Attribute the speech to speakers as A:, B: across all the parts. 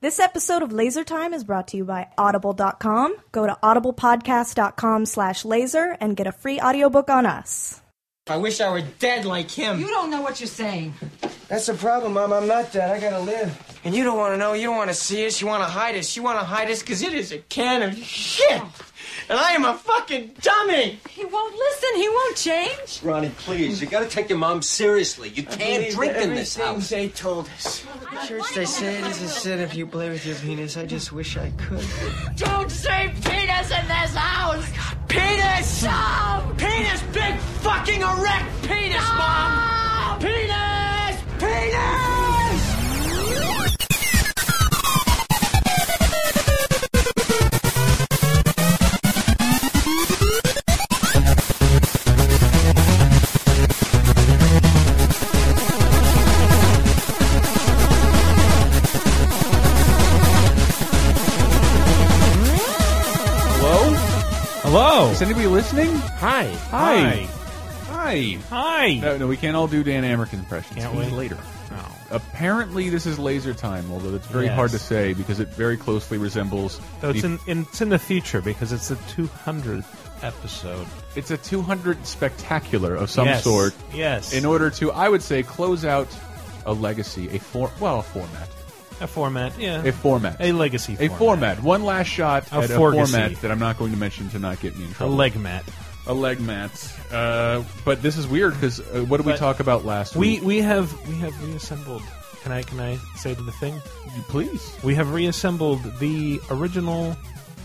A: This episode of Laser Time is brought to you by Audible.com. Go to audiblepodcast.com slash laser and get a free audiobook on us.
B: I wish I were dead like him.
C: You don't know what you're saying.
D: That's the problem, Mom. I'm not dead. I gotta live.
B: And you don't want to know. You don't want to see us. You want to hide us. You want to hide us because it is a can of shit. And I am a fucking dummy.
C: He won't listen. He won't change.
E: Ronnie, please, you gotta take your mom seriously. You can't drink in this house.
B: they told us. The church they say it is a sin if you play with your penis. I just wish I could.
C: Don't say penis in this house.
B: Penis!
C: Stop!
B: Penis! Big fucking erect penis, mom! Penis! Penis!
F: Hello.
G: Is anybody listening?
F: Hi.
G: Hi. Hi.
F: Hi.
G: No, no, we can't all do Dan Amrick impressions.
F: Can't
G: Maybe
F: wait.
G: later.
F: No.
G: Apparently, this is laser time, although it's very
F: Yes.
G: hard to say because it very closely resembles.
F: So it's
G: the-
F: in, in it's in the future because it's the 200th episode.
G: it's a 200 spectacular of some
F: Yes.
G: sort.
F: Yes.
G: In order to, I would say, close out a legacy, a for well, a format,
F: a format. Yeah.
G: a format,
F: a legacy.
G: a format. One last shot
F: A
G: at
F: forgacy.
G: a format that I'm not going to mention to not get me in
F: A
G: trouble.
F: leg mat.
G: a leg mat. Uh, but this is weird because uh, what did we
F: But-
G: talk about last
F: We
G: week?
F: we have we have reassembled. Can I can I say to the thing?
G: please.
F: We have reassembled the original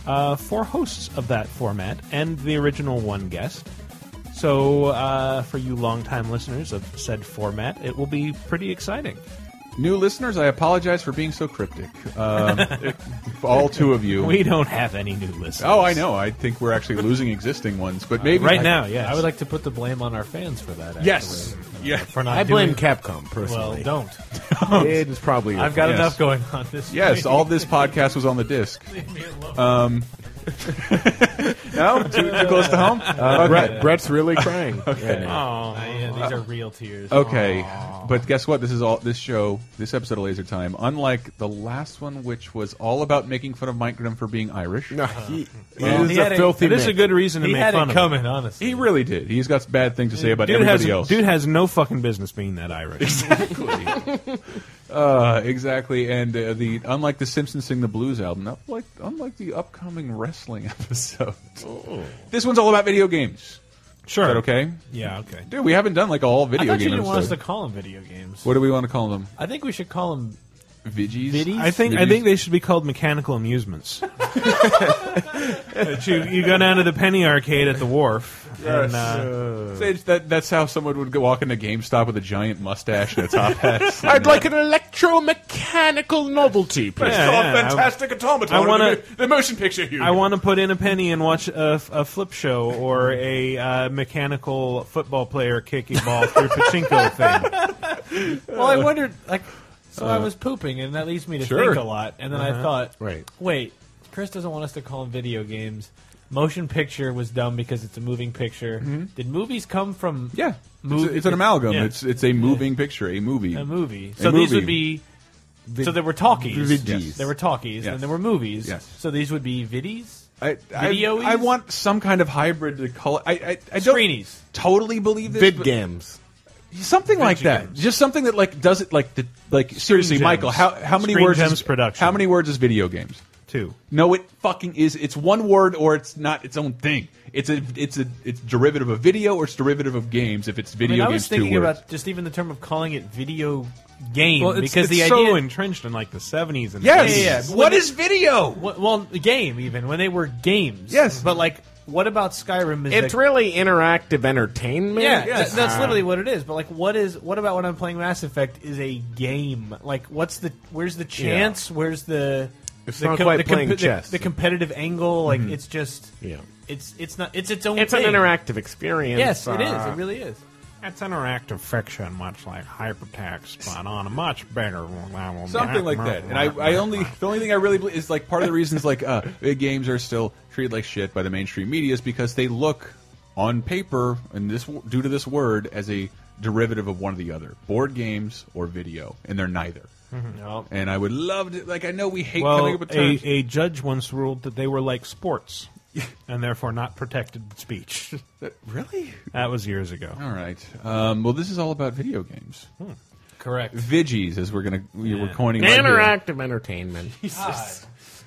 F: uh, four hosts of that format and the original one guest. So, uh, for you longtime listeners of said format, it will be pretty exciting.
G: New listeners, I apologize for being so cryptic. Um, all two of you.
F: We don't have any new listeners.
G: Oh, I know. I think we're actually losing existing ones, but maybe
F: Right
G: I-
F: now, yes.
H: I would like to put the blame on our fans for that. Actually.
G: Yes. Yeah.
F: for not
H: I blame
F: doing-
H: Capcom
F: Well,
H: personally.
F: don't.
H: it is probably. your
F: I've got
H: fault.
F: enough going on this.
G: Yes.
F: week.
G: All this podcast was on the disc. Um, no, too, too close to home.
H: Uh, Brett-
G: Okay.
H: Brett's really crying. right now.
F: Aw, Oh, yeah, these are real tears.
G: Okay, but guess what? This is all this show, this episode of Laser Time. Unlike the last one, which was all about making fun of Mike Grimm for being Irish,
H: No, he,
F: Well,
H: it
F: he
H: is
F: had
H: a
F: it-
H: filthy.
F: It is a
H: man.
F: good reason to
H: He
F: make
H: had it
F: fun of
H: coming,
F: him. honestly.
G: he really did. He's got bad things to say about
F: dude
G: everybody
F: has,
G: else.
F: Dude has no fucking business being that Irish.
G: Uh, exactly, and uh, the unlike the Simpsons sing the blues album, not like unlike the upcoming wrestling episode,
H: Oh.
G: this one's all about video games.
F: sure.
G: Is that okay,
F: Yeah. Okay.
G: dude? We haven't done like all
H: I
G: video
H: thought
G: game
H: you didn't want us to
G: episode.
H: call them video games.
G: What do we want to call them?
H: I think we should call them.
G: Vidgies.
H: Viddies?
F: I think I
G: Viddies?
F: think they should be called mechanical amusements. That you, you go down to the penny arcade at the wharf, and uh,
G: Say that that's how someone would go walk into GameStop with a giant mustache and a top hat.
H: I'd like an electromechanical novelty, please.
F: Yeah, yeah, Fantastic
G: automaton.
F: I wanna-
G: the motion picture here.
F: I want to put in a penny and watch a, a flip show or a uh, mechanical football player kicking ball through pachinko thing. Uh,
H: Well, I wondered, like, so I was pooping, and that leads me to
G: Sure.
H: think a lot. And then I
F: Uh-huh.
H: thought,
F: Right.
H: wait, Chris doesn't want us to call them video games. Motion picture was dumb because it's a moving picture. Did movies come from
G: Yeah, it's,
H: Movie-
G: a- it's an amalgam.
H: yeah.
G: It's it's a moving picture, a movie.
H: a movie?
G: A
H: so these
G: movie.
H: would be. so there were talkies.
G: Viddies.
H: There were talkies,
G: Yes.
H: and there were movies.
G: Yes.
H: So these would be viddies.
G: I, I,
H: Videoies?
G: I want some kind of hybrid to call it. I, I, I don't
H: Screenies.
G: totally believe this. but
H: games.
G: something like that. Just something that like does it like the like seriously,
F: Gems.
G: Michael. How how many
F: Screen
G: words
F: Gems
G: is
F: production.
G: How many words is video games?
F: Two.
G: No, it fucking is. It's one word or it's not its own thing. It's a it's a it's derivative of video or it's derivative of games. If it's
H: I mean,
G: video
H: I
G: games,
H: was thinking
G: two words.
H: about just even the term of calling it video game
F: Well, it's,
H: because
F: it's
H: the
F: so
H: idea
F: entrenched in like the seventies and
G: yes.
F: 80s.
H: Yeah, yeah, yeah.
G: What is video?
H: Well, well, the game even when they were games.
G: Yes.
H: but like, what about Skyrim? Is
I: It's
H: a-
I: really interactive entertainment. Um,
H: yeah, tha- that's literally what it is. But like, what is what about when I'm playing Mass Effect is a game? Like, what's the where's the chance? Where's the
I: It's
H: the
I: not quite playing
H: the-
I: chess.
H: The, competitive angle, like it's just
I: Yeah.
H: it's it's not it's its own.
I: It's an
H: thing.
I: interactive experience.
H: Yes, it is.
I: uh,
H: It really is.
F: That's interactive fiction, much like hypertext, but on a much better level.
G: Something like that. And I, I only the only thing I really believe is like part of the reasons like uh big games are still treated like shit by the mainstream media is because they look on paper and this due to this word as a derivative of one or the other, board games or video, and they're neither. And I would love to. Like I know we hate coming
F: Mm-hmm. Well,
G: up with
F: a,
G: terms.
F: a judge once ruled that they were like sports and therefore not protected speech.
G: That- really?
F: That was years ago.
G: All right. Um, well, this is all about video games.
F: Correct.
G: Viggies, as we're gonna we we're coining. right here.
I: Interactive entertainment.
H: Ah,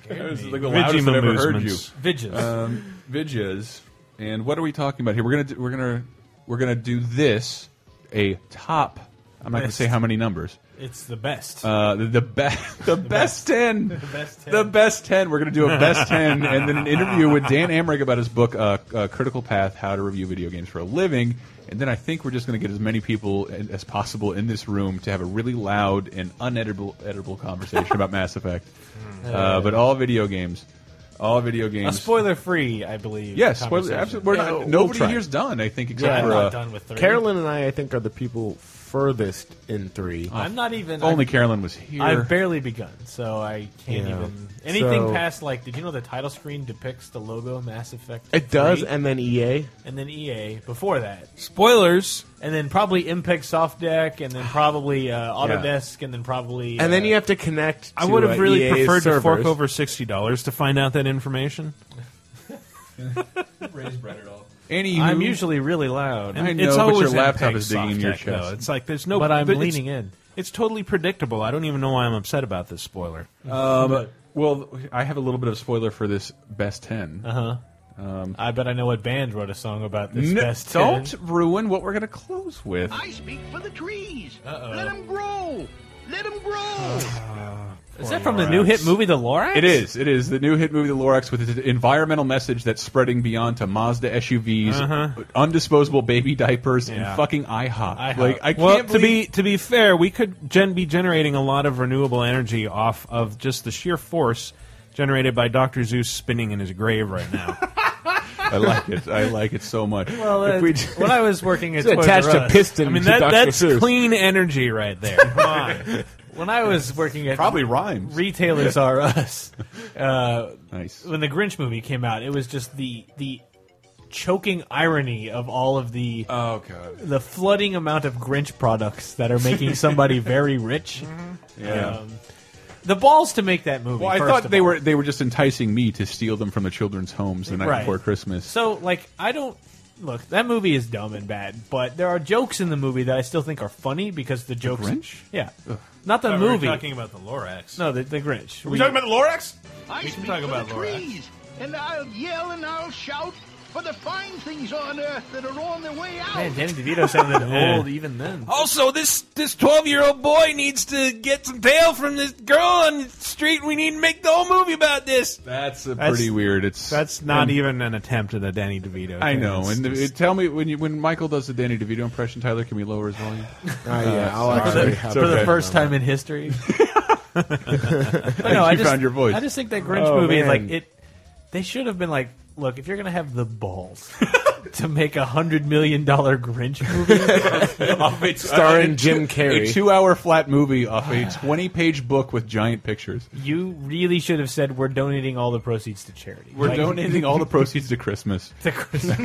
G: That was like the loudest I've ever heard you.
F: Vigis.
G: Um, Vidges, and what are we talking about here? We're gonna do, we're gonna we're gonna do this a top. I'm not gonna say how many numbers.
F: it's the best.
G: Uh, the the, be- the, best ten, the
F: best 10.
G: best ten. We're gonna do a best ten, and then an interview with Dan Amrick about his book, uh, uh, Critical Path: How to Review Video Games for a Living. And then I think we're just gonna get as many people a- as possible in this room to have a really loud and uneditable editable conversation about Mass Effect, uh, but all video games, all video
H: A
G: games.
H: spoiler free, I believe.
G: Yes, well,
H: conversation.
G: absolutely. We're
H: Yeah,
G: not,
H: we'll
G: nobody
H: try.
G: here's done, I think,
H: Yeah,
G: except
H: I'm
G: for uh,
H: not done with three.
I: Carolyn and I, I think, are the people furthest in three.
H: I'm not even.
G: only
H: I've,
G: Carolyn was here.
H: I've barely begun, so I can't
I: Yeah.
H: even. Anything
I: So-
H: past like, did you know the title screen depicts the logo of Mass Effect?
I: it does,
H: 3?
I: and then EA.
H: and then EA before that,
F: Spoilers.
H: and then probably Impact Soft Deck, and then probably uh, Autodesk, and then probably.
I: And then
H: uh,
I: you have to connect.
F: I
I: to,
F: would
I: uh,
F: have really
I: EA's
F: preferred to fork
I: servers.
F: over sixty dollars to find out that information.
G: Anywho,
H: I'm usually really loud.
G: I know,
F: it's
G: but
F: always
G: your laptop
F: Mpeg
G: is digging in your
F: Softec, though.
G: chest.
F: It's like there's no.
H: But I'm
F: it's-
H: leaning in.
F: It's totally predictable. I don't even know why I'm upset about this spoiler.
G: Um, well, I have a little bit of spoiler for this best 10
H: I bet I know what band wrote a song about this
G: N-
H: best.
G: don't
H: 10.
G: ruin what we're going to close with.
C: I speak for the trees. Let them grow. Let them grow.
H: Is that from the new hit movie, The Lorax?
G: It is. It is the new hit movie, The Lorax, with its environmental message that's spreading beyond to Mazda SUVs, undisposable baby diapers,
F: Yeah.
G: and fucking IHOP.
H: IHOP.
G: Like I
F: Well,
G: can't
F: to
G: believe
F: be to be fair, we could gen be generating a lot of renewable energy off of just the sheer force generated by Doctor Zeus spinning in his grave right now.
G: I like it. I like it so much.
H: Well,
G: If
H: uh,
G: we-
H: when I was working at Toys
I: attached
H: R
I: a
H: Us-
I: piston
F: I mean
I: to
F: that
I: Dr.
F: that's
I: Seuss.
F: clean energy right there. Come on.
H: When I was working at
G: probably rhymes.
H: retailers are us. Uh,
G: nice.
H: when the Grinch movie came out, it was just the the choking irony of all of the
G: Oh god.
H: the flooding amount of Grinch products that are making somebody very rich.
G: Yeah.
H: Um, the balls to make that movie.
G: Well, I
H: first
G: thought
H: of
G: they
H: all.
G: were they were just enticing me to steal them from the children's homes the night
H: Right.
G: before Christmas.
H: So, like, I don't look. That movie is dumb and bad, but there are jokes in the movie that I still think are funny because the jokes.
G: Grinch?
H: Yeah, not the movie.
F: about the Lorax.
H: no, the, the Grinch.
F: we talking about the Lorax?
C: I
F: We can
C: speak
F: talk
C: for
F: about
C: the
F: Laura.
C: trees, and I'll yell and I'll shout for the fine things on earth that are on their way out.
H: Man, Danny DeVito sounded old even then.
F: Also, this this twelve year old boy needs to get some tail from this girl on the street. We need to make the whole movie about this.
G: That's a
F: That's-
G: pretty weird. It's
F: That's not
G: and-
F: even an attempt at a Danny DeVito.
G: I
F: thing.
G: know.
F: It's
G: And
F: just-
G: it- tell me when you when Michael does the Danny DeVito impression, Tyler, can we lower his volume?
I: Uh, yeah, I'll actually have
H: For the
G: okay.
H: first time in history. but no, I
G: you
H: just,
G: found your voice.
H: I just think that Grinch
I: Oh,
H: movie,
I: man.
H: like it, they should have been like, look, if you're gonna have the balls to make a hundred million dollar Grinch movie,
G: Oh,
I: starring Jim
G: uh, a
I: Carrey.
G: two-hour flat movie off a twenty-page book with giant pictures.
H: you really should have said we're donating all the proceeds to charity.
G: We're
H: Like,
G: donating all the proceeds to Christmas,
H: to Christmas.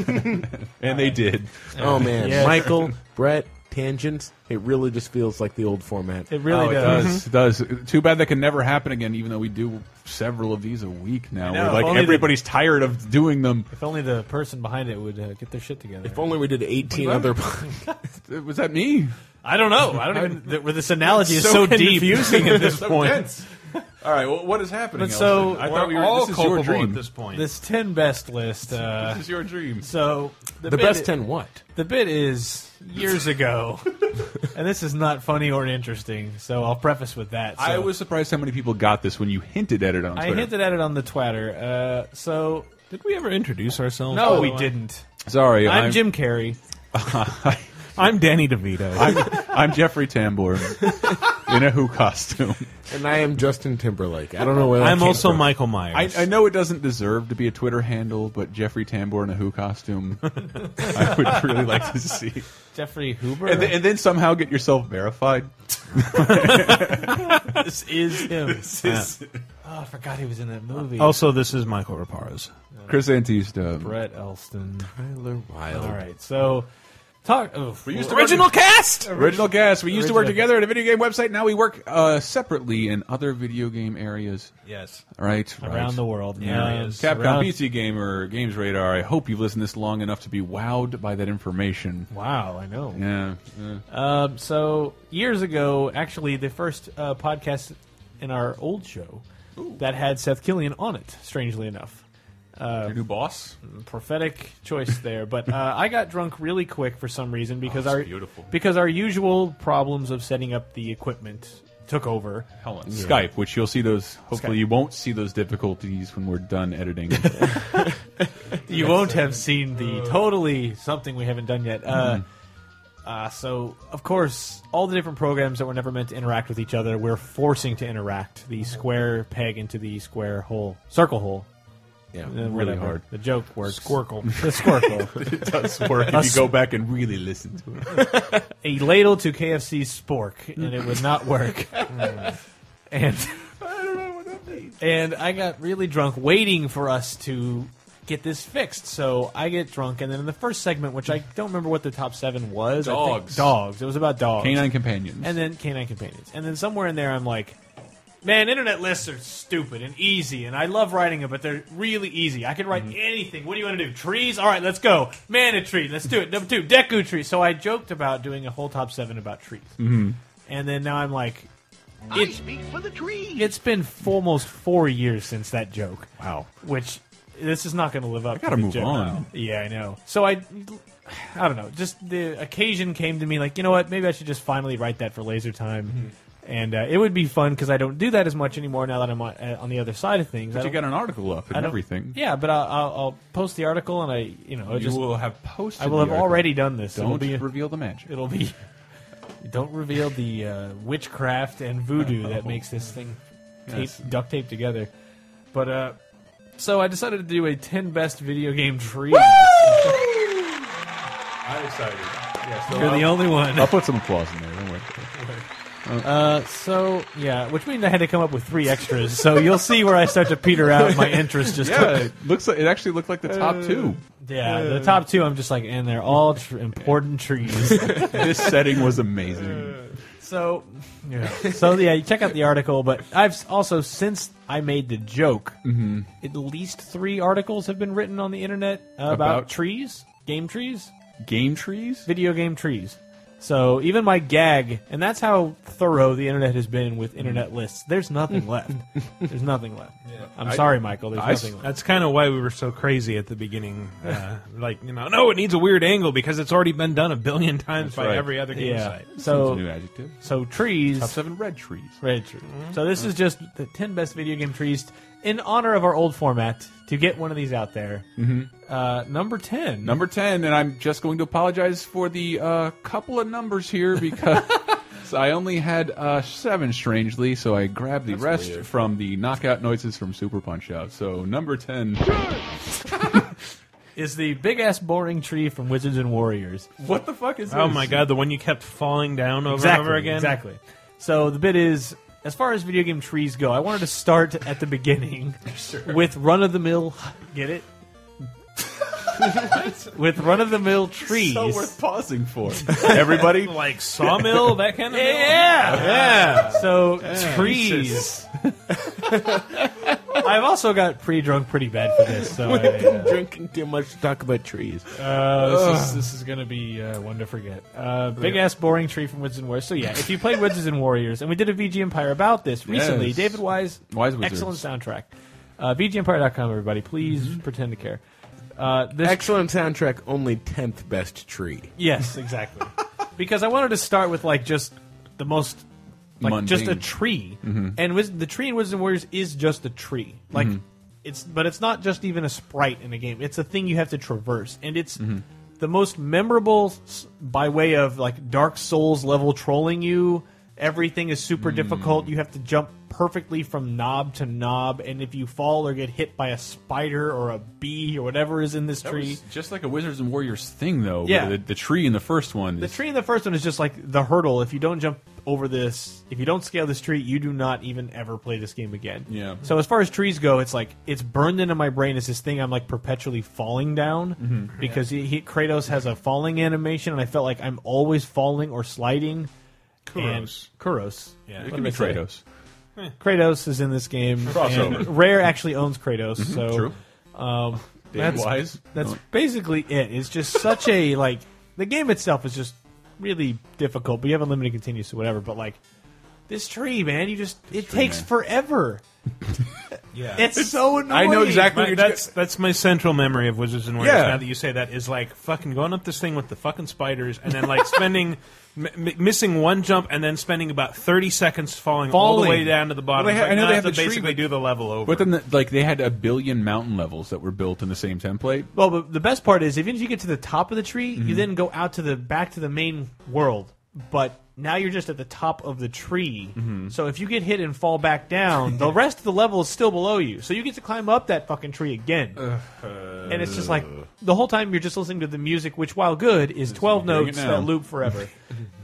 G: and they did.
I: Oh man,
H: Yes.
I: Michael, Brett, tangents. It really just feels like the old format.
H: It really
G: Oh, it
H: does.
G: does. It does. Too bad that can never happen again. Even though we do several of these a week now,
H: know,
G: We're
H: if
G: like
H: only the-
G: everybody's tired of doing them.
H: If only the person behind it would uh, get their shit together.
I: If only we did 18 other.
G: Was that me?
H: I don't know. I don't even. th- where this analogy is
F: so
H: so deep.
F: confusing at this
G: So
F: point.
G: dense. All right. Well, what is happening?
H: But
G: Elton?
H: so
G: I
F: We're
G: thought we were.
F: all
G: This is
F: culpable
G: your dream.
F: at this point.
H: This ten best list. Uh,
G: This is your dream.
H: so
I: The
H: bit-
I: best 10 what?
H: The bit is years ago, and this is not funny or interesting. So I'll preface with that. So
G: I was surprised how many people got this when you hinted at it on
H: I
G: Twitter.
H: hinted at it on the twatter. Uh, so
F: Did we ever introduce ourselves? Oh,
H: no,
F: by the
H: we
F: way?
H: didn't.
G: Sorry,
H: I'm, Jim Carrey.
F: I'm Danny DeVito.
G: I'm Jeffrey Tambor in a Who costume.
I: And I am Justin Timberlake. I don't know where that
F: I'm
I: came
F: also
I: from.
F: Michael
G: I,
F: Myers.
G: I know it doesn't deserve to be a Twitter handle, but Jeffrey Tambor in a Who costume, I would really like to see.
H: Jeffrey Huber.
G: And, then- and then somehow get yourself verified.
H: this is him. oh, I forgot he was in that movie.
F: Uh, also, this is Michael Raparez.
G: Chris Antista.
H: Brett Elston.
I: Tyler Wilde.
H: All right, so Talk. Oh,
G: We used to
F: Original
G: work,
F: cast.
G: Original cast. We used to work
H: Original.
G: together at a video game website. Now we work uh, separately in other video game areas.
F: Yes.
G: Right. right.
H: around the world.
F: Yeah.
H: Yes.
G: Capcom
H: Around-
G: PC Gamer, Games Radar. I hope you've listened this long enough to be wowed by that information. Uh,
H: Wow, I know.
G: Yeah. yeah.
H: Um, so years ago, actually, the first uh, podcast in our old show that had Seth Killian on it. Strangely enough,
G: Your new boss.
H: prophetic choice there. But uh, I got drunk really quick for some reason because
G: Oh, that's
H: our
G: beautiful.
H: because our usual problems of setting up the equipment took over.
G: Helen. Skype, which you'll see those. Hopefully,
H: Skype.
G: you won't see those difficulties when we're done editing.
H: You won't have seen the totally something we haven't done yet. Uh, uh, so, of course, all the different programs that were never meant to interact with each other, we're forcing to interact. The square peg into the square hole, circle hole.
I: Yeah,
H: Uh,
G: really
H: whatever.
G: hard.
H: The joke works. Squircle. The squircle.
G: it does work if you go back and really listen to it.
H: A ladle to KFC's spork, and it would not work. and and I got really drunk waiting for us to get this fixed. So I get drunk, and then in the first segment, which I don't remember what the top seven was, I think-
G: Dogs.
H: dogs. It was about dogs,
G: Canine companions.
H: and then canine companions, and then somewhere in there, I'm like. Man, internet lists are stupid and easy, and I love writing them, but they're really easy. I could write anything. What do you want to do? Trees? All right, let's go. Man, a tree. Let's do it. Number two, Deku tree. So I joked about doing a whole top seven about trees, mm-hmm. and then now I'm like,
J: I speak for the trees.
H: it's been f- almost four years since that joke.
G: Wow.
H: Which this is not going to live up. I
G: gotta
H: to the
G: move
H: joke.
G: on.
H: Yeah, I know. So I, I don't know. Just the occasion came to me, like you know what? Maybe I should just finally write that for Laser Time,
G: Mm-hmm.
H: and uh, it would be fun because I don't do that as much anymore now that I'm on, uh, on the other side of things. I
G: But you
H: don't-
G: got an article up and
H: I don't-
G: everything.
H: Yeah, but I'll, I'll, I'll post the article, and I, you know, it
G: You
H: just
G: will have posted.
H: I will
G: the
H: have
G: article.
H: already done this. It'll
G: Don't
H: be-
G: reveal the magic.
H: It'll be. Don't reveal the uh, witchcraft and voodoo that makes this thing tape,
G: Yes.
H: duct taped together. But uh, so I decided to do a ten best video game trees.
G: I'm excited. Yeah, so
H: You're the only one.
G: I'll put some applause in there. Don't worry.
H: Uh, so yeah, which means I had to come up with three extras. so you'll see where I start to peter out. My interest just
G: Yeah, it looks like it actually looked like the top two.
H: yeah. The top two, I'm just like, and they're all tr- important trees.
G: This setting was amazing.
H: So, yeah. so yeah, you check out the article. But I've s- also since I made the joke, at least three articles have been written on the internet about,
G: About-
H: trees, game trees,
G: Game trees.
H: video game trees. So even my gag, and that's how thorough the internet has been with internet lists. There's nothing left. There's nothing left. I'm sorry, Michael. There's nothing left.
F: That's kind of why we were so crazy at the beginning. Uh, like, you know, no, it needs a weird angle because it's already been done a billion times by
G: right.
F: every other game
H: Yeah.
F: site.
G: That's a new
H: So
G: adjective.
H: so trees.
G: Top seven red trees.
H: Red tree. So this is just the ten best video game trees in honor of our old format. To get one of these out there, mm-hmm. uh, number ten.
G: Number ten, and I'm just going to apologize for the uh, couple of numbers here because I only had uh, seven, strangely, so I grabbed the rest from the knockout noises from Super Punch Out. So number ten,
H: is the big ass boring tree from Wizards and Warriors.
G: what the fuck is? This?
F: Oh my god, the one you kept falling down over and over again.
H: Exactly. So the bit is, as far as video game trees go, I wanted to start at the beginning with run of the mill. Get it? with run of the mill trees.
G: So worth pausing for everybody.
F: Like sawmill, that kind of mill?
H: Yeah, yeah. So trees. I've also got pretty drunk pretty bad for this, so I, uh,
I: drinking too much to talk about trees.
H: uh, this is this is gonna be uh, one to forget. Uh, Big ass boring tree from Wizards and Warriors. So yeah, if you played Wizards and Warriors, and we did a VG Empire about this recently,
G: Yes.
H: David Wise,
G: Wise Wizards.
H: excellent soundtrack. Uh, VGEmpire.com, everybody, please
F: Mm-hmm.
H: pretend to care. Uh, this
I: Excellent soundtrack, only 10th best tree.
H: Yes, exactly. because I wanted to start with like just the most like just a
G: Mundane. Mm-hmm.
H: tree, and Wiz- the tree in Wizards and Warriors is just a tree. Like it's, but it's not just even a sprite in a game. It's a thing you have to traverse, and it's
G: Mm-hmm.
H: the most memorable s- by way
G: Mm.
H: of like Dark Souls level trolling you. Everything is super difficult. You have to jump perfectly from knob to knob, and if you fall or get hit by a spider or a bee or whatever is in this
G: That
H: tree,
G: was just like a Wizards and Warriors thing, though.
H: Yeah.
G: The, the tree in the first one.
H: the
G: is-
H: tree in the first one is just like the hurdle. If you don't jump over this, if you don't scale this tree, you do not even ever play this game again.
G: Yeah.
H: So as far as trees go, it's like it's burned into my brain as this thing I'm like perpetually falling down
G: Mm-hmm.
H: because he, he, Kratos has a falling animation, and I felt like I'm always falling or sliding. And
F: Kuros.
H: Kuros. Yeah.
G: it could be Kratos.
H: Kratos is in this game.
G: Crossover. Mm-hmm.
H: and Rare actually owns Kratos, so
G: true.
H: Um,
G: Dave
H: that's-
G: Wise.
H: that's basically it. It's just such a like the game itself is just really difficult, but you have unlimited continues, so whatever. But like this tree, man, you just it takes
G: man.
H: forever.
F: Yeah.
H: It's, so annoying.
G: I know exactly. what
F: My,
G: you're
F: that's that's my central memory of Wizards and Warriors.
G: Yeah.
F: Now that you say that, is like fucking going up this thing with the fucking spiders, and then like spending m- m- missing one jump, and then spending about thirty seconds falling, all the
H: Falling.
F: way down to the bottom.
G: Well, they
F: It's like,
G: ha- I know
F: now
G: they
F: I
G: have
F: have
G: the
F: to
G: tree,
F: basically
G: but-
F: do the level over.
G: But then, the, like, they had a billion mountain levels that were built in the same template.
H: Well, but the best part is, even if you get to the top of the tree,
G: Mm-hmm.
H: you then go out to the back to the main world. But now you're just at the top of the tree.
G: Mm-hmm.
H: So if you get hit and fall back down, the rest of the level is still below you. So you get to climb up that fucking tree again.
G: Uh-huh.
H: and it's just like the whole time you're just listening to the music, which while good is 12
G: doing it
H: notes
G: now.
H: that loop forever.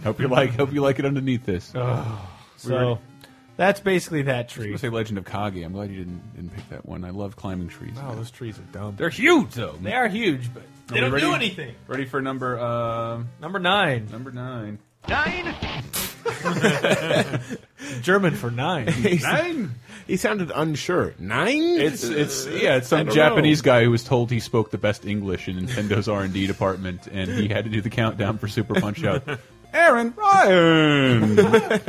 G: Hope you like. Hope you like it underneath this. I
H: so that's basically that tree.
G: was gonna say Legend of Kage. I'm glad you didn't didn't pick that one. I love climbing trees.
H: those trees are dumb.
G: They're huge though.
H: They are huge, but they
G: Are we
H: don't do
G: ready?
H: anything.
G: Ready for number um
H: Number nine,
G: number nine.
K: Nine.
H: German for nine.
G: Nine.
I: He sounded unsure. Nine?
G: It's it's yeah. It's
I: I
G: some
I: don't
G: Japanese guy who was told he spoke the best English in Nintendo's R and D department, and he had to do the countdown for Super Punch Out. Aaron Ryan.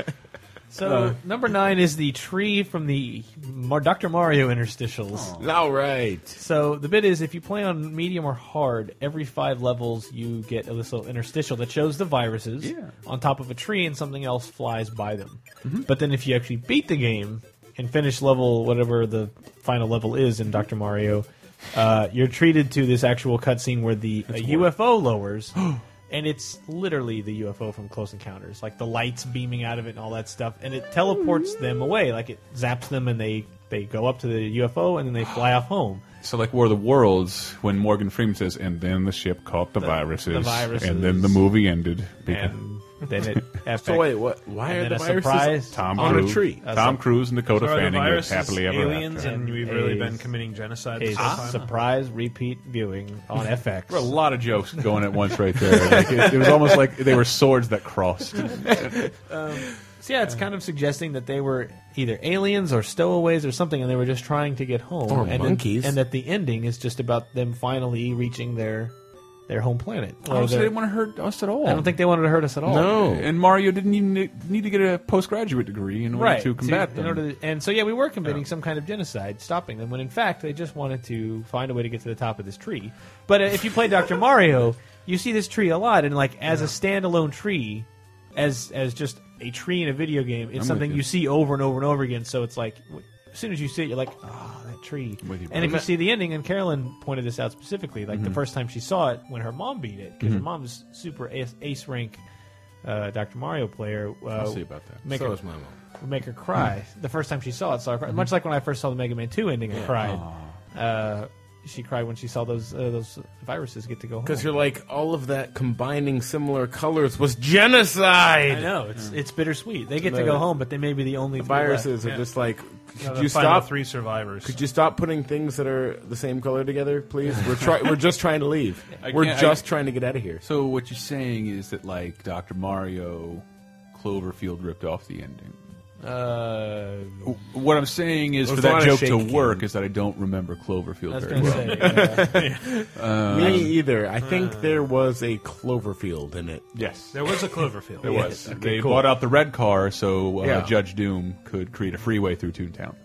H: So number nine is the tree from the Mar- Dr. Mario interstitials.
I: all right.
H: So the bit is, if you play on medium or hard, every five levels you get a little interstitial that shows the viruses
G: Yeah.
H: on top of a tree, and something else flies by them. But then if you actually beat the game and finish level whatever the final level is in Dr. Mario, uh, you're treated to this actual cutscene where the uh, a UFO lowers. And it's literally the UFO from Close Encounters, like the lights beaming out of it and all that stuff, and it teleports them away, like it zaps them, and they they go up to the UFO and then they fly off home.
G: so like War of the Worlds, when Morgan Freeman says, "And then the ship caught the, viruses,
H: the viruses.
G: and then the movie ended." because
H: and then it epic.
I: So wait, what? Why
H: And
I: are
H: then
I: the
H: a
I: viruses
H: surprise.
G: Tom
I: on
G: Cruise,
I: a tree?
G: Tom Cruise and Dakota
F: Are the
G: Fanning lived
F: viruses
G: happily ever
F: aliens,
G: after.
F: and we've really been
H: Is-
F: committing genocide.
H: is
F: this whole time?
H: surprise repeat viewing on
G: There
H: FX.
G: were a lot of jokes going at once right there. Like, it, it was almost like they were swords that crossed.
H: So yeah, it's kind of suggesting that they were either aliens or stowaways or something, and they were just trying to get home.
I: Or
H: and
I: monkeys.
H: and that the ending is just about them finally reaching their their home planet.
I: Oh,
H: Or
G: Honestly, they
H: their-
G: didn't want to hurt us at all.
H: I don't think they wanted to hurt us at all.
I: No.
G: And Mario didn't even ne- need to get a postgraduate degree in order
H: Right
G: to combat
H: in
G: them.
H: order to- and so yeah, we were committing some kind of genocide, stopping them. When in fact, they just wanted to find a way to get to the top of this tree. But uh, if you play Doctor Mario, you see this tree a lot, and like as a standalone tree, as as just a tree in a video game, it's
G: with
H: something
G: you.
H: you. see over and over and over again. So it's like. w- As soon as you see it, you're like, "Ah, that tree."
G: with you, Mm-hmm.
H: and if
G: bro.
H: you see the ending, and Carolyn pointed this out specifically, like the first time she saw it when her mom beat it,
G: Mm-hmm.
H: because her mom's super ace, ace rank uh, Dr. Mario player. Uh, I'll
G: see about that.
H: Make
I: So
H: her-
I: is my mom.
H: would make her cry. The first time she saw it, saw her
I: Mm-hmm.
H: cry. Much like when I first saw the Mega Man Two ending, I cried. Uh, she cried when she saw those uh, those viruses get to go home.
I: Because you're like, all of that combining similar colors was
H: I
I: genocide.
H: know it's it's bittersweet. They get to go home, but they may be the only
I: Mm. The
H: three left.
I: viruses are just like,
F: The
I: could you
F: final
I: stop?
F: three survivors.
I: Could you stop putting things that are the same color together, please? We're try- we're just trying to leave.
G: I
I: We're
G: can't- I-
I: just trying to get out of here.
G: So what you're saying is that like Dr. Mario, Cloverfield ripped off the ending.
H: Uh,
G: What I'm saying is
I: Well,
G: for
I: it's a
G: that
I: lot of
G: joke to
I: shaky
G: work
I: cam.
G: is that I don't remember
H: I
G: Cloverfield
H: was
G: very
H: going to
G: well.
H: say. uh, yeah. Uh,
I: Me either. I think
G: Uh.
I: there was a Cloverfield in it.
G: Yes.
F: there was a Cloverfield.
G: There was.
I: okay,
G: they
I: cool.
G: bought out the red car so uh,
I: Yeah.
G: Judge Doom could create a freeway through Toontown.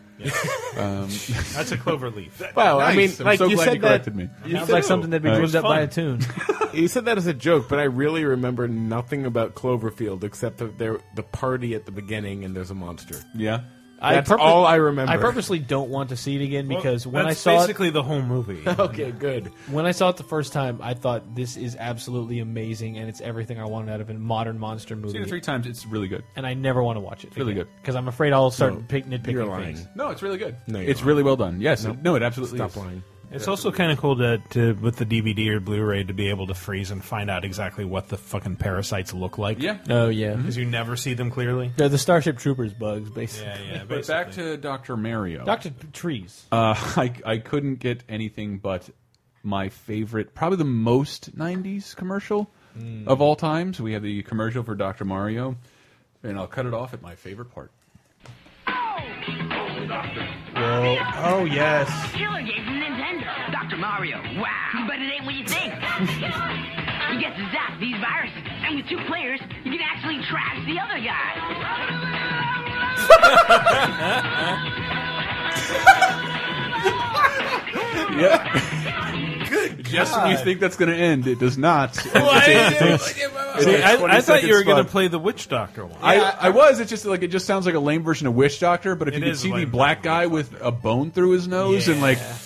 F: That's a clover leaf.
I: Well, I mean,
G: Nice. I'm
I: like
G: so
I: you
G: glad
I: said
G: you
I: that
G: corrected me.
I: you
H: Sounds
I: said-
H: like something that'd be
G: Uh,
H: lived up by
F: fun.
H: a tune.
I: You said that as a joke, but I really remember nothing about Cloverfield except that there the party at the beginning and there's a monster.
G: Yeah.
I: That's
F: purpo-
I: all I remember.
F: I purposely don't want to see it again because when I
H: that's
F: saw
H: basically
F: the whole movie.
I: okay, good.
H: When I saw it the first time, I thought this is absolutely amazing, and it's everything I wanted out of a modern monster movie.
G: Seen it three times. It's really good.
H: and I never want to watch it.
G: It's really good.
H: because I'm afraid I'll start
I: No,
H: pick, nitpicking
I: you're lying.
H: things.
G: No, it's really good.
I: No, you're
G: it's
I: not.
G: really well done. Yes.
I: Nope.
G: No, it absolutely
I: Stop
G: is.
I: lying.
F: It's also kind of cool to, to with the DVD or Blu-ray to be able to freeze and find out exactly what the fucking parasites look like.
G: Yeah.
H: Oh yeah,
I: Mm-hmm.
F: because you never see them clearly.
H: they're the Starship Troopers bugs, basically.
F: Yeah, yeah.
G: But back to Dr. Mario.
H: Doctor Trees.
G: Uh, I, I couldn't get anything but my favorite, probably the most 90s commercial
F: Hmm.
G: of all time. So we have the commercial for Dr. Mario, and I'll cut it off at my favorite part.
F: oh yes.
C: Killer game from Nintendo. Dr. Mario. Wow. But it ain't what you think. you get to zap these viruses, and with two players, you can actually trash the other guy.
G: Yep. Good Just when you think that's going to end, it does not. It's a
F: I,
G: 20
F: I thought you were going
G: seconds spot.
F: to play the witch doctor one.
G: I, I was. It's just like it just sounds like a lame version of Wish Doctor. But if
F: It
G: you could
F: is
G: see
F: a
G: the
F: lame
G: black
F: version
G: guy with a bone through his nose and like,
F: Yeah.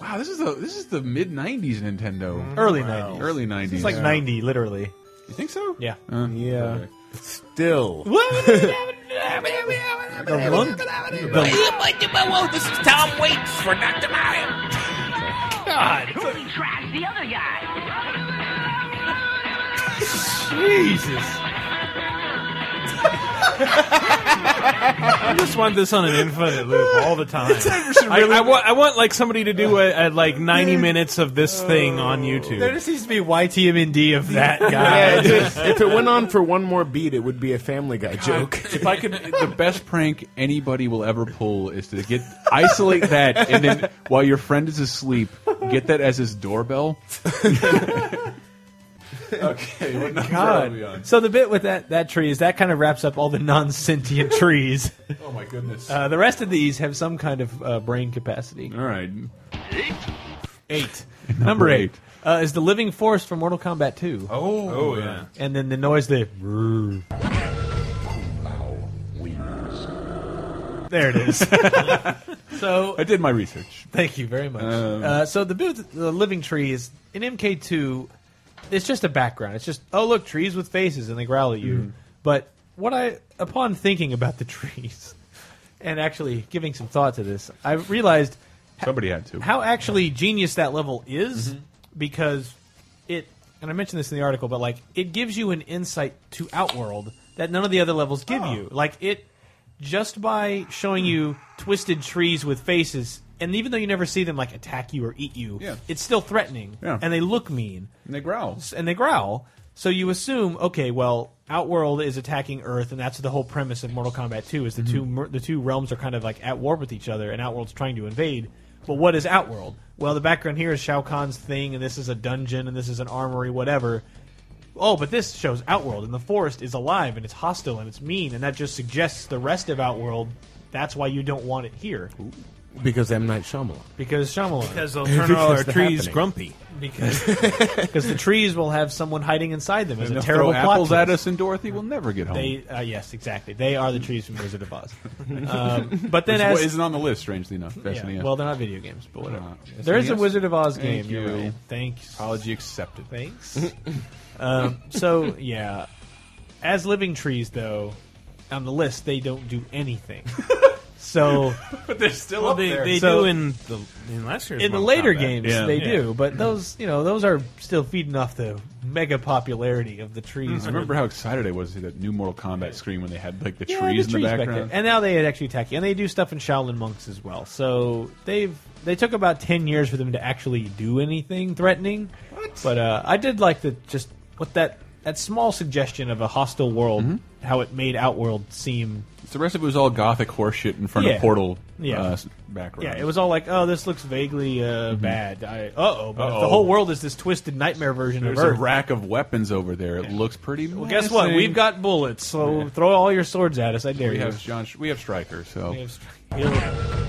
G: wow, this is the this is the mid '90s Nintendo,
F: Mm-hmm.
H: Early nineties.
G: early '90s.
H: It's like ninety, literally.
G: you think so?
H: Yeah.
G: Uh,
I: Yeah.
G: okay.
I: Still.
C: Totally trash the other guy.
F: Jesus. I just want this on an infinite loop all the time. I, I, wa- I want like somebody to do a, a, like ninety minutes of this thing on
H: There
F: YouTube.
H: just needs to be YTMND of that guy.
I: Yeah, if, it, if it went on for one more beat, it would be a Family Guy joke.
G: If I could, the best prank anybody will ever pull is to get isolate that, and then while your friend is asleep, get that as his doorbell. okay, what number are we on?
H: God. So the bit with that that tree is that kind of wraps up all the non sentient trees.
G: Oh my goodness!
H: Uh, the rest of these have some kind of uh, brain capacity.
G: All right,
H: Eight. Number eight
G: eight.
H: uh, is the living forest from Mortal Kombat 2.
F: Oh, oh yeah.
H: And then the noise there. There it is. so
G: I did my research.
H: Thank you very much. uh, so the booth, the living tree is in MK2. It's just a background. It's just oh look, trees with faces, and they growl at you. But what I, upon thinking about the trees, and actually giving some thought to this, I realized
G: Somebody had to.
H: how actually genius that level
G: Mm-hmm.
H: is because it and I mentioned this in the article, but like it gives you an insight to Outworld that none of the other levels give
G: Oh.
H: you. Like it just by showing you twisted trees with faces and even though you never see them like attack you or eat you,
G: Yeah.
H: it's still threatening.
G: Yeah.
H: And they look mean
G: And they growl.
H: and they growl. So you assume, okay, well, Outworld is attacking Earth, and that's the whole premise of Mortal Kombat 2 is the two mer- the two realms are kind of like at war with each other, and Outworld's trying to invade. But what is Outworld? Well, the background here is Shao Kahn's thing, and this is a dungeon, and this is an armory, whatever. Oh, but this shows Outworld, and the forest is alive, and it's hostile, and it's mean, and that just suggests the rest of Outworld. That's why you don't want it here
I: because M. Night Shyamalan.
H: because Shyamalan,
F: Because they'll turn all our
I: Everything's
F: trees
I: happening.
F: grumpy.
H: because because the trees will have someone hiding inside them. It's a
G: They'll
H: terrible
G: throw
H: plot
G: apples at
H: twist.
G: us, and Dorothy will never get home.
H: They uh, yes, exactly. They are the trees from Wizard of Oz. Um, but then
G: Which
H: as
G: isn't on the list, strangely enough.
H: yeah,
G: Destiny.
H: well, they're not video games, but whatever.
G: Uh,
H: there is a
G: SNES?
H: Wizard of Oz
G: Thank
H: game. you're
G: you.
H: right. Thanks.
G: apology accepted.
H: Thanks. um, so yeah, as living trees though, on the list they don't do anything. So
F: But they're still well,
H: up
F: they,
H: there.
F: They
H: So-
F: do in the in last year's
H: in the
F: Mortal
H: later
F: Kombat.
H: games
G: Yeah.
H: they
F: Yeah.
H: do, but those you know those are still feeding off the mega popularity of the trees.
G: I remember how excited I was to see that new Mortal Kombat screen when they had like the
H: Yeah,
G: trees
H: the
G: in the
H: back
G: background.
H: there. And now they had actually attack you. And they do stuff in Shaolin monks as well. So they've they took about ten years for them to actually do anything threatening. But uh, I did like the just what that that small suggestion of a hostile world, how it made Outworld seem.
G: So the rest of it was all gothic horseshit in front
H: Yeah.
G: of Portal
H: Yeah.
G: uh, s- background.
H: Yeah, it was all like, oh, this looks vaguely uh, bad. I, uh oh, but if
G: Uh-oh.
H: the whole world is this twisted nightmare version
G: There's
H: of
G: a
H: Earth.
G: rack of weapons over there. It looks pretty.
H: well, guess what? We've got bullets, so throw all your swords at us. I dare
G: we
H: you.
G: have John. Sh- We have Striker. So
H: We have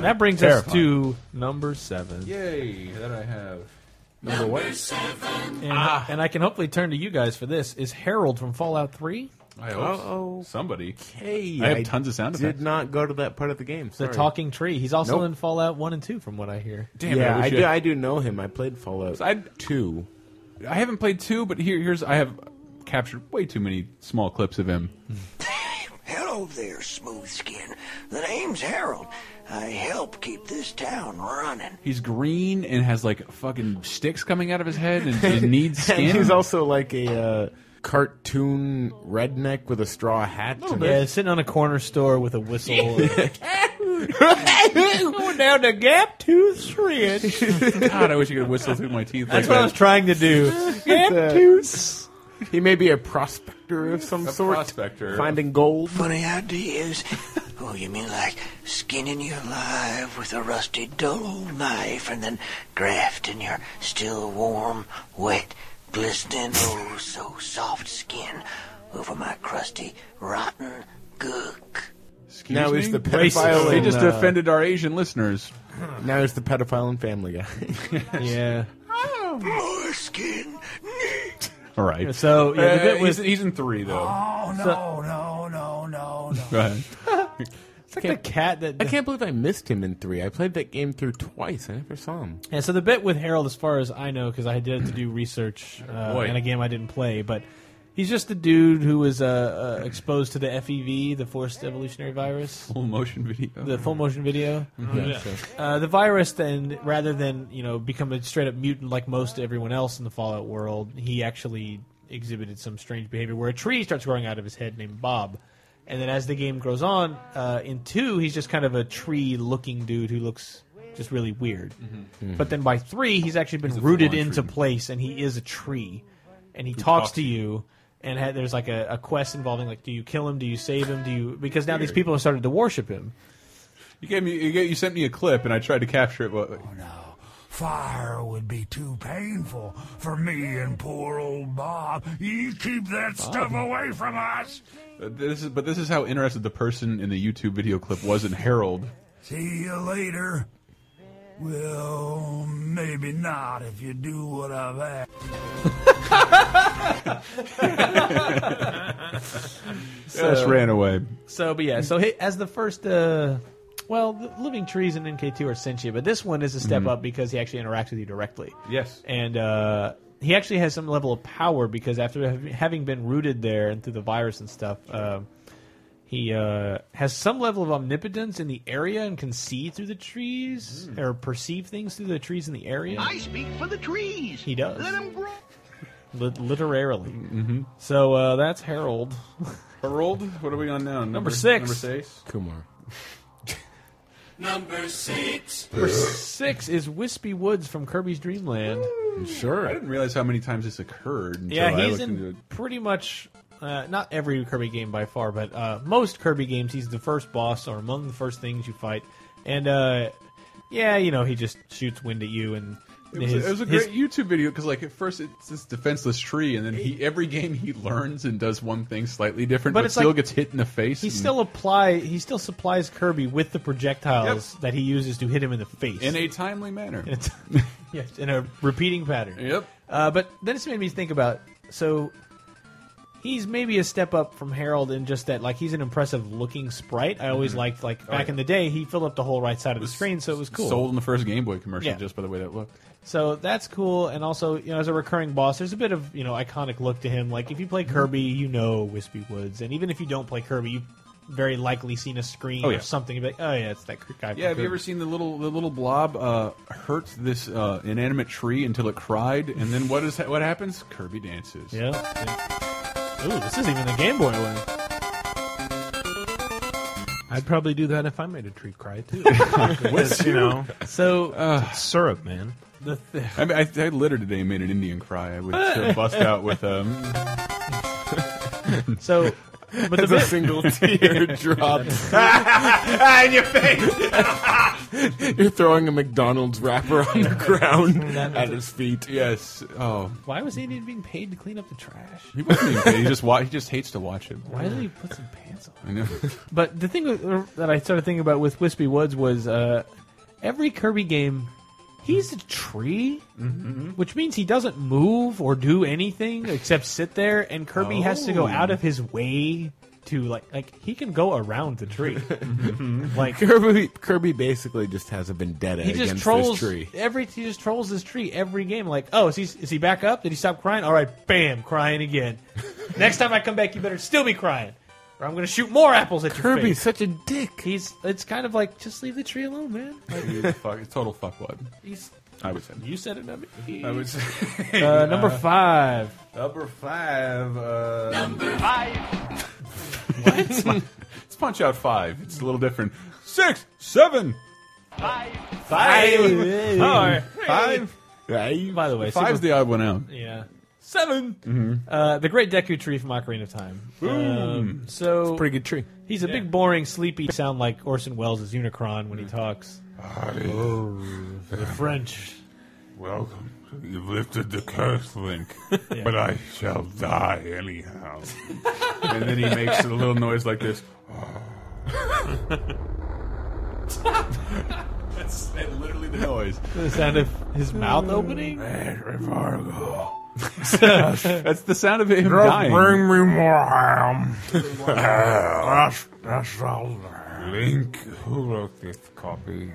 H: That brings us
G: Terrifying.
H: to number seven.
G: yay that I have.
H: And, and I can hopefully turn to you guys for this. Is Harold from Fallout 3?
G: I hope
I: Uh-oh.
G: somebody.
I: Okay,
G: I have tons of sound
I: did
G: effects.
I: not go to that part of the game.
H: The
I: Sorry.
H: talking tree. He's also
I: Nope.
H: in Fallout One and Two, from what I hear.
G: Damn it,
I: yeah,
G: I wish
I: I
G: you
I: do.
G: had-
I: I do know him. I played Fallout
G: I-
I: Two.
G: I haven't played two, but here, here's I have captured way too many small clips of him.
K: Hello there, smooth skin. The name's Harold. I help keep this town running.
G: He's green and has like fucking sticks coming out of his head and his needs skin.
I: And he's also like a uh, cartoon redneck with a straw hat. and
H: Yeah, sitting on a corner store with a whistle.
L: Going down to gap two, three.
G: God, I wish I could whistle through my teeth.
H: That's
G: like
H: what
G: that.
H: I was trying to do.
I: It's, uh, he may be a prospector of some
G: A
I: sort.
G: prospector.
I: Finding gold.
K: Funny ideas. oh, you mean like skinning you alive with a rusty dull knife and then grafting your still warm, wet, glistening, oh so soft skin over my crusty, rotten gook.
G: Excuse
I: Now
G: me?
I: is the pedophile
G: They
I: in,
G: just
I: uh,
G: offended our Asian listeners.
I: Now it's the pedophile and family guy.
H: yeah.
K: More skin.
G: All right.
H: So yeah, the
G: Uh,
H: bit was
G: he's, he's in three though.
K: Oh, no, no, no, no, no.
G: Go ahead.
H: it's like the cat that.
I: I can't believe I missed him in three. I played that game through twice. I never saw him.
H: Yeah, so the bit with Harold, as far as I know, because I did have to do research uh,
G: boy.
H: in a game I didn't play, but he's just the dude who was uh, uh, exposed to the FEV, the Forced Evolutionary Virus,
G: Full motion video.
H: the full motion video. Uh, the virus, then, rather than you know become a straight up mutant like most everyone else in the Fallout world, he actually exhibited some strange behavior where a tree starts growing out of his head named Bob. And then as the game goes on, uh, in two, he's just kind of a tree looking dude who looks just really weird. But then by three, Mm-hmm. he's actually been rooted
G: full-on
H: into
G: tree.
H: place and he is a tree. And he
G: talks
H: talks to
G: to
H: you. And ha- there's like a, a quest involving like, do you kill him? Do you save him? Do you because now these people have started to worship him.
G: You gave me. You, gave, you sent me a clip, and I tried to capture it. But
K: No, fire would be too painful for me and poor old Bob. You keep that stuff away from us.
G: this is. But this is how interested the person in the YouTube video clip was in Harold.
K: See you later. Well, maybe not if you do what I've asked.
G: Just ran away.
H: So, but yeah, so he, as the first, uh, well, the living trees in NK2 are sentient, but this one is a step up because he actually interacts with you directly.
G: Yes.
H: And uh, he actually has some level of power because after hav- having been rooted there and through the virus and stuff, um he uh, has some level of omnipotence in the area and can see through the trees or perceive things through the trees in the area.
M: I speak for the trees.
H: He does.
M: Let them grow.
H: Lit- literarily. So uh, that's Harold.
G: Harold. What are we on now? Number,
H: six.
G: Number six.
I: Kumar.
N: Number six.
H: Number six is Wispy Woods from Kirby's Dream Land.
G: I
I: Sure.
G: didn't realize how many times this occurred. Until
H: Yeah,
G: I
H: he's
G: looked into it.
H: in pretty much uh, not every Kirby game by far, but uh, most Kirby games, he's the first boss or among the first things you fight. And uh, yeah, you know, he just shoots wind at you and.
G: It was, it was a great YouTube video because, like, at first it's this defenseless tree, and then he every game he learns and does one thing slightly different,
H: But
G: but,
H: it's
G: still
H: like-
G: gets hit in the face.
H: he
G: and-
H: still apply. He still supplies Kirby with the projectiles that he uses to hit him in the face.
G: in a timely manner.
H: It's- yes, in a repeating pattern.
G: Yep.
H: Uh, but then it's made me think about so he's maybe a step up from Harold in just that like he's an impressive looking sprite. I
G: Mm-hmm.
H: always liked like back in the day he filled up the whole right side of the screen, so it was cool.
G: Oh, Sold in the first Game Boy commercial
H: Yeah.
G: just by the way that looked.
H: So that's cool, and also you know as a recurring boss, there's a bit of you know iconic look to him. Like if you
G: Mm-hmm.
H: play Kirby, you know Wispy Woods, and even if you don't play Kirby, you've very likely seen a screen
G: Oh, yeah.
H: or something. You'd be like, oh yeah, it's that guy. from
G: Yeah, have you
H: Kirby."
G: ever seen the little the little blob uh, hurt this uh, inanimate tree until it cried, and then what is what happens? Kirby dances.
H: Yeah. Ooh, this is even the Game Boy one.
F: I'd probably do that if I made a tree cry too.
H: you know. So uh,
F: Syrup, man.
H: the th-
G: I mean, I, I literally today made an Indian cry. I would still bust out with um.
H: so, but the
I: It's a
H: bit,
I: single tear drop.
G: in your face.
I: You're throwing a McDonald's wrapper on the ground at his feet.
G: Yes. Oh,
H: why was Andy being paid to clean up the trash?
G: he wasn't even gay. He just wa- he just hates to watch it.
H: Why did he put some pants on?
G: I know.
H: But the thing with- that I started thinking about with Wispy Woods was uh, every Kirby game He's a tree, which means he doesn't move or do anything except sit there. And Kirby has to go
L: Oh.
H: out of his way to like like he can go around the tree. like
I: Kirby, Kirby basically just has a vendetta
H: he
I: against
H: just trolls
I: this tree.
H: every he just trolls this tree every game. Like, oh, is he is he back up? Did he stop crying? All right, bam, crying again. Next time I come back, you better still be crying, or I'm going to shoot more apples at your face.
I: Kirby's such a dick.
H: He's it's kind of like just leave the tree alone, man. Like,
G: He's a fuck, total fuckwad.
H: He's-
G: I would say.
H: you said it, not me.
G: I would say.
H: Uh, number five.
G: Number five. Uh, number
M: five.
G: what? it's, Pun- it's Punch Out Five. It's a little different. Six, seven,
H: Five.
G: Five.
H: Five. By the way,
G: Five's
H: Super-
G: the odd one out.
H: Yeah. 7 Uh, the Great Deku Tree from Ocarina of Time. Um, so
I: It's a pretty good tree.
H: He's a big, boring, sleepy sound like Orson Welles' Unicron when he talks. Oh, the French.
O: Welcome. You've lifted the curse link, but I shall die anyhow.
G: and then he makes a little noise like this. That's literally the noise.
H: The sound of his mouth opening.
G: That's the sound of him
O: Just
G: dying.
O: bring me more ham. that's, that's all. Link, who wrote this copy?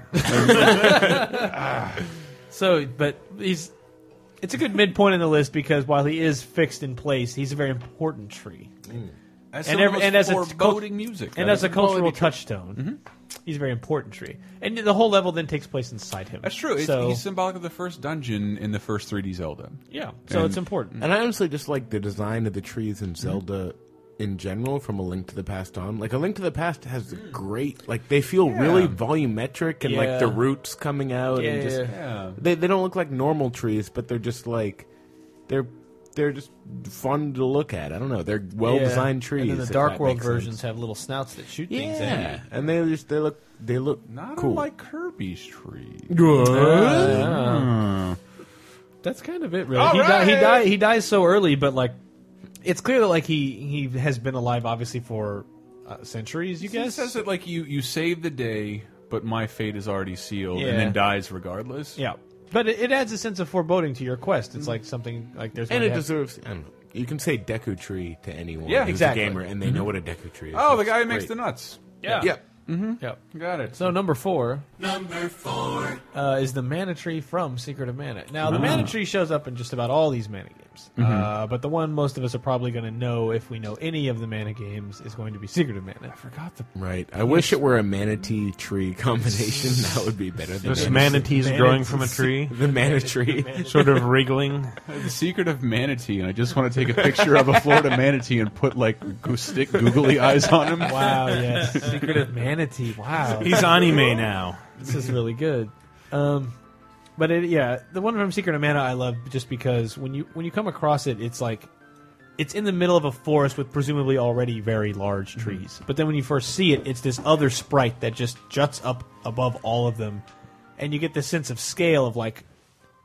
H: So, but he's. It's a good midpoint in the list because while he is fixed in place, he's a very important tree.
G: That's some of the most foreboding music.
H: and
G: That
H: as a
G: is quality
H: cultural
G: tree.
H: touchstone, he's a very important tree. And the whole level then takes place inside him.
G: That's true. It's,
H: So,
G: he's symbolic of the first dungeon in the first 3D Zelda.
H: Yeah. So it's important.
I: And I honestly just like the design of the trees in Zelda in general from A Link to the Past on. Like A Link to the Past has great like they feel
H: Hmm. Yeah.
I: really volumetric and like the
H: Yeah.
I: roots coming out and just
H: Yeah.
I: they they don't look like normal trees, but they're just like they're they're just fun to look at. I don't know. They're well designed
H: Yeah.
I: trees.
H: And then
I: if
H: the Dark
I: that
H: World
I: makes sense.
H: versions have little snouts that shoot things at
I: Yeah,
H: you.
I: and they just they look they look
G: Not
I: cool.
G: unlike Kirby's tree.
I: Good.
H: Yeah. That's kind of it, really.
G: All
H: he, di- he
G: right.
H: die- he dies so early, but like, it's clear that like he he has been alive obviously for uh, centuries. You
G: He
H: guess?
G: says it like you you save the day, but my fate is already sealed,
H: Yeah.
G: and then dies regardless.
H: Yeah, but it, it adds a sense of foreboding to your quest. It's like something like there's
I: and
H: gonna
I: it
H: have-
I: deserves. I don't know. You can say Deku Tree to anyone.
H: Yeah,
I: who's
H: exactly. Mm-hmm.
I: A gamer, and they know what a Deku Tree is.
G: Oh, the
I: That's
G: guy who makes
I: great.
G: the nuts.
H: Yeah.
I: Yep.
H: Mhm. Yep.
G: Got it.
H: So number four
I: Number four.
H: uh, is the Mana Tree from Secret of Mana. Now the
L: Ah.
H: Mana Tree shows up in just about all these Mana games,
L: Mhm.
H: uh, but the one most of us are probably going to know if we know any of the Mana games is going to be Secret of Mana. I
G: forgot the
I: Right. I wish it were a manatee tree combination. That would be better. Than
H: Just
I: this.
H: manatees growing
F: from a tree?
I: The manatee.
F: Sort of wriggling.
G: The secret of manatee, and I just want to take a picture of a Florida manatee and put like go- stick googly eyes on him.
H: Wow, yes. Secret of Manatee. Wow.
F: He's anime now.
H: This is really good. Um, but it, yeah, the one from Secret of Mana I love just because when you when you come across it, it's like it's in the middle of a forest with presumably already very large
F: Mm-hmm.
H: trees. But then when you first see it, it's this other sprite that just juts up above all of them, and you get this sense of scale of like.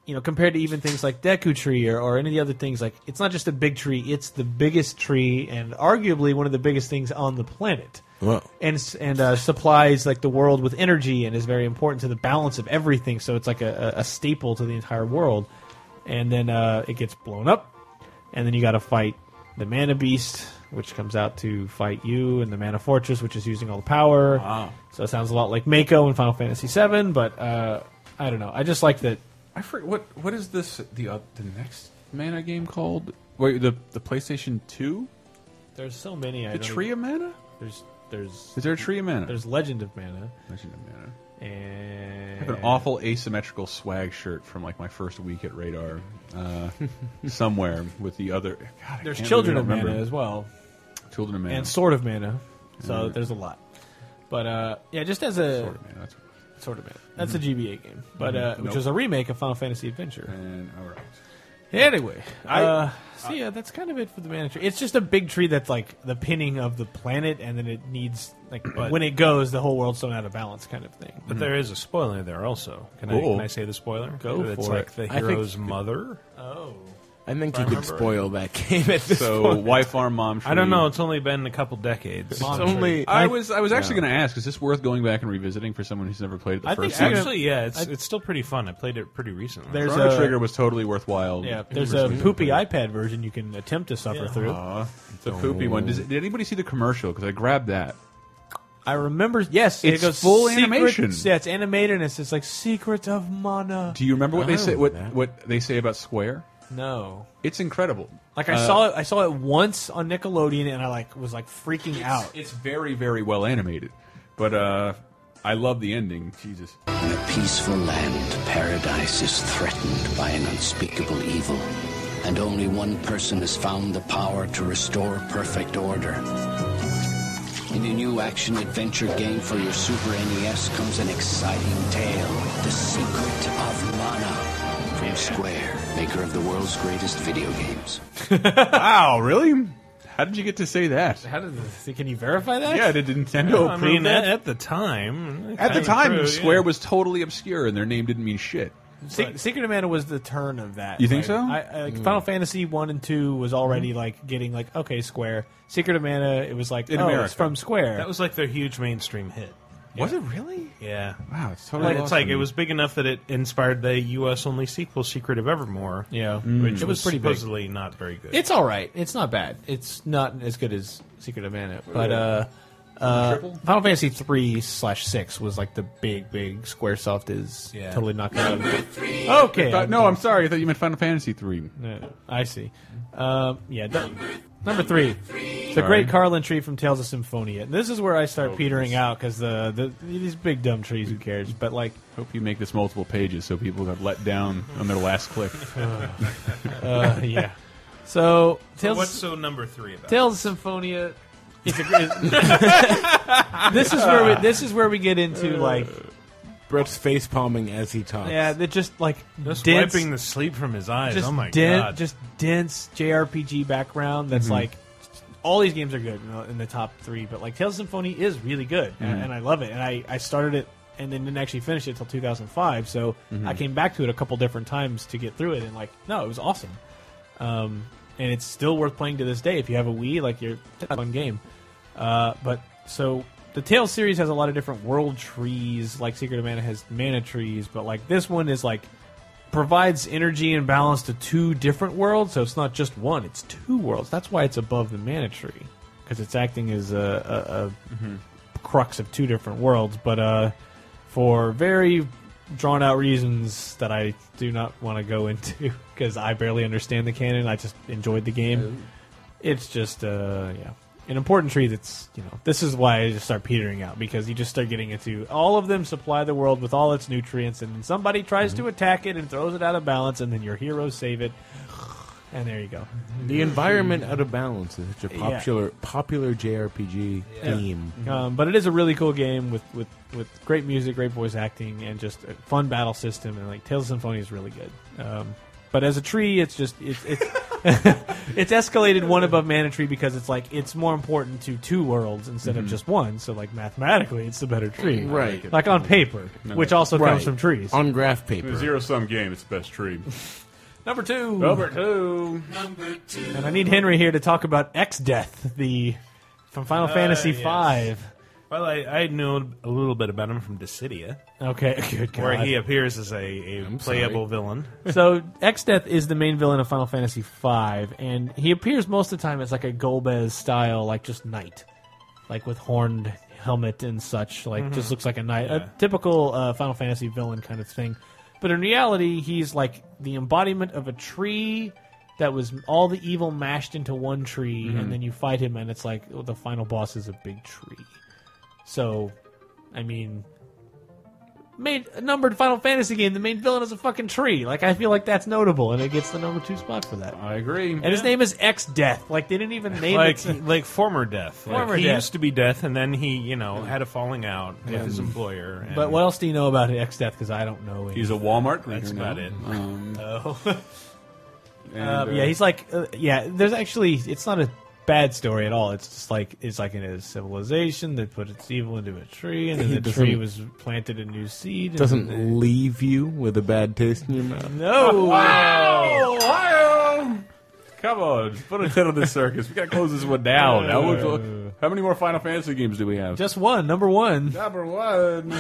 H: You know, compared to even things like Deku Tree or, or any of the other things, like it's not just a big tree; it's the biggest tree and arguably one of the biggest things on the planet
I: Whoa.
H: and s- and uh, supplies like the world with energy and is very important to the balance of everything. So it's like a, a a staple to the entire world. And then uh, it gets blown up, and then you got to fight the Mana Beast, which comes out to fight you, and the Mana Fortress, which is using all the power. Wow! So it sounds a lot like Mako in Final Fantasy VII, but uh, I don't know. I just like that.
G: I forget what what is this the uh, the next mana game called? Wait, the the PlayStation Two?
H: There's so many. I
G: The
H: don't
G: Tree of Mana?
H: There's there's
G: Is there a Tree of Mana?
H: There's Legend of Mana.
G: Legend of Mana. I
H: And
G: have an awful asymmetrical swag shirt from like my first week at Radar, uh, somewhere with the other. God, I
H: There's
G: can't
H: Children
G: really
H: of
G: remember.
H: Mana as well.
G: Children of Mana
H: and Sword of Mana. So
G: Yeah.
H: there's a lot. But uh, yeah, just as a
G: Mm-hmm.
H: Sword
G: of Mana. That's,
H: Sword of Mana. That's a
L: Mhm.
H: GBA game, but uh,
L: Mhm.
H: which
L: Nope.
H: was a remake of Final Fantasy Adventure.
G: And all right.
H: Anyway,
L: I-
H: uh, so yeah, that's kind of it for the Mana tree. It's just a big tree that's like the pinning of the planet, and then it needs like
L: But-
H: when it goes, the whole world's thrown out of balance, kind of thing.
F: But there is a spoiler there also. Can I
H: Cool.
F: can I say the spoiler?
H: Go
F: That it's
H: for
F: like
H: it.
F: the
H: I think-
F: hero's mother.
H: Oh.
I: I think
F: If
I: you
F: I
I: could
F: remember
I: spoil that game at this
G: So,
I: point.
G: why farm mom
F: I don't know. It's only been a couple decades.
G: It's only. I was. I was actually going to ask: Is this worth going back and revisiting for someone who's never played it the
F: I think
G: first time?
F: actually, yeah, it's it's still pretty fun. I played it pretty recently.
H: There's
G: Chrono
H: a-
G: Trigger was totally worthwhile.
H: Yeah, there's
G: First
H: a
G: time.
H: poopy iPad version you can attempt to suffer
F: Yeah.
H: through.
G: Aw, the poopy one. Does, did anybody see the commercial? Because I grabbed that.
H: I remember. Yes,
G: it's
H: it goes
G: full
H: secret-
G: animation.
H: Yeah, it's animated, and it's just like Secret of Mana.
G: Do you remember what
H: I
G: they say? What
H: remember that.
G: what they say about Square?
H: No,
G: it's incredible.
H: Like I
G: Uh,
H: saw it, I saw it once on Nickelodeon, and I like was like freaking out.
G: It's very very well animated, but uh, I love the ending. Jesus.
E: In a peaceful land, paradise is threatened by an unspeakable evil. And only one person has found the power to restore perfect order. In a new action adventure game for your Super NES comes an exciting tale The Secret of Mana. From Square, maker of the world's greatest video games.
G: wow, really? How did you get to say that?
H: How did the, can you verify that?
G: Yeah, did Nintendo
F: Well, I
G: approve
F: mean,
G: that?
F: At, at the time,
G: At the
F: kinda
G: time,
F: approved, yeah.
G: Square was totally obscure, and their name didn't mean shit.
H: Se- Secret of Mana was the turn of that.
G: You think
H: Like,
G: so? Mm-hmm.
H: I, I, like,
G: Mm.
H: Final Fantasy one and two was already like getting like okay, Square. Secret of Mana, it was like
F: In
H: oh,
F: America.
H: it's from Square.
F: That was like their huge mainstream hit.
H: Was
F: it really? Yeah.
G: Wow, it's
H: totally
F: Like, it's
H: lost
F: like
H: on
F: it
H: me.
F: was big enough that it inspired the U.S. only sequel, Secret of Evermore.
H: Yeah.
G: Hmm.
F: which
H: Mm. It was
F: was
H: pretty big.
F: supposedly not very good.
H: It's all right. It's not bad. It's not as good as Secret of Mana, but
F: Yeah.
H: uh, uh,
F: Triple?
H: Final Fantasy three slash six was like the big, big SquareSoft is
F: Yeah.
H: totally knocking out.
F: Number
H: Okay,
G: I thought- uh, no, I'm sorry. I thought you meant Final Fantasy three.
H: No, I see. Um, yeah, don't- number three, the
G: Sorry.
H: Great Carlin Tree from Tales of Symphonia. And this is where I start
G: Oh,
H: petering out because the, the these big dumb trees. Who cares? But like,
G: Hope you make this multiple pages so people got let down on their last click.
H: uh, yeah. So
F: So
H: Tales.
F: what's so number three about?
H: Tales of Symphonia. It's a, this is where we, this is where we get into like
I: Brett's face palming as he talks.
H: yeah, that just like
F: Just
H: dense,
F: wiping the sleep from his eyes.
H: just
F: oh my
H: den-
F: god!
H: just dense JRPG background. That's
F: Mhm.
H: like all these games are good in the, in the top three, but like Tales of Symphony is really good, and,
F: Mhm.
H: and I love it. And I, I started it and then didn't actually finish it till 2005. So
F: Mhm.
H: I came back to it a couple different times to get through it, and like no, it was awesome. Um, and it's still worth playing to this day if you have a Wii. Like you're it's a fun game. Uh, but so the Tales series has a lot of different world trees. Like Secret of Mana has mana trees, but like this one is like provides energy and balance to two different worlds. So it's not just one; it's two worlds. That's why it's above the mana tree because it's acting as a, a, a crux of two different worlds. But uh, for very drawn out reasons that I do not want to go into because I barely understand the canon. I just enjoyed the game. It's just uh, yeah. An important tree that's, you know, this is why I just start petering out because you just start getting into all of them supply the world with all its nutrients, and then somebody tries to attack it and throws it out of balance, and then your heroes save it, and there you go.
I: The environment out of balance is such a
H: Yeah.
I: popular popular JRPG theme.
H: Um, but it is a really cool game with, with, with great music, great voice acting, and just a fun battle system. And like Tales of Symphonia is really good. Um, but as a tree, it's just it's it's, it's escalated one above Mana Tree because it's like it's more important to two worlds instead
I: Mhm.
H: of just one. So like mathematically, it's the better tree,
I: Right.
H: Like on paper, which also
I: Right.
H: comes from trees
I: On graph paper.
H: Zero
G: sum game. It's the best tree.
H: Number two.
G: Number two.
H: Number two. And I need Henry here to talk about X Death, the from Final
F: Uh,
H: Fantasy
F: yes.
H: V.
F: Well, I, I know a little bit about him from Dissidia.
H: Okay, good
F: Where
H: God.
F: he appears as a, a playable villain.
H: so Xdeath is the main villain of Final Fantasy V, and he appears most of the time as like a Golbez style, like just knight, like with horned helmet and such. Like
F: Mhm.
H: just looks like a knight, a typical uh, Final Fantasy villain kind of thing. But in reality, he's like the embodiment of a tree that was all the evil mashed into one tree,
F: Mhm.
H: and then you fight him, and it's like oh, the final boss is a big tree. So, I mean, made a numbered Final Fantasy game, the main villain is a fucking tree. Like I feel like that's notable, and it gets the number two spot for that.
G: I agree.
H: And his name is X Death. Like they didn't even name
F: like
H: it.
F: like former death. Like,
H: Former
F: he
H: Death.
F: used to be death, and then he you know had a falling out with
H: Yeah.
F: his employer. And
H: But what else do you know about X Death? Because I don't know.
G: He's a
H: anything.
G: Walmart greeter
F: That's
G: now.
F: about it.
G: Um,
H: oh.
G: and,
H: Um,
G: uh,
H: yeah, he's like, uh, yeah. There's actually, it's not a bad story at all. It's just like it's like in a civilization that put its evil into a tree, and then
I: He
H: the tree
I: doesn't-
H: was planted a new seed. and-
I: Doesn't leave you with a bad taste in your mouth.
H: no.
F: Wow!
G: Come on, put a head on the circus. We gotta close this one down. Uh, How, how many more Final Fantasy games do we have?
H: Just one, number one.
G: Number one.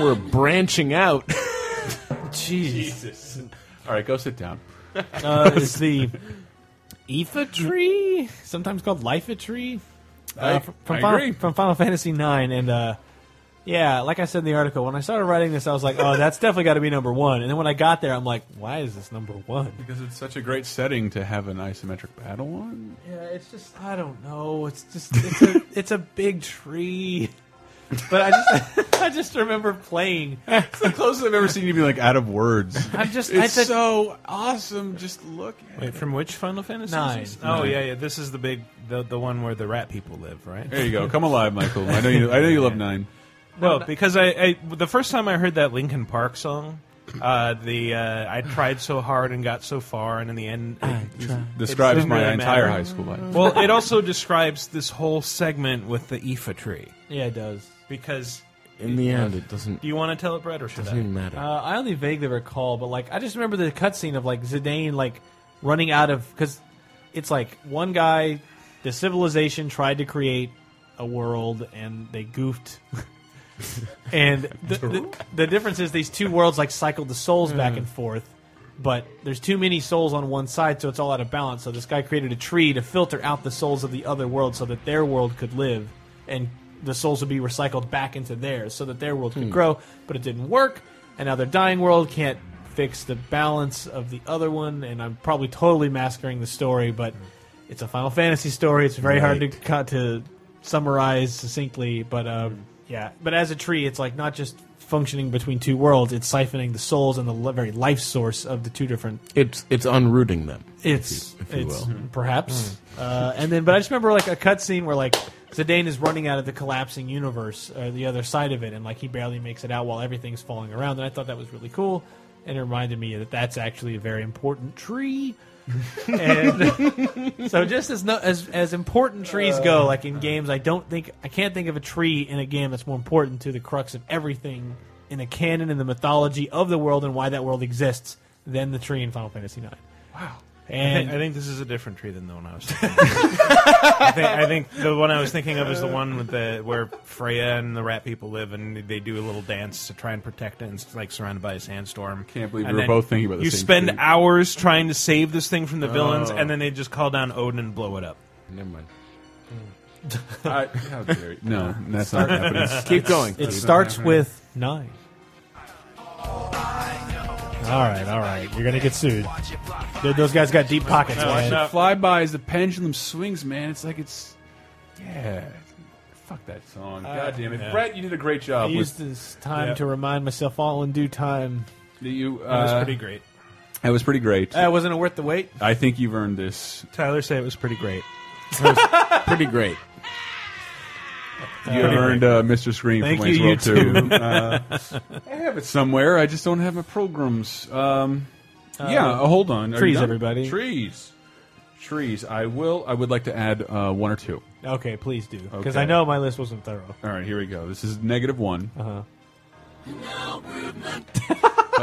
I: We're branching out.
G: Jesus. All right, go sit down.
H: Uh, it's the Aoife tree, sometimes called Life tree,
G: I-
H: uh, from, from
G: I
H: Final,
G: agree.
H: from Final Fantasy IX. And uh, yeah, like I said in the article, when I started writing this, I was like, "Oh, that's definitely got to be number one." And then when I got there, I'm like, "Why is this number one?"
G: Because it's such a great setting to have an isometric battle on.
H: Yeah, it's just I don't know. It's just it's a it's a big tree. But I just I just remember playing.
G: It's the closest I've ever seen you be like out of words.
H: I'm just
G: It's
H: I said,
G: so awesome. Just look. At
F: Wait, from which Final Fantasy?
H: Nine.
F: Oh
H: Nine.
F: yeah, yeah. This is the big, the the one where the rat people live, right?
G: There you go. Come alive, Michael. I know you. I know you love nine.
F: Well, because I, I the first time I heard that Linkin Park song, uh, the uh, I tried so hard and got so far, and in the end, it- it
G: Describes
F: doesn't
G: my
F: really
G: entire
F: matter.
G: high school life.
F: Well, it also describes this whole segment with the Aoife tree.
H: Yeah, it does.
F: Because
I: In the end, it doesn't.
F: do you want to tell it, Brett, or should
I: Doesn't
F: I?
I: even matter.
H: Uh, I only vaguely recall, but like I just remember the cutscene of like Zidane like running out of because it's like one guy, the civilization tried to create a world and they goofed. and the, the, the difference is these two worlds like cycle the souls back and forth, but there's too many souls on one side, so it's all out of balance. So this guy created a tree to filter out the souls of the other world so that their world could live and the souls would be recycled back into theirs so that their world could
I: Hmm.
H: grow, but it didn't work. And now their dying world can't fix the balance of the other one. And I'm probably totally masquering the story, but it's a Final Fantasy story. It's very hard to cut to summarize succinctly, but um, yeah. But as a tree, it's like not just functioning between two worlds; it's siphoning the souls and the li- very life source of the two different.
I: It's it's unrooting them.
H: It's
I: if you, if you
H: it's
I: will.
H: perhaps, uh, and then but I just remember like a cutscene where like Zidane is running out of the collapsing universe, or the other side of it, and like he barely makes it out while everything's falling around. And I thought that was really cool, and it reminded me that that's actually a very important tree. and so just as no, as as important trees go, like in games, I don't think I can't think of a tree in a game that's more important to the crux of everything in the canon and the mythology of the world and why that world exists than the tree in Final Fantasy IX. Wow.
F: I, think,
H: And
F: I think this is a different tree than the one I was. Thinking of. I, think, I think the one I was thinking of is the one with the where Freya and the rat people live, and they do a little dance to try and protect it, and it's like surrounded by a sandstorm. Can't
G: believe we were both thinking about the
F: You
G: same
F: spend
G: tree.
F: hours trying to save this thing from the villains,
G: Oh.
F: and then they just call down Odin and blow it up.
I: Never mind.
G: I, how dare you. No, that's not happening.
H: It's- It starts with nine. All right, all right. You're gonna get sued. Dude, Those guys got deep pockets. man.
G: Flyby as the pendulum swings, man. It's like it's. Yeah. Fuck that song.
H: Uh,
G: God damn it.
H: yeah.
G: Brett, you did a great
H: I
G: job.
H: used
G: with,
H: this time
G: Yeah.
H: to remind myself all in due time.
G: That you, That was uh, pretty
F: great.
G: That was pretty great.
H: Uh, wasn't it worth the wait?
G: I think you've earned this.
F: Tyler said it was pretty great.
I: pretty great.
G: You
F: Pretty
G: earned uh, Mr. Scream
F: Thank
G: from Wayne's
F: you,
G: World
F: you
G: 2.
F: too.
G: uh, I have it somewhere. I just don't have my programs. Um, yeah,
H: Uh,
G: uh, hold on. Are you
H: trees,
G: done?
H: everybody.
G: Trees. Trees. I will. I would like to add uh, one or two.
H: Okay, please do because
G: Okay.
H: I know my list wasn't thorough.
G: All right, here we go. This is negative one.
H: Uh-huh.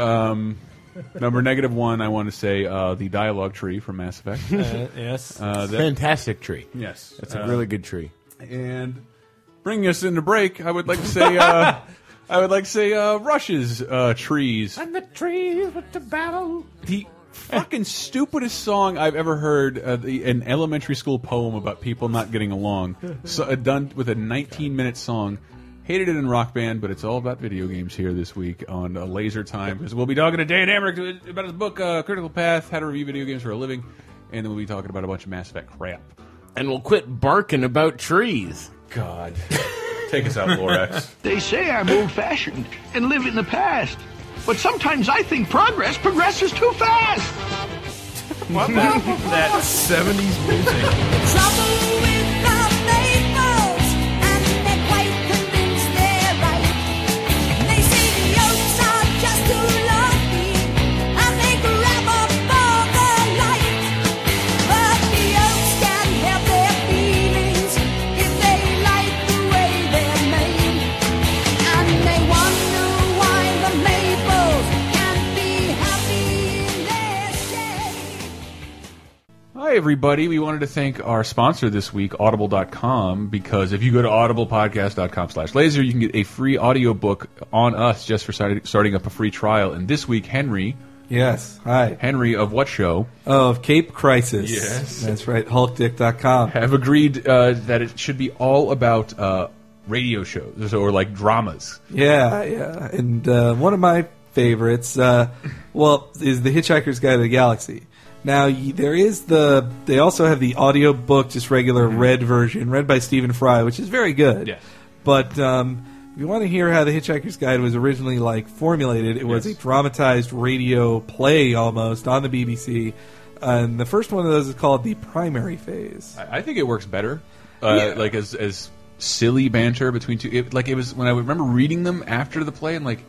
G: um, number negative one, I want to say uh, the dialogue tree from Mass Effect.
H: Uh, yes.
G: Uh, that-
I: Fantastic tree.
G: Yes.
I: That's a
G: Uh,
I: really good tree.
G: And bringing us into break, I would like to say, uh, I would like to say, uh, Rush's uh, trees.
H: And the trees with the battle.
G: The fucking stupidest song I've ever heard. Uh, the, an elementary school poem about people not getting along, so, uh, done with a 19-minute song. Hated it in Rock Band, but it's all about video games here this week on uh, Laser Time because we'll be talking to Dan Amrick about his book uh, Critical Path: How to Review Video Games for a Living, and then we'll be talking about a bunch of Mass Effect crap.
I: And we'll quit barking about trees.
G: God. Take us out, Lorax.
B: They say I'm old fashioned and live in the past. But sometimes I think progress progresses too fast. What the-
F: that 70s music.
G: I Hi, everybody. We wanted to thank our sponsor this week, Audible.com, because if you go to audiblepodcast.com slash laser, you can get a free audiobook on us just for starting starting up a free trial. And this week, Henry.
P: Yes. Hi.
G: Henry of what show?
P: Of Cape Crisis.
G: Yes.
P: That's right. HulkDick.com.
G: Have agreed uh, that it should be all about uh, radio shows or like dramas.
P: Yeah, yeah. And uh, one of my favorites, uh, well, is The Hitchhiker's Guide to the Galaxy. Now, y- there is the. They also have the audiobook, just regular
I: Mm-hmm.
P: read version, read by Stephen Fry, which is very good.
G: Yes.
P: But um, if you want to hear how The Hitchhiker's Guide was originally like formulated, it was
G: Yes.
P: a dramatized radio play almost on the BBC. And the first one of those is called The Primary Phase.
G: I I think it works better, uh, like as as silly banter between two. It, like it was when I remember reading them after the play, and like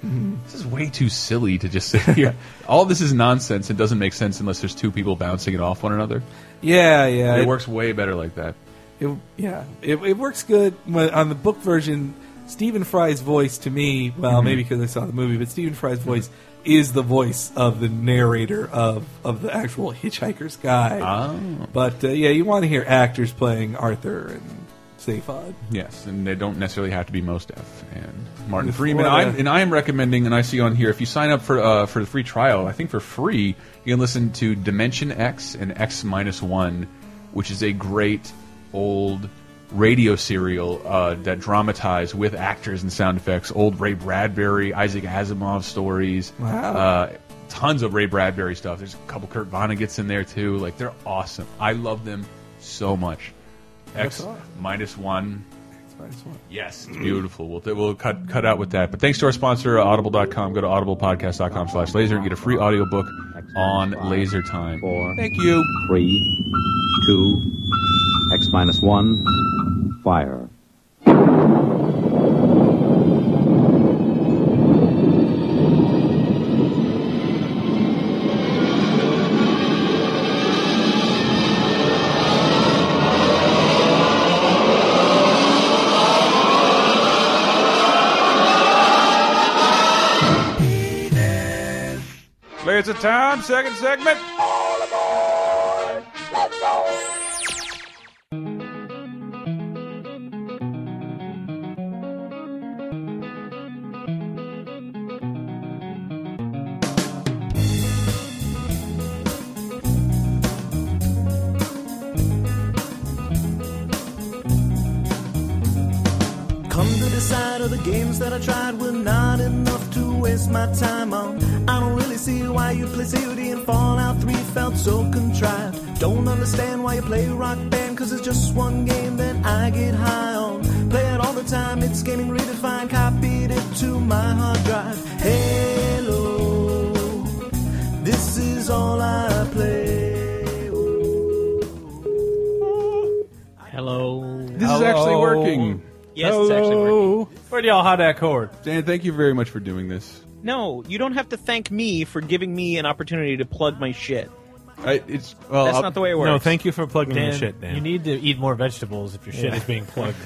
G: this is way too silly to just sit here. All this is nonsense. It doesn't make sense unless there's two people bouncing it off one another.
P: Yeah, yeah.
G: it,
P: it-
G: works way better like that.
P: It, yeah, it, it works good When- on the book version. Stephen Fry's voice to me, well,
G: Mhm.
P: maybe because I saw the movie, but Stephen Fry's voice is the voice of the narrator of of the actual Hitchhiker's Guide.
G: Oh.
P: But uh, yeah, you want to hear actors playing Arthur and Safod.
G: Yes, and they don't necessarily have to be most deaf. And Martin
P: Before
G: Freeman,
P: the-
G: I'm, and I am recommending, and I see on here, if you sign up for uh, for the free trial, I think for free, you can listen to Dimension X and X minus one, which is a great old radio serial uh, that dramatized with actors and sound effects old Ray Bradbury, Isaac Asimov stories.
P: Wow.
G: Uh, tons of Ray Bradbury stuff. There's a couple Kurt Vonnegut's in there too. Like they're awesome. I love them so much.
P: That's
G: X
P: awesome.
G: minus one.
P: Minus one.
G: Yes, it's beautiful. We'll, we'll cut cut out with that. But thanks to our sponsor, uh, audible.com. Go to audiblepodcast.com slash laser and get a free audiobook on laser time. Thank you.
Q: Three, two, X minus one, fire.
G: Laser time, second segment.
R: Come to decide other games that I tried were not enough to waste my time on. I don't really see why you play COD and Fallout 3 felt so contrived. Don't understand why you play Rock Band, cause it's just one game that I get high on. Play it all the time, it's gaming redefined, copied it to my hard drive. Halo, this is all I play.
H: Hello.
G: This is actually working.
S: Yes, it's actually
G: working.
H: Where'd y'all hide that cord?
G: Dan, thank you very much for doing this.
S: No, you don't have to thank me for giving me an opportunity to plug my shit.
G: I, it's
H: Well,
I: Uh,
S: that's
H: I'll-
S: not the way it works.
H: No, thank you for plugging
S: Dan,
H: your shit, Dan.
S: you
H: need to eat more vegetables if your
S: shit is
H: being plugged.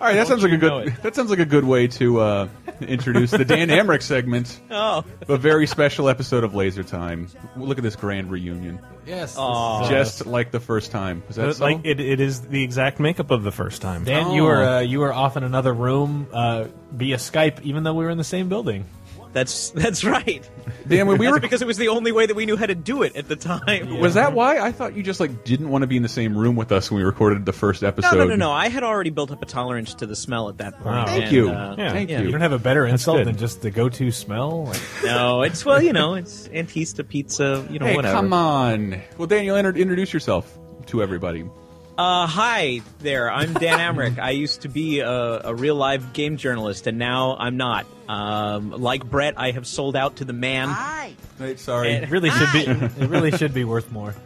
G: All right, that
H: Don't
G: sounds like
H: you
G: a
H: know
G: good. That sounds like a good way to uh, introduce the Dan Amrick segment.
S: Oh.
G: a very special episode of Laser Time. Look at this grand reunion.
S: Yes, this
H: Aw. is-
G: just like the first time. Was that so?
F: like it, it is the exact makeup of the first time. Oh,
H: Dan, you were uh, you were off in another room uh, via Skype, even though we were in the same building.
S: That's that's right.
G: Dan, when we
S: That's
G: were-
S: because it was the only way that we knew how to do it at the time.
G: Was that why? I thought you just like didn't want to be in the same room with us when we recorded the first
S: No,
G: episode.
S: no, no, no. I had already built up a tolerance to the smell at that point.
G: Wow. Thank
S: and,
G: you.
S: uh,
G: Yeah. Thank
S: yeah.
G: you.
H: You don't have a better
G: That's
H: insult
G: good.
H: than just the go-to smell. Like,
S: No, it's well, you know, it's Antista pizza, you know,
G: hey,
S: whatever.
G: come on. Well, Daniel, enter- introduce yourself to everybody.
S: Uh, hi there. I'm Dan Amrick. I used to be a, a real live game journalist, and now I'm not. Um, like Brett, I have sold out to the man. Hi.
G: sorry.
H: it really should be. It really should be worth more.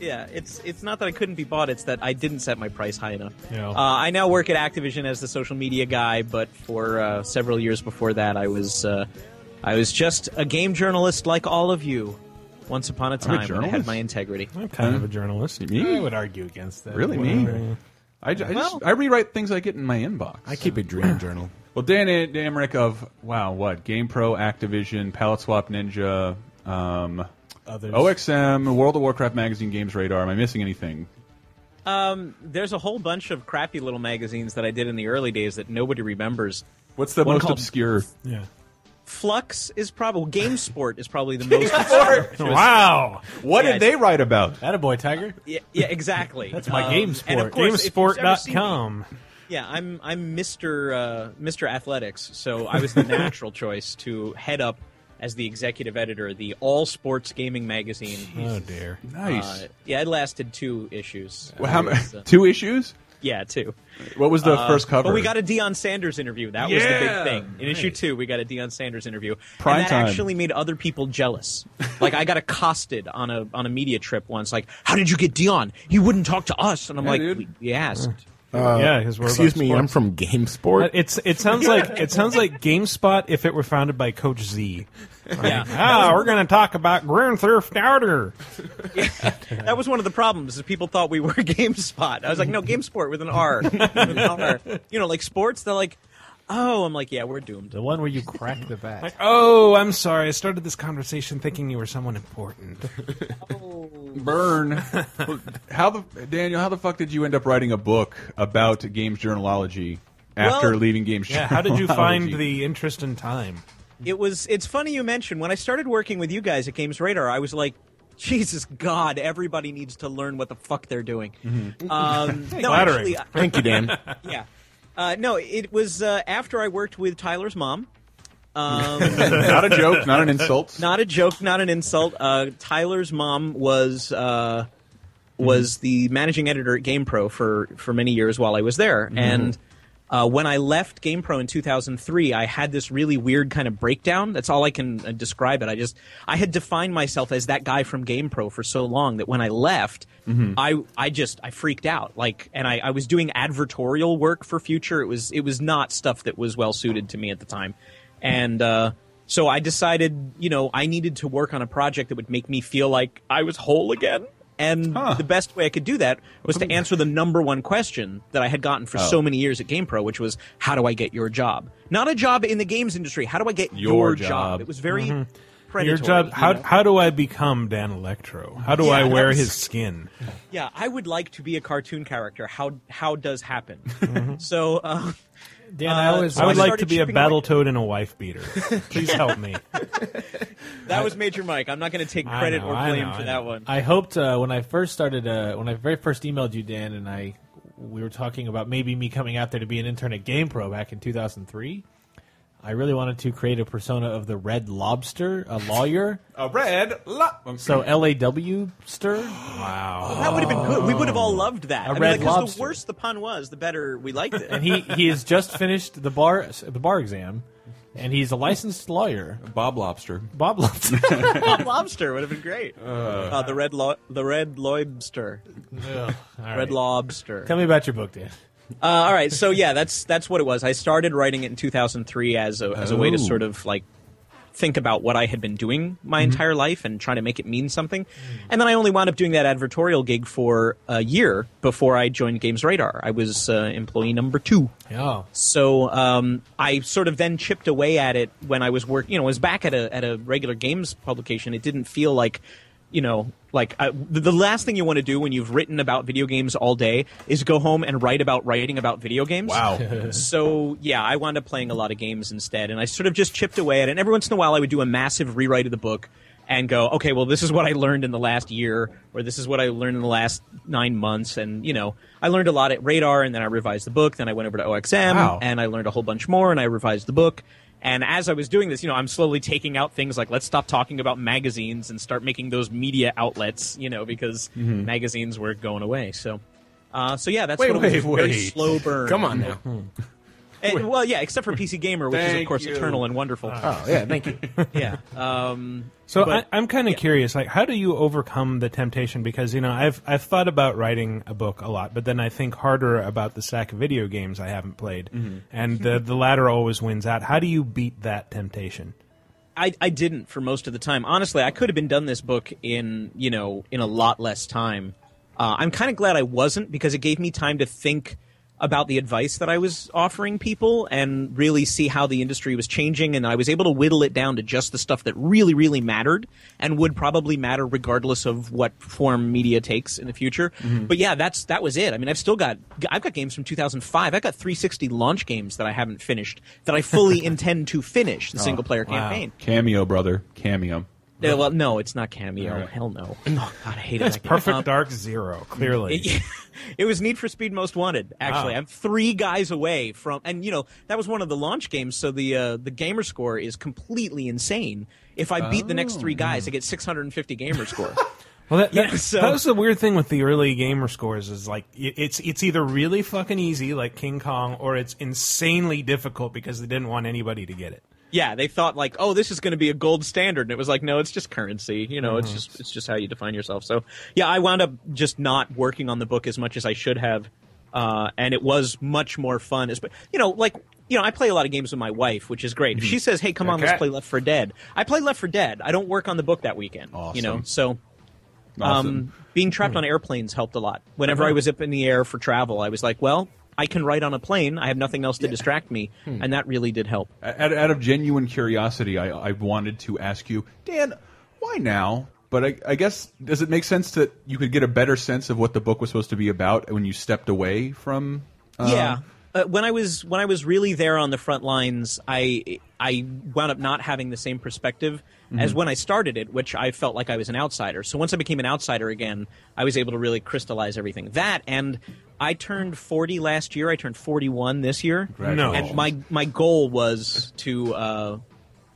S: Yeah, it's it's not that I couldn't be bought; it's that I didn't set my price high enough.
H: Yeah.
S: Uh, I now work at Activision as the social media guy, but for uh, several years before that, I was uh, I was just a game journalist like all of you. Once upon a
G: I'm a
S: time, and I had
G: journalist?
S: my integrity.
H: I'm kind of a journalist. I would argue against that.
G: Really
H: Whatever.
G: me? I, ju- I just I rewrite things I get in my inbox. I keep
I: a dream journal.
G: Well, Dan Damrick of wow, what GamePro, Activision, Palette Swap Ninja, um,
H: others.
G: OXM, World of Warcraft magazine, Games Radar. Am I missing anything?
S: Um, there's a whole bunch of crappy little magazines that I did in the early days that nobody remembers.
G: What's the
S: One
G: most
S: called
G: obscure?
H: Yeah.
S: Flux is probably GameSport is probably the most. obscure.
G: wow. What
S: Yeah,
G: did they
S: it's-
G: write about?
H: That a boy, Tiger.
S: Yeah, yeah exactly.
H: That's my
S: Um,
H: GameSport.
S: and of course, if you've ever seen me-
F: GameSport.com.
S: Yeah, I'm I'm Mr. Uh, Mr. Athletics, so I was the natural choice to head up as the executive editor of the All Sports Gaming magazine.
F: Oh, dear.
G: Nice.
S: Uh, yeah, it lasted two issues.
G: Well, how
S: It
G: ma-
S: was, uh,
G: two issues?
S: Yeah, two.
G: What was the
S: Uh,
G: first cover?
S: But we got a Deion Sanders interview. That was the
G: Yeah!
S: big thing. In issue two, we got a Deion Sanders interview.
G: Prime
S: and that
G: time.
S: actually made other people jealous. like I got accosted on a on a media trip once, like, How did you get Deion? He wouldn't talk to us and I'm
H: Yeah,
S: like,
H: dude.
S: we, we asked.
I: Uh,
F: Yeah, 'cause we're
I: excuse
F: about
I: me, I'm
F: sports.
I: from GameSport.
F: Uh, It's it sounds like it sounds like GameSpot if it were founded by Coach Z. Like,
S: Yeah.
F: Ah, we're gonna talk about Grand Theft Auto.
S: That was one of the problems is people thought we were GameSpot. I was like, no, GameSport with an R. With an R. You know, like sports, they're like, oh, I'm like, yeah, we're doomed.
H: The one where you crack the back.
F: Like, oh, I'm sorry. I started this conversation thinking you were someone important.
G: Burn. how the Daniel? How the fuck did you end up writing a book about games journalology after
F: Well-
G: leaving games?
F: Yeah, how did you find
G: journalology?
F: the interest in time?
S: It was. It's funny you mentioned when I started working with you guys at Games Radar. I was like, Jesus God, everybody needs to learn what the fuck they're doing. Um, no,
H: Mm-hmm. Flattering.
S: actually, I-
H: Thank you, Dan.
S: yeah. Uh, no, it was uh, after I worked with Tyler's mom. Um,
G: Not a joke, not an insult.
S: Not a joke. Not an insult. Uh, Tyler's mom was uh, was the managing editor at GamePro for for many years while I was there, and. Uh, when I left GamePro in 2003, I had this really weird kind of breakdown. That's all I can uh, describe it. I just I had defined myself as that guy from GamePro for so long that when I left,
C: Mhm.
S: I I just I freaked out. Like, and I, I was doing advertorial work for Future. It was it was not stuff that was well suited to me at the time, and uh, so I decided, you know, I needed to work on a project that would make me feel like I was whole again. And the best way I could do that was to answer the number one question that I had gotten for
C: Oh.
S: so many years at GamePro, which was, "How do I get your job? Not a job in the games industry. How do I get
F: Your
S: your,
F: job.
S: It was very
F: Mhm.
H: Mm-hmm.
S: predatory.
F: Your job.
S: you
F: How,
S: know?
F: how do I become Dan Electro? How do
S: Yeah,
F: I
S: that
F: wear
S: was-
F: his skin?
S: yeah, I would like to be a cartoon character. How how does happen?
H: Mm-hmm.
S: so, uh,
F: Dan,
S: uh, so
F: I would like
S: started
F: to be a
S: shipping away-
F: battle toad and a wife beater. Please help me.
S: That was Major Mike. I'm not going to take
H: I
S: credit
H: know,
S: or
H: I
S: blame
H: know,
S: for
H: I
S: that
H: know.
S: one.
H: I hoped uh, when I first started, uh, when I very first emailed you, Dan, and I, we were talking about maybe me coming out there to be an intern at GamePro back in 2003. I really wanted to create a persona of the Red Lobster, a lawyer.
G: A red lo-
H: So L A W stir. Wow,
S: That would have been good. We would have all loved that.
H: A
S: I mean,
H: red
S: like, 'cause
H: Oh. lobster.
S: the worse the pun was, the better we liked it.
H: and he he has just finished the bar the bar exam, and he's a licensed lawyer.
G: Bob Lobster.
H: Bob Lobster.
S: Bob Lobster would have been great. Uh, the red lo- the red lobster,
H: Ugh, all right.
S: red lobster.
H: Tell me about your book, Dan.
S: Uh, all right, so yeah, that's that's what it was. I started writing it in 2003 as a as a way
H: Oh.
S: to sort of like think about what I had been doing my entire life and try to make it mean something. And then I only wound up doing that advertorial gig for a year before I joined Games Radar. I was uh, employee number two.
H: Yeah.
S: So um, I sort of then chipped away at it when I was work. You know, I was back at a at a regular games publication. It didn't feel like, you know, like I, the the last thing you want to do when you've written about video games all day is go home and write about writing about video games.
C: Wow.
S: so yeah, I wound up playing a lot of games instead, and I sort of just chipped away at it. And every once in a while, I would do a massive rewrite of the book. And go, okay, well, this is what I learned in the last year, or this is what I learned in the last nine months. And, you know, I learned a lot at Radar, and then I revised the book, then I went over to OXM,
C: Wow.
S: and I learned a whole bunch more and I revised the book. And as I was doing this, you know, I'm slowly taking out things like let's stop talking about magazines and start making those media outlets, you know, because
C: Mhm.
S: magazines were going away. So, uh, so yeah, that's
C: Wait,
S: what it was,
C: wait,
S: a very
C: wait.
S: slow burn.
C: Come on now.
S: And- well, yeah, except for PC Gamer, which is of
C: Thank
S: course
C: you.
S: eternal and wonderful.
F: Oh, yeah, thank
S: you. yeah. Um,
F: So
S: but-
F: I, I'm kind of curious, like, how do you overcome the temptation? Because you know, I've I've thought about writing a book a lot, but then I think harder about the stack of video games I haven't played,
I: Mm-hmm.
F: and the the latter always wins out. How do you beat that temptation?
S: I, I didn't for most of the time. Honestly, I could have been done this book in you know in a lot less time. Uh, I'm kind of glad I wasn't because it gave me time to think about the advice that I was offering people and really see how the industry was changing. And I was able to whittle it down to just the stuff that really, really mattered and would probably matter regardless of what form media takes in the future.
G: Mm-hmm.
T: Mhm.
S: But yeah, that's that was it. I mean, I've still got I've got games from 2005. I've got 360 launch games that I haven't finished that I fully intend to finish the
G: Oh,
S: single player
G: wow.
S: campaign.
G: Cameo, brother. Cameo.
S: Yeah, well, no, it's not cameo.
G: All right.
S: Hell no. Oh, God, I hate it.
G: It's Perfect
S: Dark
U: Zero. Clearly.
S: it, it was Need for Speed Most Wanted.
G: Ah.
S: Actually,
U: Wow.
S: I'm three guys away from, and you know that was one of the launch games. So the uh, the gamer score is completely insane. If I beat the next
U: Oh.
S: three guys, I get 650 gamer score.
U: Well, that,
S: Yeah,
U: that,
S: so-
U: that was the weird thing with the early gamer scores is like it, it's
F: e-,
U: it's either really fucking easy like King Kong or it's insanely difficult because they didn't want anybody to get it.
S: yeah, they thought like, oh, this is going to be a gold standard, and it was like, no, it's just currency. You know,
T: Mm-hmm.
S: it's
U: Mhm.
S: just it's just how you define yourself. So yeah, I wound up just not working on the book as much as I should have, uh, and it was much more fun. As but you know, like you know, I play a lot of games with my wife, which is great. If she says, hey, come on, let's
T: Mm-hmm. Okay.
S: play Left for Dead, I play Left for Dead. I don't work on the book that weekend. You
T: Awesome.
S: know, so.
T: Awesome. Hmm.
S: Um, being trapped on airplanes helped a lot. Whenever I
T: Uh-huh.
S: was up in the air for travel, I was like, well, I can write on a plane. I have nothing else to distract me.
G: Hmm.
S: And that really did help.
G: Out, out of genuine curiosity, I, I wanted to ask you, Dan, why now? But I, I guess does it make sense that you could get a better sense of what the book was supposed to be about when you stepped away from? uh,
S: yeah. Uh, when I was when I was really there on the front lines, I I wound up not having the same perspective as
T: Mhm.
S: when I started it, which I felt like I was an outsider. So once I became an outsider again, I was able to really crystallize everything. That and I turned 40 last year. I turned 41 this year.
T: Congratulations.
S: And my my goal was to uh,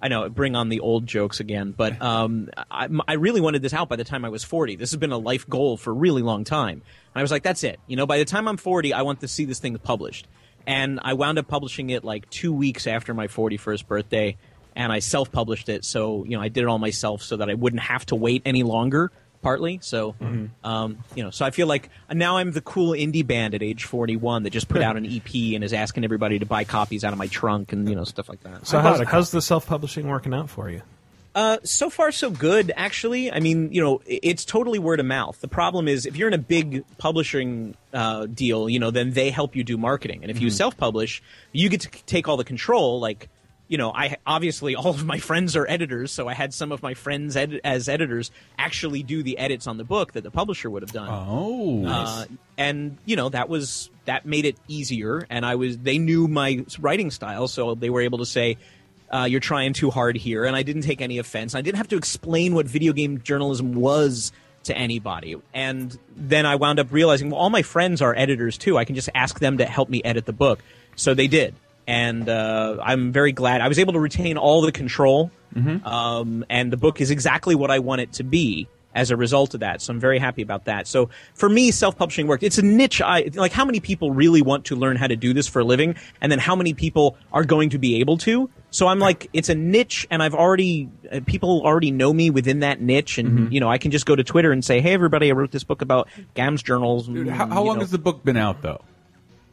S: I know bring on the old jokes again, but um, I, I really wanted this out by the time I was 40. This has been a life goal for a really long time, and I was like, that's it. You know, by the time I'm 40, I want to see this thing published, and I wound up publishing it like two weeks after my 41st birthday, and I self-published it. So you know, I did it all myself so that I wouldn't have to wait any longer. Partly, so um, you know, so I feel like uh, now I'm the cool indie band at age 41 that just put out an EP and is asking everybody to buy copies out of my trunk and you know stuff like that.
U: So how's, how's the self publishing working out for you?
S: Uh, so far, so good. Actually, I mean, you know, i- it's totally word of mouth. The problem is if you're in a big publishing uh, deal, you know, then they help you do marketing, and if you
T: Mhm.
S: self-publish, you get to c- take all the control. Like, you know, I obviously all of my friends are editors, so I had some of my friends ed- as editors actually do the edits on the book that the publisher would have done.
G: Oh,
S: uh, and you know that was that made it easier, and I was they knew my writing style, so they were able to say uh, you're trying too hard here, and I didn't take any offense. I didn't have to explain what video game journalism was to anybody. And then I wound up realizing, well, all my friends are editors too. I can just ask them to help me edit the book. So they did. And uh, I'm very glad. I was able to retain all the control. Um, and the book is exactly what I want it to be as a result of that. So I'm very happy about that. So for me, self-publishing worked. It's a niche. I like how many people really want to learn how to do this for a living and then how many people are going to be able to. So I'm like, it's a niche and I've already, uh, people already know me within that niche. And,
G: Mm-hmm.
S: you know, I can just go to Twitter and say, Hey, everybody, I wrote this book about GAMS journals.
G: Dude, how, how long has the book been out though?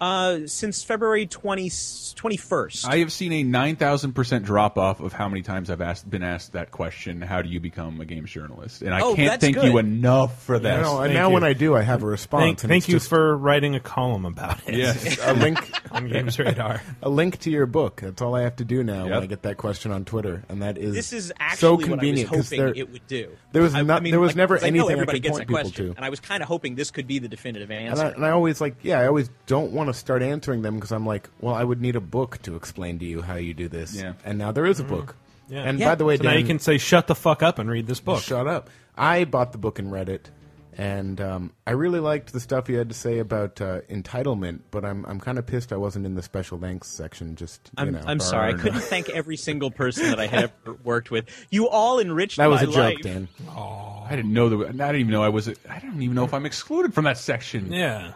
S: uh, since February 20, 21st.
G: I have seen a nine thousand percent drop off of how many times I've asked been asked that question. How do you become a games journalist? And I
S: Oh,
G: can't
S: that's
G: thank
S: good.
G: you enough for that.
I: No, Oh, and now when I do, I have a response.
U: Thank,
I: and
U: thank
I: it's
U: you
I: just
U: for writing a column about it.
I: Yes, a link
U: on Games Radar.
I: A link to your book. That's all I have to do now
U: Yep.
I: when I get that question on Twitter, and that is
S: This is
I: so
S: actually what I was
I: convenient because
S: hoping
I: there
S: it would do.
I: There was
S: I- I
I: not.
S: mean,
I: there was
S: like,
I: never
S: 'cause I know
I: anything I
S: everybody
I: could
S: gets
I: point
S: that
I: people
S: question,
I: to.
S: And I was kind of hoping this could be the definitive
I: And
S: answer.
I: I, and I always like, yeah, I always don't want to start answering them because I'm like, well, I would need a book to explain to you how you do this.
U: Yeah.
I: And now there is a book.
U: Mm-hmm. Yeah.
I: And
U: Yeah.
I: by the way,
U: So now you
I: Dan-
U: can say, "Shut the fuck up" and read this book.
I: Shut up. I bought the book and read it, and um, I really liked the stuff you had to say about uh, entitlement. But I'm I'm kind of pissed I wasn't in the special thanks section. Just you
S: I'm,
I: know,
S: I'm sorry. I
I: burn.
S: couldn't thank every single person that I had ever worked with. You all enriched
I: That was
S: my
I: a joke,
S: life.
I: Dan.
G: I didn't know that. I didn't even know I was. I don't even know if I'm excluded from that section.
U: Yeah.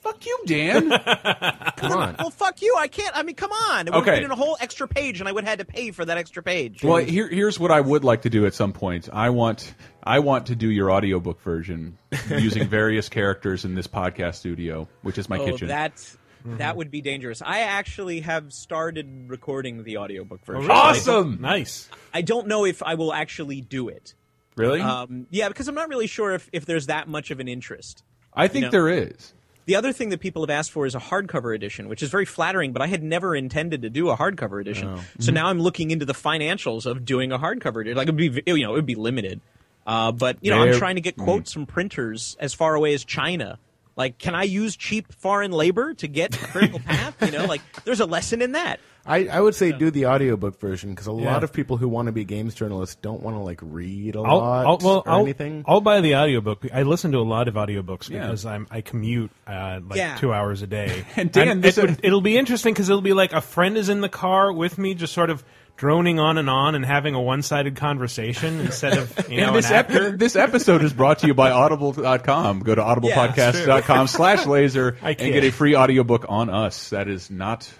G: Fuck you, Dan. Come on.
S: Well, fuck you. I can't. I mean, come on. It would
G: Okay.
S: have been a whole extra page, and I would have had to pay for that extra page.
G: Well, here, here's what I would like to do at some point. I want I want to do your audiobook version using various characters in this podcast studio, which is my
S: oh,
G: kitchen.
S: That's, That would be dangerous. I actually have started recording the audiobook version.
G: Awesome!
U: Nice.
S: I don't know if I will actually do it.
G: Really?
I: Mm-hmm.
S: Um, yeah, because I'm not really sure if, if there's that much of an interest.
G: I think
S: you know?
G: there is.
S: The other thing that people have asked for is a hardcover edition, which is very flattering, but I had never intended to do a hardcover edition.
T: Oh.
S: So now I'm looking into the financials of doing a hardcover edition. Like it would be, you know, it would be limited. Uh, but you know, I'm
T: They're- Mm.
S: trying to get quotes from printers as far away as China. Like, can I use cheap foreign labor to get Critical Path? You know, like there's a lesson in that.
I: I, I would say do the audiobook version because a
S: Yeah.
I: lot of people who want to be games journalists don't want to like read a
F: I'll,
I: lot
F: I'll- well,
I: or
F: I'll,
I: anything.
F: I'll buy the audiobook. I listen to a lot of audiobooks
I: Yeah.
F: because I'm I commute uh, like
I: Yeah.
F: two hours a day.
I: And Dan,
F: it
I: this is-
F: would, it'll be interesting because it'll be like a friend is in the car with me, just sort of droning on and on and having a one-sided conversation instead of you
G: And
F: know
G: this,
F: an
G: ep-
F: actor.
G: this episode is brought to you by audible.com. Go to audiblepodcast.com slash laser
F: I
G: and
F: kid.
G: get a free audiobook on us. That is not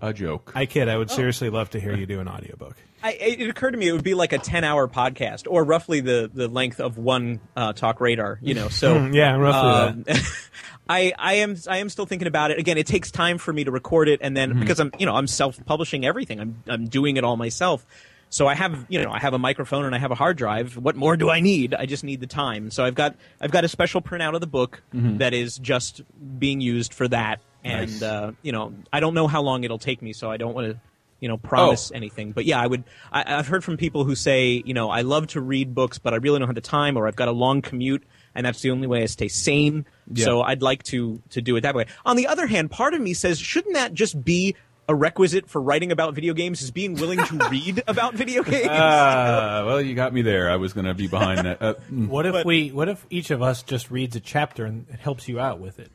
G: a joke.
F: I kid. I
H: Oh.
F: would seriously love to hear you do an audiobook.
S: I, it occurred to me it would be like a 10 hour podcast or roughly the, the length of one uh, talk radar you know so
F: Hmm, yeah, roughly
S: um, I, I am I am still thinking about it again it takes time for me to record it and then
F: Mhm.
S: because I'm you know I'm self publishing everything I'm I'm doing it all myself so I have you know I have a microphone and I have a hard drive what more do I need I just need the time so I've got I've got a special printout of the book
T: Mhm.
S: that is just being used for that and
T: Nice.
S: uh, you know I don't know how long it'll take me so I don't want to you know promise
T: Oh.
S: anything. But yeah, I would. I, I've heard from people who say, you know, I love to read books, but I really don't have the time, or I've got a long commute, and that's the only way I stay sane.
T: Yeah.
S: So I'd like to to do it that way. On the other hand, part of me says, shouldn't that just be a requisite for writing about video games? Is being willing to read about
H: Uh.
S: video games?
G: Ah, well, you got me there. I was going to be behind that. Uh, mm.
H: What if we? What if each of us just reads a chapter and it helps you out with it?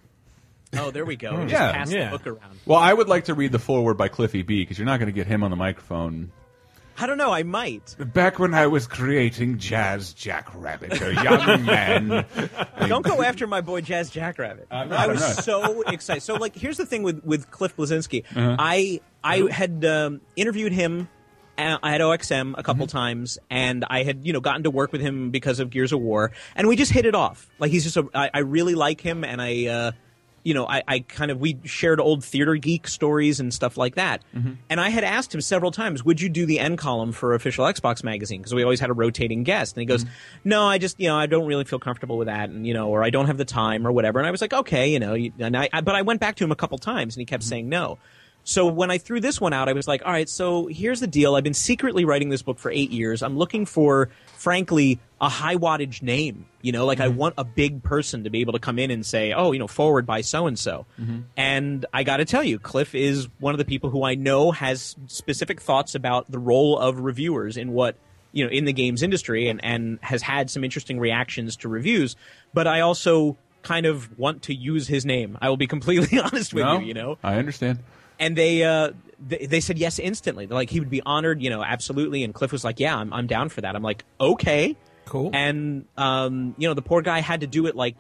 S: oh, there we go.
H: Hmm.
S: Just
H: Yeah,
S: pass
H: yeah.
S: the book around.
G: Well, I would like to read the foreword by Cliffy B because you're not going to get him on the microphone.
S: I don't know. I might.
G: Back when I was creating Jazz Jackrabbit, a young man.
S: Don't go after my boy Jazz Jackrabbit.
G: not,
S: I
G: I'm
S: was
G: not.
S: so excited. So like, here's the thing with with Cliff Blazinski.
T: Uh-huh.
S: I I had um, interviewed him at, at OXM a couple times, and I had you know gotten to work with him because of Gears of War, and we just hit it off. Like he's just a, I, I really like him, and I. Uh, you know, I, I kind of we shared old theater geek stories and stuff like that. And I had asked him several times, "Would you do the end column for official Xbox magazine?" Because we always had a rotating guest. And he goes, "No, I just you know I don't really feel comfortable with that, and you know, or I don't have the time or whatever." And I was like, "Okay, you know," you- and I, I but I went back to him a couple times, and he kept saying no. So when I threw this one out, I was like, "All right, so here's the deal. I've been secretly writing this book for eight years. I'm looking for, frankly, a high wattage name. You know, like I want a big person to be able to come in and say, oh, you know, forward by so and so.'" And I got to tell you, Cliff is one of the people who I know has specific thoughts about the role of reviewers in what you know in the games industry, and and has had some interesting reactions to reviews. But I also kind of want to use his name. I will be completely honest with
G: No,
S: you. You know,
G: I understand.
S: and they uh they, they said yes instantly. They're like he would be honored, you know, absolutely. And Cliff was like, "Yeah, I'm I'm down for that." I'm like, "Okay,
H: cool."
S: And um, you know, the poor guy had to do it like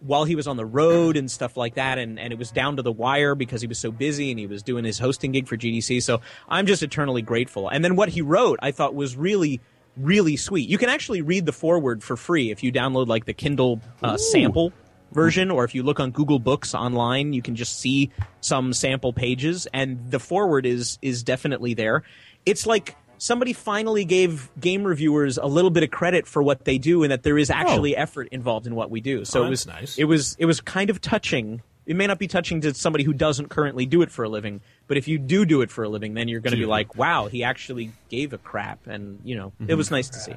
S: while he was on the road and stuff like that, and and it was down to the wire because he was so busy and he was doing his hosting gig for GDC. So I'm just eternally grateful. And then what he wrote, I thought was really really sweet. You can actually read the foreword for free if you download like the Kindle uh,
T: Ooh.
S: sample version, or if you look on Google Books online, you can just see some sample pages, and the forward is is definitely there. It's like somebody finally gave game reviewers a little bit of credit for what they do, and that there is actually effort involved in what we do. So
H: Oh,
S: it was
H: that's nice.
S: It was it was kind of touching. It may not be touching to somebody who doesn't currently do it for a living, but if you do do it for a living, then you're going to be
G: Dude.
S: like, "Wow, he actually gave a crap," and you know,
H: Mm-hmm.
S: it was nice to see.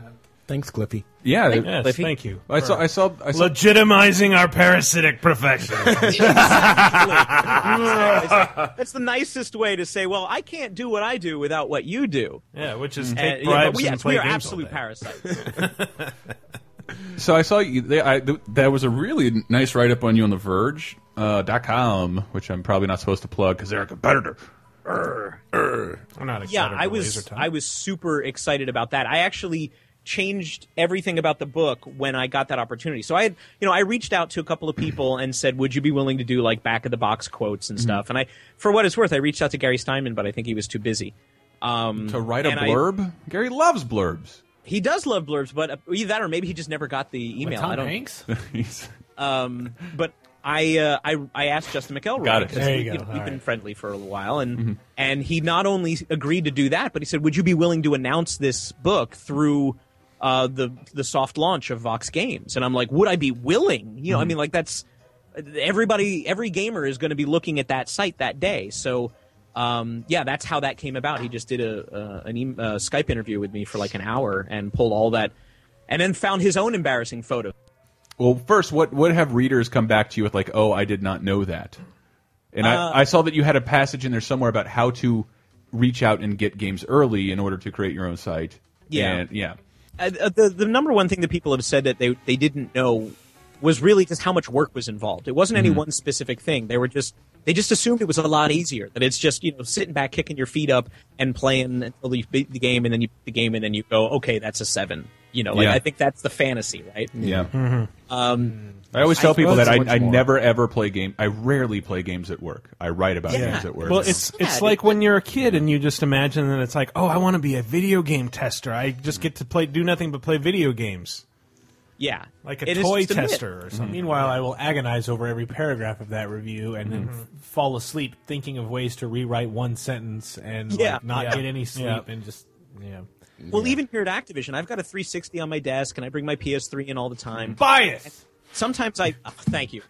I: Thanks, Cliffy.
G: Yeah,
S: Thank-
G: that-
S: Yes, thank you.
G: I saw. I saw. I saw
U: Legitimizing our parasitic profession.
S: It's like- that's the nicest way to say, well, I can't do what I do without what you do.
H: Yeah, which is
S: And-
H: take
S: Uh, but
H: bribes
S: we,
H: and
S: yes,
H: play
S: we are
H: games all
S: absolute
H: day.
S: parasites.
G: So I saw you. They, I, th that was a really nice write up on you on the Verge uh, dot com, which I'm probably not supposed to plug because they're a competitor. Err, err.
H: I'm not
S: yeah, I was I was super excited about that. I actually changed everything about the book when I got that opportunity. So I had, you know, I reached out to a couple of people and said, "Would you be willing to do like back of the box quotes and
H: Mm-hmm.
T: Mhm.
S: stuff?" And I, for what it's worth, I reached out to Gary Steinman, but I think he was too busy um,
G: to write a
S: and I-
G: blurb. Gary loves blurbs.
S: He does love blurbs, but uh, either that or maybe he just never got the email.
G: Tom
S: I don't,
G: Hanks?
S: um, but I, uh, I I asked Justin McElroy
G: Got it. Mm-hmm.
S: because
G: There
S: we,
G: you go.
S: you know, we've
G: All
S: been friendly for a little while, and and he not only agreed to do that, but he said, "Would you be willing to announce this book through uh, the the soft launch of Vox Games?" And I'm like, "Would I be willing? You know, I
G: Mm-hmm.
T: Mhm.
S: mean, like that's." everybody, every gamer is going to be looking at that site that day. So, um, yeah, that's how that came about. He just did a, a an e- uh, Skype interview with me for like an hour and pulled all that, and then found his own embarrassing photo.
G: Well, first, what what have readers come back to you with? Like, oh, I did not know that. And
S: Uh,
G: I, I saw that you had a passage in there somewhere about how to reach out and get games early in order to create your own site.
S: Yeah.
G: And- yeah.
S: Uh, uh, the the number one thing that people have said that they they didn't know was really just how much work was involved. It wasn't any
G: Mhm.
S: one specific thing. They were just they just assumed it was a lot easier that it's just you know sitting back, kicking your feet up, and playing until you beat the game, and then you beat the game, and then you go, okay, that's a seven. You know, like
G: Yeah.
S: I think that's the fantasy, right?
G: Yeah.
H: Mm-hmm.
S: Um,
G: I always tell people that I,
S: Much
G: I
S: more.
G: never ever play game. I rarely play games at work. I write about games at work.
F: Well, it's it's like when you're a kid and you just imagine that it's like, oh, I want to be a video game tester. I just get to play, do nothing but play video games.
S: Yeah,
H: like a
F: It is
H: toy
F: just a myth.
H: tester or something.
F: Mhm.
H: Meanwhile, I will agonize over every paragraph of that review and then
I: Mm-hmm.
F: Mhm.
H: f- fall asleep thinking of ways to rewrite one sentence and like,
S: Yeah.
H: not
S: Yeah.
H: get any sleep
S: Yeah.
H: and just yeah.
S: Well, even here at Activision, I've got a 360 on my desk, and I bring my PS3 in all the time.
H: Buy it.
S: Sometimes I oh, thank you.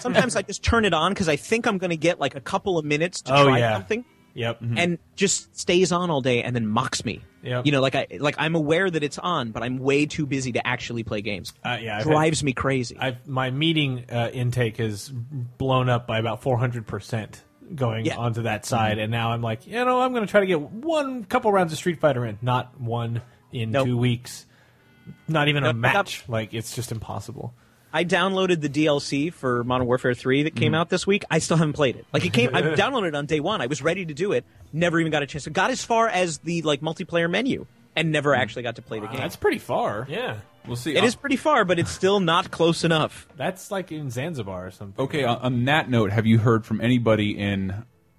S: Sometimes I just turn it on because I think I'm going to get like a couple of minutes to
H: Oh,
S: try
H: yeah.
S: something.
H: Yep.
S: And just stays on all day and then mocks me.
H: Hmm. Yep.
S: You know, like I like I'm aware that it's on, but I'm way too busy to actually play games.
H: Uh, yeah, I've
S: drives
H: had-
S: me crazy.
H: I've, my meeting uh, intake has blown up by about 400% going
S: Yeah. Mm-hmm.
H: onto that side. And now I'm like, you know, I'm going to try to get one couple rounds of Street Fighter in. Not one in two weeks. Not even a
S: Nope.
H: match. Like, it's just impossible.
S: I downloaded the DLC for Modern Warfare 3 that came
H: Mhm.
S: out this week. I still haven't played it. Like it came I downloaded it on day 1. I was ready to do it. Never even got a chance. to Got as far as the like multiplayer menu and never actually got to play the game.
H: Hmm. That's pretty far. Yeah.
G: We'll see. Uh,
S: It is pretty far, but it's still not close enough.
H: That's like in Zanzibar or something.
G: Okay, on, on that note, have you heard from anybody in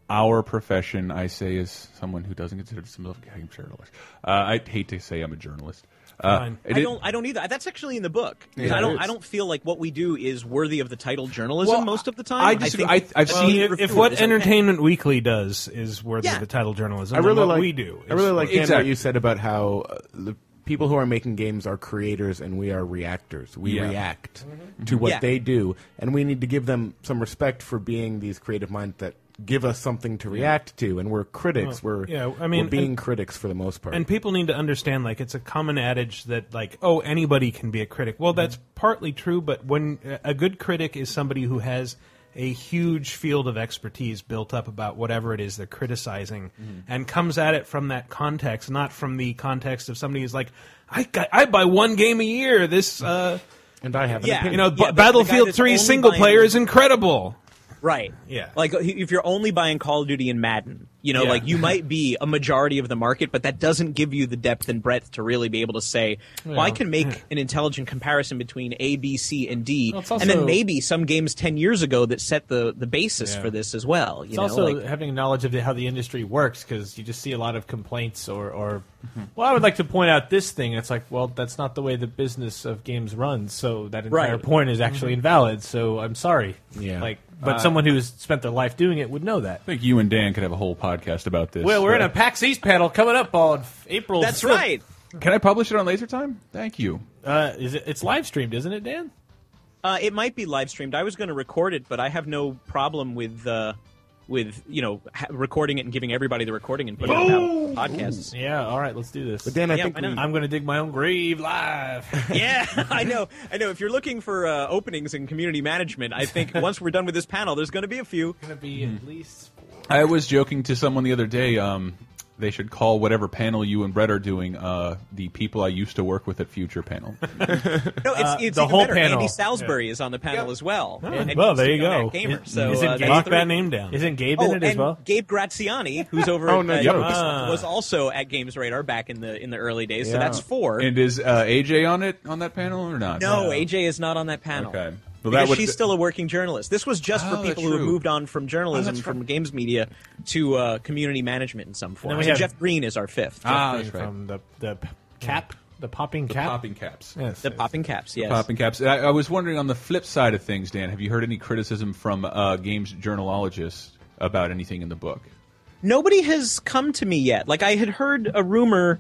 G: our profession? I say, as someone who doesn't consider himself a game journalist, uh, I hate to say I'm a journalist. Uh, it
S: I
G: is-
S: don't. I don't either. That's actually in the book. 'Cause
G: Yeah,
S: I
G: it
S: don't.
G: is.
S: I don't feel like what we do is worthy of the title journalism most of the time.
F: I disagree.
S: think
F: I- I've
S: that
F: seen-
S: we
F: if,
S: refer
F: if
S: to
F: what
S: it as okay.
F: Entertainment Weekly does is worthy
S: Yeah.
F: of the title journalism,
I: I
F: then
I: really
F: what
I: like
F: we do.
I: I
F: is
I: really like
F: worthy.
I: Dan, what you said about how uh, the people who are making games are creators and we are reactors. We
H: Yeah.
I: react
H: Mhm.
F: Mm-hmm.
I: to what
H: Yeah.
I: they do, and we need to give them some respect for being these creative minds that give us something to react to. And we're critics.
F: Well,
I: we're
F: yeah, I mean,
I: we're being
F: and-
I: critics for the most part.
F: And people need to understand, like, it's a common adage that, like, oh, anybody can be a critic. Well, that's partly true, but when a good critic is somebody who has a huge field of expertise built up about whatever it is they're criticizing and comes at it from that context, not from the context of somebody who's like, I, got, I buy one game a year. This, uh,
I: and I have
F: an opinion. You know, B- Battlefield 3 single player is incredible.
S: Right.
F: Yeah.
S: Like if you're only buying Call of Duty and Madden, you know,
F: Yeah.
S: like you might be a majority of the market, but that doesn't give you the depth and breadth to really be able to say, well, I
F: Yeah.
S: can make an intelligent comparison between A, B, C, and D,
H: Well, it's
S: and then
H: also-
S: maybe some games ten years ago that set the the basis for this as well. You
H: It's
S: know,
H: also
S: like,
H: having knowledge of the, how the industry works because you just see a lot of complaints or, or
S: Mm-hmm.
H: well, I would like to point out this thing. It's like, well, that's not the way the business of games runs. So that entire
F: Right.
H: point is actually
F: Mhm.
S: Mm-hmm.
H: invalid. So I'm sorry.
I: Yeah.
H: Like, but
F: Uh,
H: someone who's spent their life doing it would know that.
G: I think you and Dan could have a whole podcast about this.
H: Well, we're in
G: Uh,
H: a PAX East panel coming up on April.
S: That's
H: 5th.
S: right.
G: Can I publish it on Laser Time? Thank you.
H: Uh, is it? It's live streamed, isn't it, Dan?
S: Uh, it might be live streamed. I was going to record it, but I have no problem with uh, with you know ha- recording it and giving everybody the recording and putting it
H: Boom!
S: out on podcasts.
H: Yeah. All right. Let's do this.
S: But Dan, I Yeah, think why we- not?
H: I'm going to dig my own grave live.
S: yeah, I know. I know. If you're looking for uh, openings in community management, I think once we're done with this panel, there's going to be a few.
H: Going to be
S: Hmm.
H: at least.
G: I was joking to someone the other day. Um, they should call whatever panel you and Brett are doing uh, the people I used to work with at Future panel.
S: No, it's,
H: Uh,
S: it's
H: the
S: even
H: whole
S: better.
H: panel. Oh.
S: Andy Salisbury is on the panel as well. And
H: well,
S: he's
H: there
S: a
H: you go.
S: Nomad Gamer,
H: Is-
S: so,
H: isn't
S: uh,
H: Gabe-
S: that's
H: Knock
S: three.
H: that name down. Isn't Gabe in
S: Oh,
H: it as
S: and
H: well?
S: Gabe Graziani, who's over
H: Oh,
S: at
H: no
S: uh,
G: joke.
S: Games-
G: Ah.
S: was also at Games Radar back in the in the early days. So
G: Yeah.
S: that's four.
G: And is uh, AJ on it on that panel or not?
S: No, AJ is not on that panel.
G: Okay. Well, that
S: because
G: would-
S: she's still a working journalist. This was just
G: Oh,
S: for people
G: that's
S: who have
G: true.
S: moved on from journalism,
G: Oh, that's
S: from games media to uh, community management in some form.
H: we
S: So
H: have-
S: Jeff Green is our fifth.
G: Ah,
H: Jeffrey
G: that's right.
H: From the the p- cap, the popping
G: The
H: cap,
G: popping caps.
H: Yes.
S: the popping caps. Yes,
G: Popping caps. I, I was wondering on the flip side of things, Dan, have you heard any criticism from uh, games journalologists about anything in the book?
S: nobody has come to me yet. Like I had heard a rumor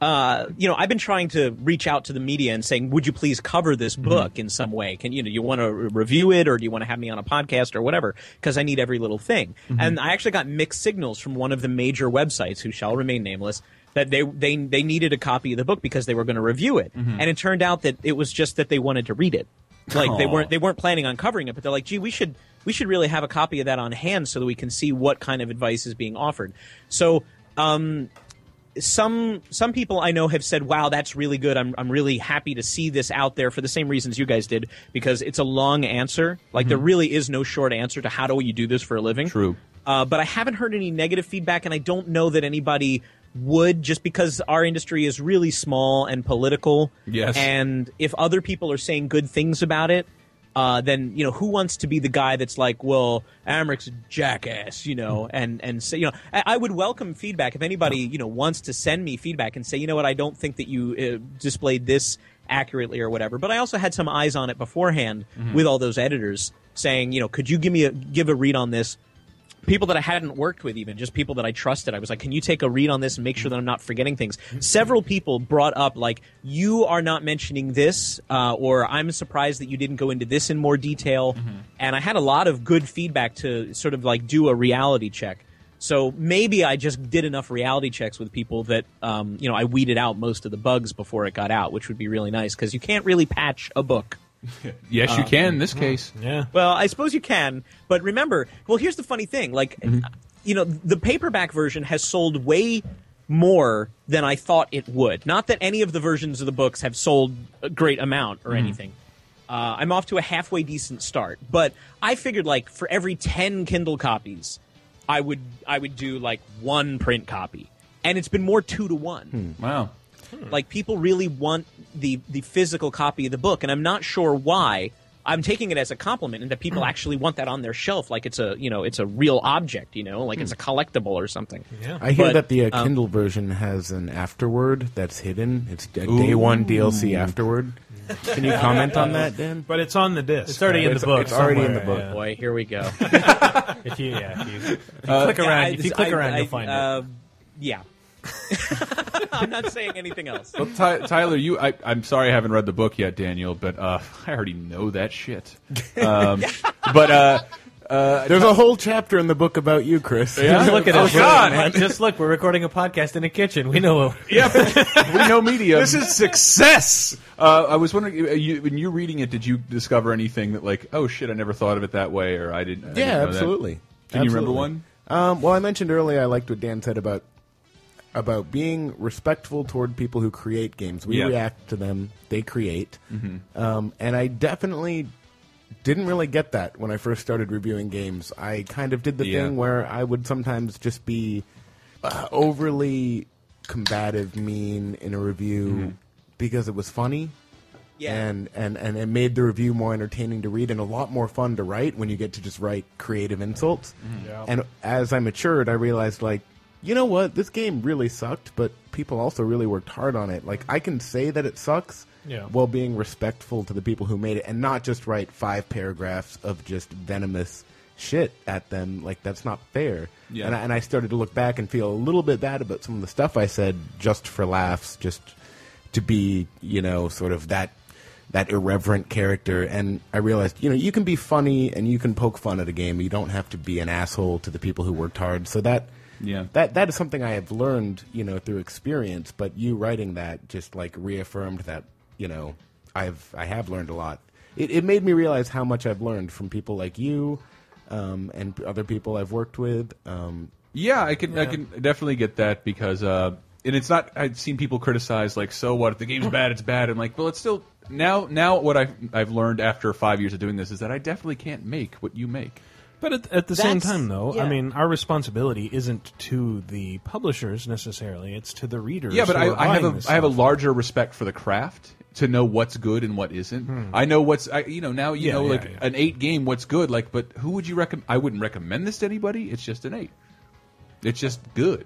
S: uh, you know, I've been trying to reach out to the media and saying, "Would you please cover this book in some way? Can you know, you want to review it, or do you want to have me on a podcast or whatever? Because I need every little thing."
C: Mhm.
S: And I actually got mixed signals from one of the major websites, who shall remain nameless, that they they they needed a copy of the book because they were going to review it,
C: Mhm.
S: and it turned out that it was just that they wanted to read it. Like they
C: Aw.
S: weren't they weren't planning on covering it, but they're like, "Gee, we should we should really have a copy of that on hand so that we can see what kind of advice is being offered." So. Um, some some people I know have said, "Wow, that's really good. I'm I'm really happy to see this out there for the same reasons you guys did because it's a long answer. Like there
C: Mhm.
S: really is no short answer to how do you do this for a living." True. Uh, but I haven't heard any negative feedback, and I don't know that anybody would just because our industry is really small and political.
C: Yes.
S: And if other people are saying good things about it, uh, then you know who wants to be the guy that's like, well, Amric's a jackass, you know, and and say, you know, I, I would welcome feedback if anybody you know wants to send me feedback and say, you know what, I don't think that you uh, displayed this accurately or whatever. But I also had some eyes on it beforehand
C: Mhm.
S: with all those editors saying, you know, could you give me a give a read on this? people that I hadn't worked with, even just people that I trusted. I was like, "Can you take a read on this and make sure that I'm not forgetting things?" Several people brought up like, "You are not mentioning this," uh, or "I'm surprised that you didn't go into this in more detail." And I had a lot of good feedback to sort of like do a reality check. So maybe I just did enough reality checks with people that um, you know I weeded out most of the bugs before it got out, which would be really nice because you can't really patch a book.
G: Yes, you
S: Uh,
G: can in this case.
S: Yeah. Well, I suppose you can, but remember, well, here's the funny thing. Like, you know, the paperback version has sold way more than I thought it would. Not that any of the versions of the books have sold a great amount or
C: Mhm.
S: anything. Uh, I'm off to a halfway decent start, but I figured like for every 10 Kindle copies, I would I would do like one print copy. And it's been more 2 to 1.
G: Wow.
S: Mm. Like people really want the the physical copy of the book, and I'm not sure why. I'm taking it as a compliment, and that people actually want that on their shelf, like it's a you know it's a real object, you know, like it's a collectible or something. um, Yeah,
I: I hear that the uh, Kindle version has an afterword that's hidden. It's a day one DLC
S: Ooh.
I: afterward. Can you comment on that, Dan?
H: But it's on the disc.
I: It's already in the It's- book it's already in the somewhere, book. yeah.
S: Boy, here we go.
H: If you- yeah, if you- if you click around- if you click around, you'll find it.
S: uh, Yeah. I'm not saying anything else.
G: Well, Ty Tyler, you, I, I'm sorry I haven't read the book yet, Daniel, but uh, I already know that shit. Um, but uh, uh,
I: There's a whole chapter in the book about you, Chris.
H: Just look at
G: Oh,
H: us.
G: God,
H: We're-
G: man.
H: Just look. We're recording a podcast in a kitchen. We know. What,
G: we know media.
H: This
G: is success. Uh, I was wondering, uh, you, when you reading it, did you discover anything that like, oh shit, I never thought of it that way, or I didn't? I didn't
I: yeah,
G: know that.
I: absolutely.
G: Can you remember
I: Absolutely.
G: one?
I: Um, well, I mentioned earlier I liked what Dan said about about being respectful toward people who create games. We
G: Yeah.
I: react to them; they create.
G: Mhm.
H: Mm-hmm.
I: Um, and I definitely didn't really get that when I first started reviewing games. I kind of did the
G: Yeah.
I: thing where I would sometimes just be uh, overly combative, mean in a review because it was funny.
S: Yeah.
I: And, and and it made the review more entertaining to read and a lot more fun to write when you get to just write creative insults.
R: Mhm. Yeah.
I: And as I matured, I realized like, you know what, this game really sucked, but people also really worked hard on it. Like I can say that it sucks
H: Yeah.
I: while being respectful to the people who made it and not just write five paragraphs of just venomous shit at them. Like that's not fair.
G: Yeah.
I: And I, and I started to look back and feel a little bit bad about some of the stuff I said just for laughs, just to be, you know, sort of that that irreverent character and I realized, you know, you can be funny and you can poke fun at a game. You don't have to be an asshole to the people who worked hard. So that
G: Yeah.
I: that that is something I have learned, you know, through experience, but you writing that just like reaffirmed that, you know, I've I have learned a lot. It it made me realize how much I've learned from people like you um, and other people I've worked with. Um,
G: Yeah, I can I
I: Yeah.
G: can definitely get that because uh, and it's not. I've seen people criticize like, so what if the game's bad? It's bad. I'm like, well, it's still now. Now what I've I've learned after five years of doing this is that I definitely can't make what you make.
F: But at, at the same
G: That's-
F: time, though,
G: yeah.
F: I mean, our responsibility isn't to the publishers necessarily; it's to the readers.
G: Yeah, but
F: who
G: I,
F: are
G: I have
F: buying
G: a
F: this
G: I have a
F: stuff.
G: larger respect for the craft to know what's good and what isn't.
F: Hmm.
G: I know what's I, you know now you
F: Yeah,
G: know
F: yeah,
G: like an eight game what's good like, but who would you recommend? I wouldn't recommend this to anybody. It's just an eight. It's just good.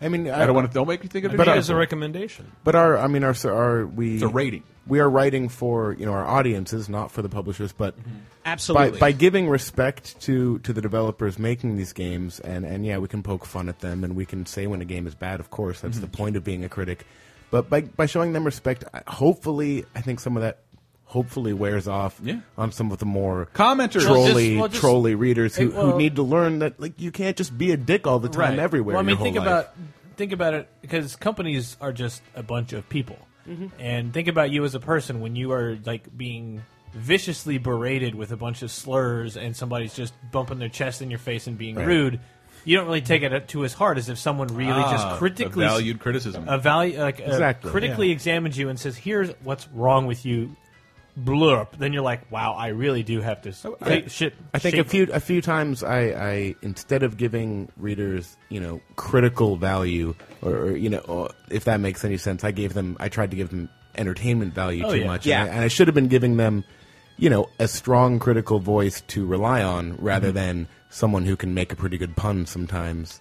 I: I mean,
G: I, don't want to. Don't make me think of it
I: our-
G: as
I: But our, I mean, our, so our we
G: It's a rating.
I: We are writing for you know our audiences, not for the publishers, but
H: Mm-hmm.
S: Absolutely.
I: by, by giving respect to to the developers making these games,
F: Mm-hmm.
I: and and yeah, we can poke fun at them, and we can say when a game is bad. Of course, that's the point of being a critic. But by by showing them respect, I- hopefully, I think some of that hopefully wears off
G: Yeah.
I: on some of the more
G: Commenters.
I: trolly
G: Well, just- well, just-
I: trolly readers who,
G: Hey, well-
I: who need to learn that like you can't just be a dick all the time
H: Right.
I: everywhere.
H: Well, I
I: your
H: mean,
I: whole
H: think
I: life.
H: about think about it because companies are just a bunch of people,
L: Mhm.
H: and think about you as a person when you are like being viciously berated with a bunch of slurs, and somebody's just bumping their chest in your face and being
G: Right.
H: rude. You don't really take it to as hard as if someone really
G: Ah,
H: just critically
G: a valued criticism.
H: a value like uh,
G: Exactly.
H: critically examines you and says, "Here's what's wrong with you." Blurp. Then you're like, "Wow, I really do have to s- take shit."
I: I think a
H: shape
I: few a few times I, I instead of giving readers you know critical value or, or, you know or if that makes any sense I gave them I tried to give them entertainment value
H: Oh,
I: too
H: yeah.
I: much
H: Yeah.
I: and, I, and I should have been giving them you know a strong critical voice to rely on rather
S: Mhm.
I: than someone who can make a pretty good pun sometimes.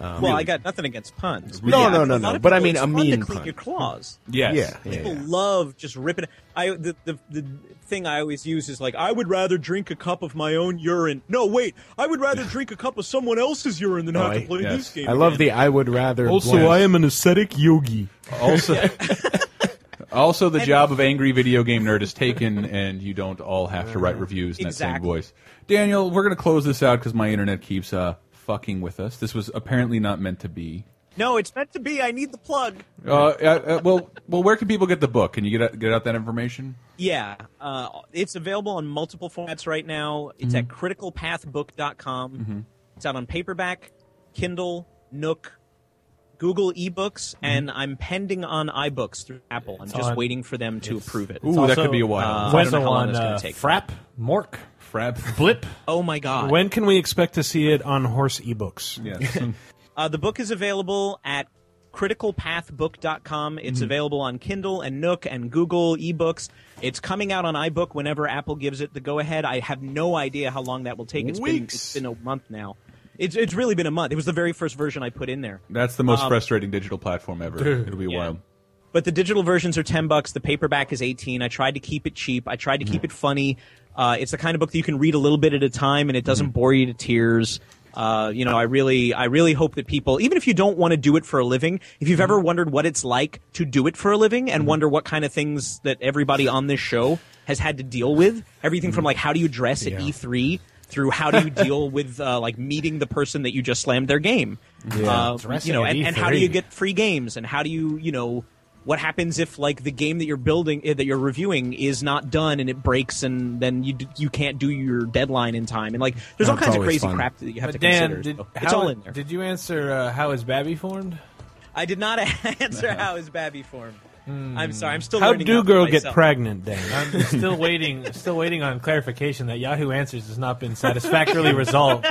I: Um,
S: well, I got nothing against puns.
I: No,
S: Yeah, a
I: no, no,
S: lot
I: no,
S: of
I: but I
S: people-
I: mean
S: it's
I: a
S: fun to
I: mean
S: clean
I: pun.
S: your claws.
I: Yes. Yeah, yeah,
S: people
I: yeah.
S: love just ripping. I the, the the thing I always use is like I would rather drink a cup of my own urine. No, wait, I would rather drink a cup of someone else's urine than have to play this game.
I: Oh, I love the I would rather. blank.
G: am an ascetic yogi. Also, also the job of angry video game nerd is taken, and you don't all have to write reviews in that same
S: Exactly.
G: voice. Daniel, we're going to close this out because my internet keeps uh, fucking with us. This was apparently not meant to be.
S: No, it's meant to be. I need the plug.
G: Uh, uh, uh, well, well, where can people get the book? Can you get out, get out that information?
S: Yeah, uh, it's available on multiple formats right now.
H: Mm-hmm.
S: It's at criticalpathbook.com.
G: Mhm.
S: It's out on paperback, Kindle, Nook, Google eBooks, and I'm pending on iBooks through Apple. I'm
H: Mm-hmm. It's
S: just
H: on-
S: waiting for them to approve it.
H: It's also,
S: Uh,
H: uh,
S: I don't know
H: also
S: how long
H: on,
S: that's going
H: uh,
S: to take.
H: Frap, Mork,
G: Frap,
H: Blip.
S: Oh my
H: Uh,
S: god!
F: When can we expect to see it on horse ebooks?
G: Yes.
S: Uh, the book is available at criticalpathbook.com. It's
F: Mhm.
S: available on Kindle and Nook and Google eBooks. It's coming out on iBook whenever Apple gives it the go ahead. I have no idea how long that will take. It's been,
G: Weeks.
S: it's been a month now. It's, it's really been a month. It was the very first version I put in there.
G: That's the most
S: Um,
G: frustrating digital platform ever.
S: Dude.
G: It'll be wild.
S: But the digital versions are 10 bucks. The paperback is 18. I tried to keep it cheap. I tried to keep it funny. Uh, it's the kind of book that you can read a little bit at a time and it
H: Mm-hmm.
S: doesn't bore you to tears. Uh, you know, I really, I really hope that people, even if you don't want to do it for a living, if you've
H: Mm-hmm.
S: ever wondered what it's like to do it for a living and wonder what kind of things that everybody on this show has had to deal with, everything
H: Mm-hmm.
S: from like how do you dress at E3 through how do you deal with uh, like meeting the person that you just slammed their game,
H: Yeah.
S: Uh, you
H: Dressing
S: know,
H: at E
S: and, and how do
H: E3.
S: you get free games and how do you you know what happens if like the game that you're building eh, that you're reviewing is not done and it breaks and then you d- you can't do your deadline in time and like there's all
H: That's
S: kinds of
H: always
S: crazy
H: fun.
S: crap that you have
H: But
S: to
H: Dan,
S: consider
H: did-
S: so
H: how-
S: it's all in there
H: Did you answer uh, how is Babby formed?
S: i did not answer how is babby formed i'm sorry i'm still
H: How
S: learning
H: do
S: out for
H: Hmm. girl get
S: myself.
H: pregnant, Dan? I'm still waiting. Still waiting on clarification that Yahoo Answers has not been satisfactorily resolved.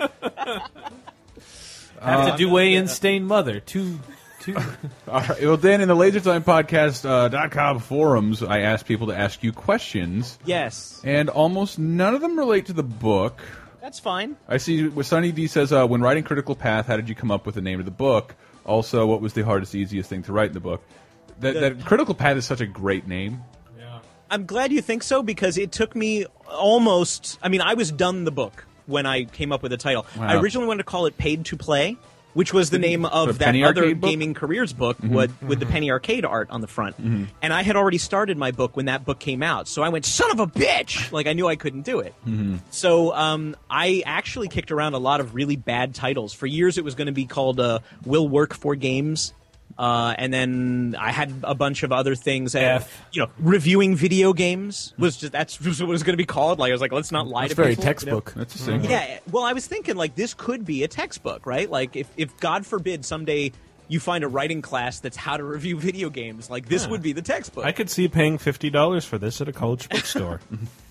H: Have
G: Uh,
H: to do way in stain mother. Two, two.
G: All right. Well, Dan, in the LaserTimePodcast.com uh, .com forums, I asked people to ask you questions.
S: yes
G: And almost none of them relate to the book.
S: that's fine
G: I see what Sunny D says uh, when writing Critical Path, how did you come up with the name of the book? Also, what was the hardest, easiest thing to write in the book? That,
S: The-
G: that Critical Path is such a great name.
S: I'm glad you think so because it took me almost. I mean, I was done the book when I came up with the title.
G: Wow.
S: I originally wanted to call it "Paid to Play," which was the name
G: The
S: of that
G: Penny
S: other
G: Arcade book?
S: gaming careers book
G: Mhm.
S: with, with the Penny Arcade art on the front.
G: Mhm.
S: And I had already started my book when that book came out, so I went, "Son of a bitch!" Like I knew I couldn't do it.
G: Mhm.
S: So um, I actually kicked around a lot of really bad titles. For years, it was going to be called uh, "Will Work for Games," uh, and then I had a bunch of other things. uh, You know, reviewing video games was just that's just what it was going to be called. Like I was like, let's not lie
I: That's
S: to
I: very
S: people.
I: textbook.
G: That's the
I: same.
S: Yeah. Well, I was thinking like this could be a textbook, right? Like if if God forbid someday. You find a writing class that's how to review video games. Like this
F: Yeah.
S: would be the textbook.
F: I could see paying fifty dollars for this at a college bookstore.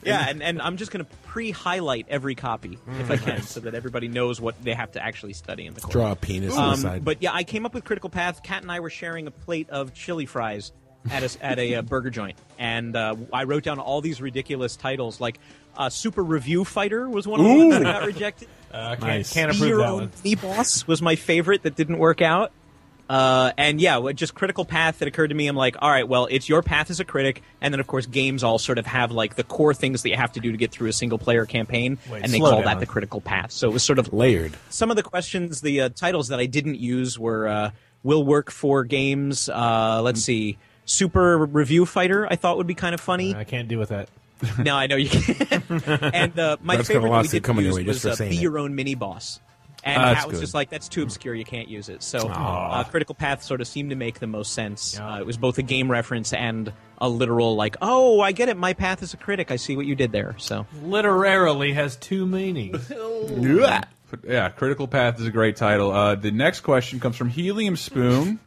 S: Yeah, and, and I'm just going to pre-highlight every copy if I can, so that everybody knows what they have to actually study in the course. Um,
I: Draw a penis on the side.
S: But yeah, I came up with Critical Path. Kat and I were sharing a plate of chili fries at a, at a uh, burger joint, and uh, I wrote down all these ridiculous titles like uh, Super Review Fighter was one of them that
H: Ooh.
S: got rejected.
H: Uh, can't- Nice. can't approve
S: Be Your
H: that
S: Own
H: one.
S: Knee Boss was my favorite that didn't work out. Uh, and yeah, what- just critical path that occurred to me. I'm like, all right, well, it's your path as a critic, and then of course games all sort of have like the core things that you have to do to get through a single player campaign,
I: Wait,
S: and they
I: slow
S: call
I: down.
S: that the critical path. So it was sort of
I: layered.
S: Some of the questions, the uh, titles that I didn't use were uh, will work for games. Uh, let's see, Super Review Fighter. I thought would be kind of funny. I
H: can't deal with that.
S: no, I know you can't. and uh, my
I: That's got
S: favorite
I: a
S: that we
I: lawsuit
S: did
I: coming your
S: use
I: way just
S: was
I: for
S: uh,
I: saying
S: be
I: it.
S: your own mini boss. And
I: Ah,
S: that
I: that's
S: was
I: good.
S: just like that's too obscure. You can't use it. So
I: Aw.
S: uh, Critical Path sort of seemed to make the most sense. Uh, it was both a game reference and a literal like, oh, I get it. My path is a critic. I see what you did there. So
H: Literarily has two meanings.
G: Yeah. yeah, Critical Path is a great title. Uh, the next question comes from Helium Spoon.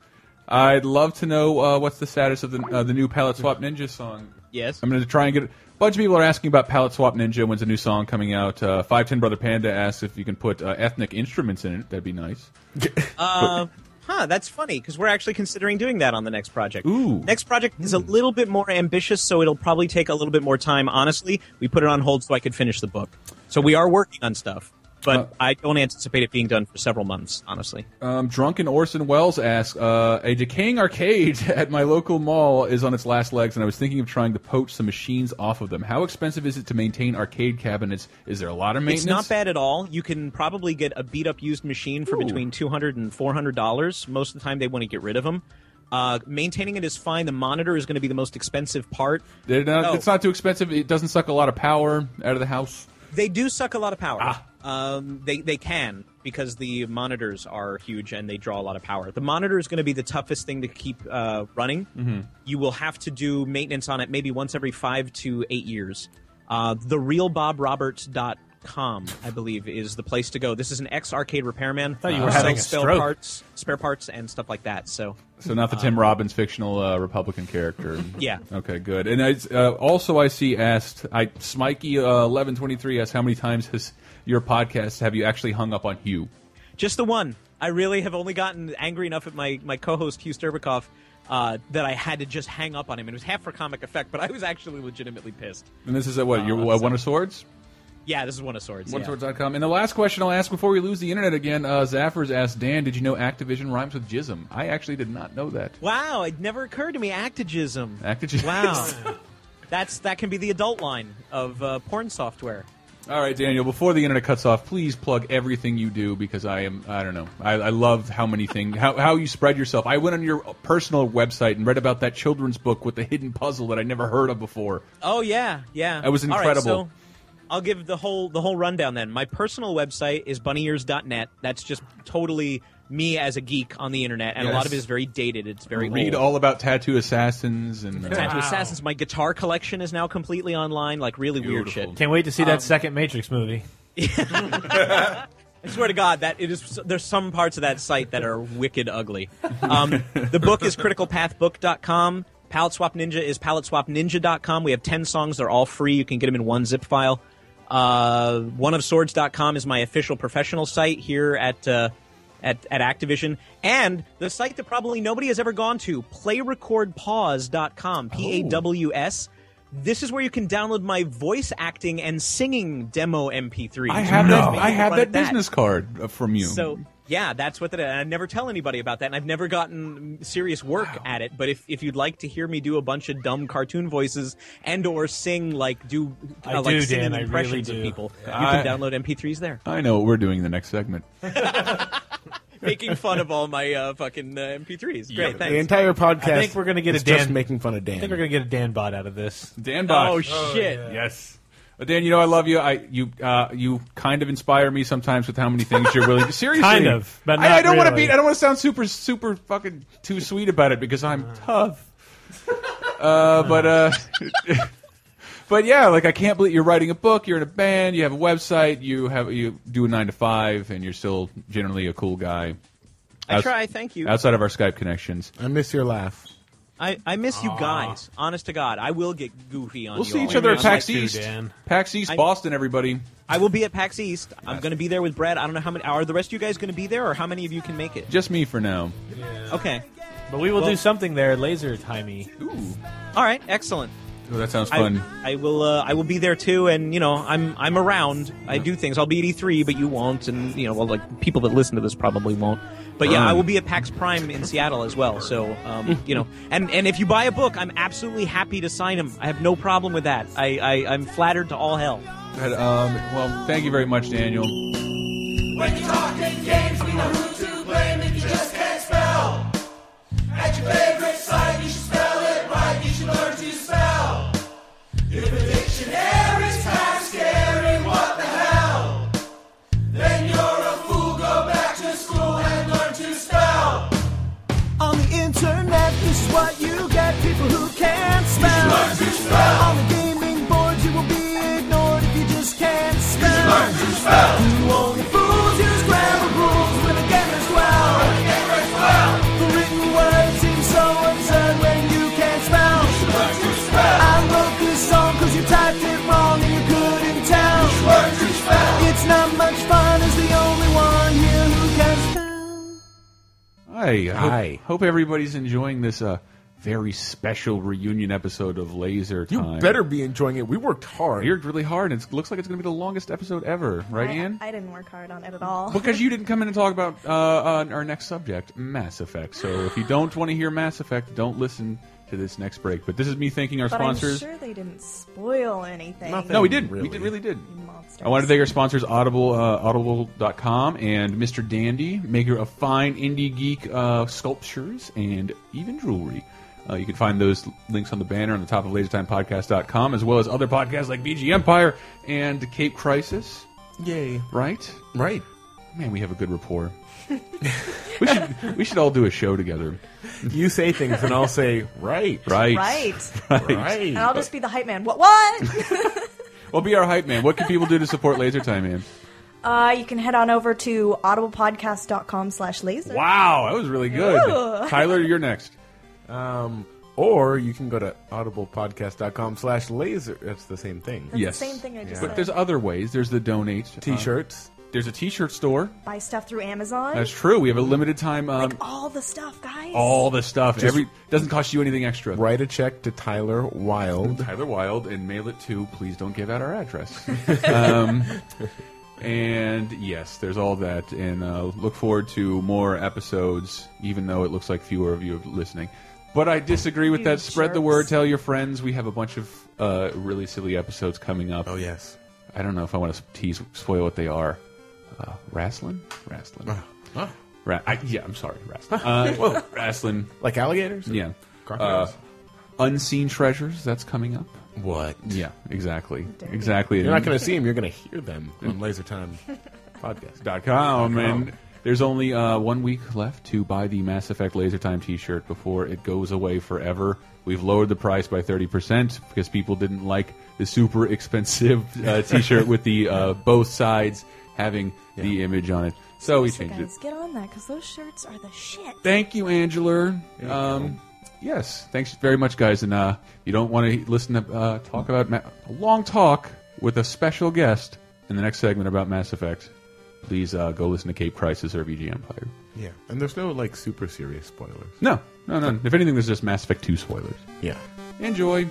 G: I'd love to know uh, what's the status of the, uh, the new Palette Swap Ninja song.
S: Yes.
G: I'm going to try and get it. A bunch of people are asking about Palette Swap Ninja. When's a new song coming out? Uh, 510 Brother Panda asks if you can put uh, ethnic instruments in it. That'd be nice.
S: Uh, huh, that's funny because we're actually considering doing that on the next project.
G: Ooh. Hmm.
S: Next project is a little bit more ambitious, so it'll probably take a little bit more time. Honestly, we put it on hold so I could finish the book. So we are working on stuff, but
G: Uh,
S: I don't anticipate it being done for several months. Honestly,
G: Um, Drunken Orson Welles asks, uh, a decaying arcade at my local mall is on its last legs, and I was thinking of trying to poach some machines off of them. How expensive is it to maintain arcade cabinets? Is there a lot of maintenance?
S: it's not bad at all. You can probably get a beat up used machine for
G: Ooh.
S: between two hundred and four hundred dollars. Most of the time, they want to get rid of them. Uh, maintaining it is fine. The monitor is going to be the most expensive part.
G: They're not-
S: No.
G: It's not too expensive. It doesn't suck a lot of power out of the house.
S: They do suck a lot of power.
G: Ah.
S: Um, they they can because the monitors are huge and they draw a lot of power. The monitor is going to be the toughest thing to keep uh, running.
G: Mm-hmm.
C: Mhm.
S: You will have to do maintenance on it maybe once every five to eight years. Uh, TheRealBobRoberts.com, I believe, is the place to go. This is an ex arcade repairman.
G: thought you were
S: Sells
G: having a
S: spare
G: stroke.
S: parts, spare parts, and stuff like that. So,
G: So not the
S: uh,
G: Tim Robbins fictional uh, Republican character.
S: Yeah.
G: Okay, good. And I, uh, also, I see asked, I Smikey uh, eleven twenty three asked, how many times has your podcast have you actually hung up on Hugh?
S: Just the one. I really have only gotten angry enough at my, my co-host Hugh Sterbikoff uh, that I had to just hang up on him. And it was half for comic effect, but I was actually legitimately pissed.
G: And this is a, what your uh, one of swords.
S: Yeah, this is one of swords. yeah.
G: OneSwords.com. And the last question I'll ask before we lose the internet again, uh, Zaffers asked Dan, did you know Activision rhymes with jism? I actually did not know that.
S: Wow, it never occurred to me. Actigism.
G: Actigism.
S: Wow. That's that can be the adult line of uh, porn software.
G: All right, Daniel. Before the internet cuts off, please plug everything you do because I am—I don't know—I I love how many things, how, how you spread yourself. I went on your personal website and read about that children's book with the hidden puzzle that I never heard of before.
S: Oh yeah, yeah.
G: That was
S: All right,
G: incredible.
S: so I'll give the whole the whole rundown then. My personal website is bunnyears.net. That's just totally me as a geek on the internet, and a lot
G: Yes.
S: of it is very dated. It's very
G: Read
S: old.
G: all about tattoo assassins and uh,
S: Tattoo Assassins. My guitar collection is now completely online, like really weird shit.
H: Can't wait to see that
S: Um,
H: second Matrix movie.
S: I swear to God that it is. There's some parts of that site that are wicked ugly. Um, the book is criticalpathbook.com. Palette Swap Ninja is paletteswapninja.com. We have ten songs. They're all free. You can get them in one zip file. Uh, oneofswords.com is my official professional site here at uh, at, at Activision, and the site that probably nobody has ever gone to, playrecordpause.com, P A W S. This is where you can download my voice acting and singing demo MP3.
G: I have that. I have that
S: business
G: business card uh, from you.
S: so yeah, that's what that. and I never tell anybody about that, and I've never gotten serious work at it. But if, if you'd like to hear me do a bunch of dumb cartoon voices and or sing like do uh,
H: I
S: like
H: do,
S: singing
H: Dan, I really
S: impressions
H: do.
S: of people,
G: I-
S: you can download MP3s there,
G: I know what we're doing in the next segment.
S: making fun of all my uh, fucking uh, MP3s. Great, thanks.
I: The entire podcast.
H: I think we're gonna get a
I: is just
H: Dan-
I: making fun of Dan.
H: I think we're gonna get a Dan bot out of this.
G: Dan Bach.
H: Oh, shit. yeah.
G: Yes. Uh, Dan, you know I love you. I you uh, you kind of inspire me sometimes with how many things you're willing. to... Seriously,
H: Kind of, but
G: I, I
H: not
G: don't want to
H: really.
G: be. I don't want to sound super super fucking too sweet about it because
H: Uh-huh.
G: I'm tough. Uh, but uh, but yeah, like I can't believe you're writing a book. You're in a band. You have a website. You have you do a nine to five, and you're still generally a cool guy.
S: I try, thank you.
G: Outside of our Skype connections,
I: I miss your laugh.
S: I, I miss you guys. Honest to God, I will get goofy on
G: We'll
S: you.
G: see
S: all.
G: each other at
S: I'm like-
G: PAX East. PAX East,
S: I-
G: Boston, everybody.
S: I will be at PAX East. I'm going to be there with Brad. I don't know how many. Are the rest of you guys going to be there, or how many of you can make it?
G: Just me for now.
S: Okay.
H: But we will
S: Well-
H: do something there, laser timey.
S: All right. Excellent.
G: Oh, that sounds
S: I-
G: fun.
S: I, will. Uh, I will be there too, and you know, I'm I'm around. I do things. I'll be at E3, but you won't, and you know, well, like people that listen to this probably won't. But yeah, I will be at PAX Prime in Seattle as well. So, um, you know, and and if you buy a book, I'm absolutely happy to sign them. I have no problem with that. I, I I'm flattered to all hell.
G: But, um, well, thank you very much, Daniel.
C: When you're talking games, we know who to blame if you just can't spell.
R: spell. You only fools use grammar rules when the gamers dwell. When the gamers dwell. The written word seems so absurd when you can't spell. You should learn to spell. I wrote this song 'cause you typed it wrong and you couldn't tell. You should learn to spell. It's not much fun as the only one here who can spell.
G: Hi. I hope, hope everybody's enjoying this uh, very special reunion episode of Laser Time.
I: better be enjoying it. We worked hard.
G: You worked really hard, and it looks like it's going to be the longest episode ever, right,
A: I,
G: Ian?
A: I didn't work hard on it at all.
G: Because you didn't come in and talk about uh, uh, our next subject, Mass Effect. So if you don't want to hear Mass Effect, don't listen to this next break. But this is me thanking our
A: but
G: sponsors.
A: I'm sure they didn't spoil anything.
G: No, we didn't. We did, really did. I want to thank our sponsors, Audible, uh, Audible.com, and Mr. Dandy, maker of fine indie geek uh, sculptures and even jewelry. Uh, you can find those links on the banner on the top of LaserTimePodcast.com, as well as other podcasts like BG Empire and Cape Crisis.
I: Yay!
G: Right, right. Man, we have a good rapport. we should we should all do a show together.
I: You say things, and I'll say right,
G: right,
A: Right.
G: right.
A: And I'll just be the hype man. What? What?
G: Well, be our hype man. What can people do to support Laser Time, man?
A: uh, you can head on over to audiblepodcast.com slash laser.
G: Wow, that was really
A: good. Ooh. Tyler,
G: you're next.
I: Um, or you can go to audiblepodcast.com slash laser. That's the same thing.
A: That's the Yes. same thing I just
G: But
A: said.
G: there's other ways. There's the donate uh,
I: T-shirts.
G: there's a T-shirt store.
A: Buy stuff through Amazon.
G: That's true. We have a limited time. Um,
A: All the stuff, guys.
G: all the stuff.
I: Just-
G: Every doesn't cost you anything extra.
I: Write a check to Tyler Wild.
G: Tyler Wild and mail it to. Please don't give out our address. um, and yes, there's all that. And uh, look forward to more episodes, even though it looks like fewer of you are listening. But I disagree with
U: You
G: that. Spread the
U: jerks.
G: word. Tell your friends. We have a bunch of uh, really silly episodes coming up. Oh yes. I don't know if I want to tease spoil what they are. Uh, wrestling, wrestling.
I: Uh, huh.
G: Ra- I, yeah, I'm sorry, wrestling. Uh,
I: Whoa.
G: wrestling.
I: Like alligators?
G: Yeah.
I: Crocodiles?
G: Uh, Unseen treasures. That's coming up.
I: What?
G: Yeah, exactly, exactly.
I: You're not
G: And-
I: going to see them. You're going to hear them on Laser Time Podcast.
G: dot com, and there's only uh, one week left to buy the Mass Effect Laser Time T-shirt before it goes away forever. We've lowered the price by thirty percent because people didn't like the super expensive uh, T-shirt with the uh, both sides having the image on it, so we changed it.
A: Guys, get on that because those shirts are the shit.
G: Thank you, Angela. Um, yes, thanks very much, guys. And uh, you don't want to listen to uh, talk about Ma a long talk with a special guest in the next segment about Mass Effect. Please uh, go listen to Cape Crisis or VG Empire.
I: Yeah. And there's no, like, super serious spoilers.
G: No, no, no. If anything, there's just Mass Effect 2 spoilers.
I: Yeah.
G: Enjoy.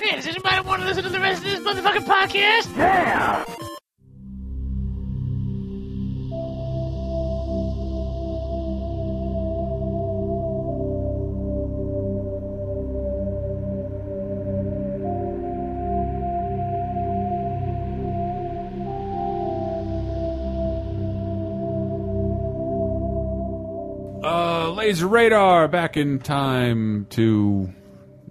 C: Hey, does anybody want to listen to the rest of this motherfucking podcast? Yeah!
G: Uh, laser radar back in time to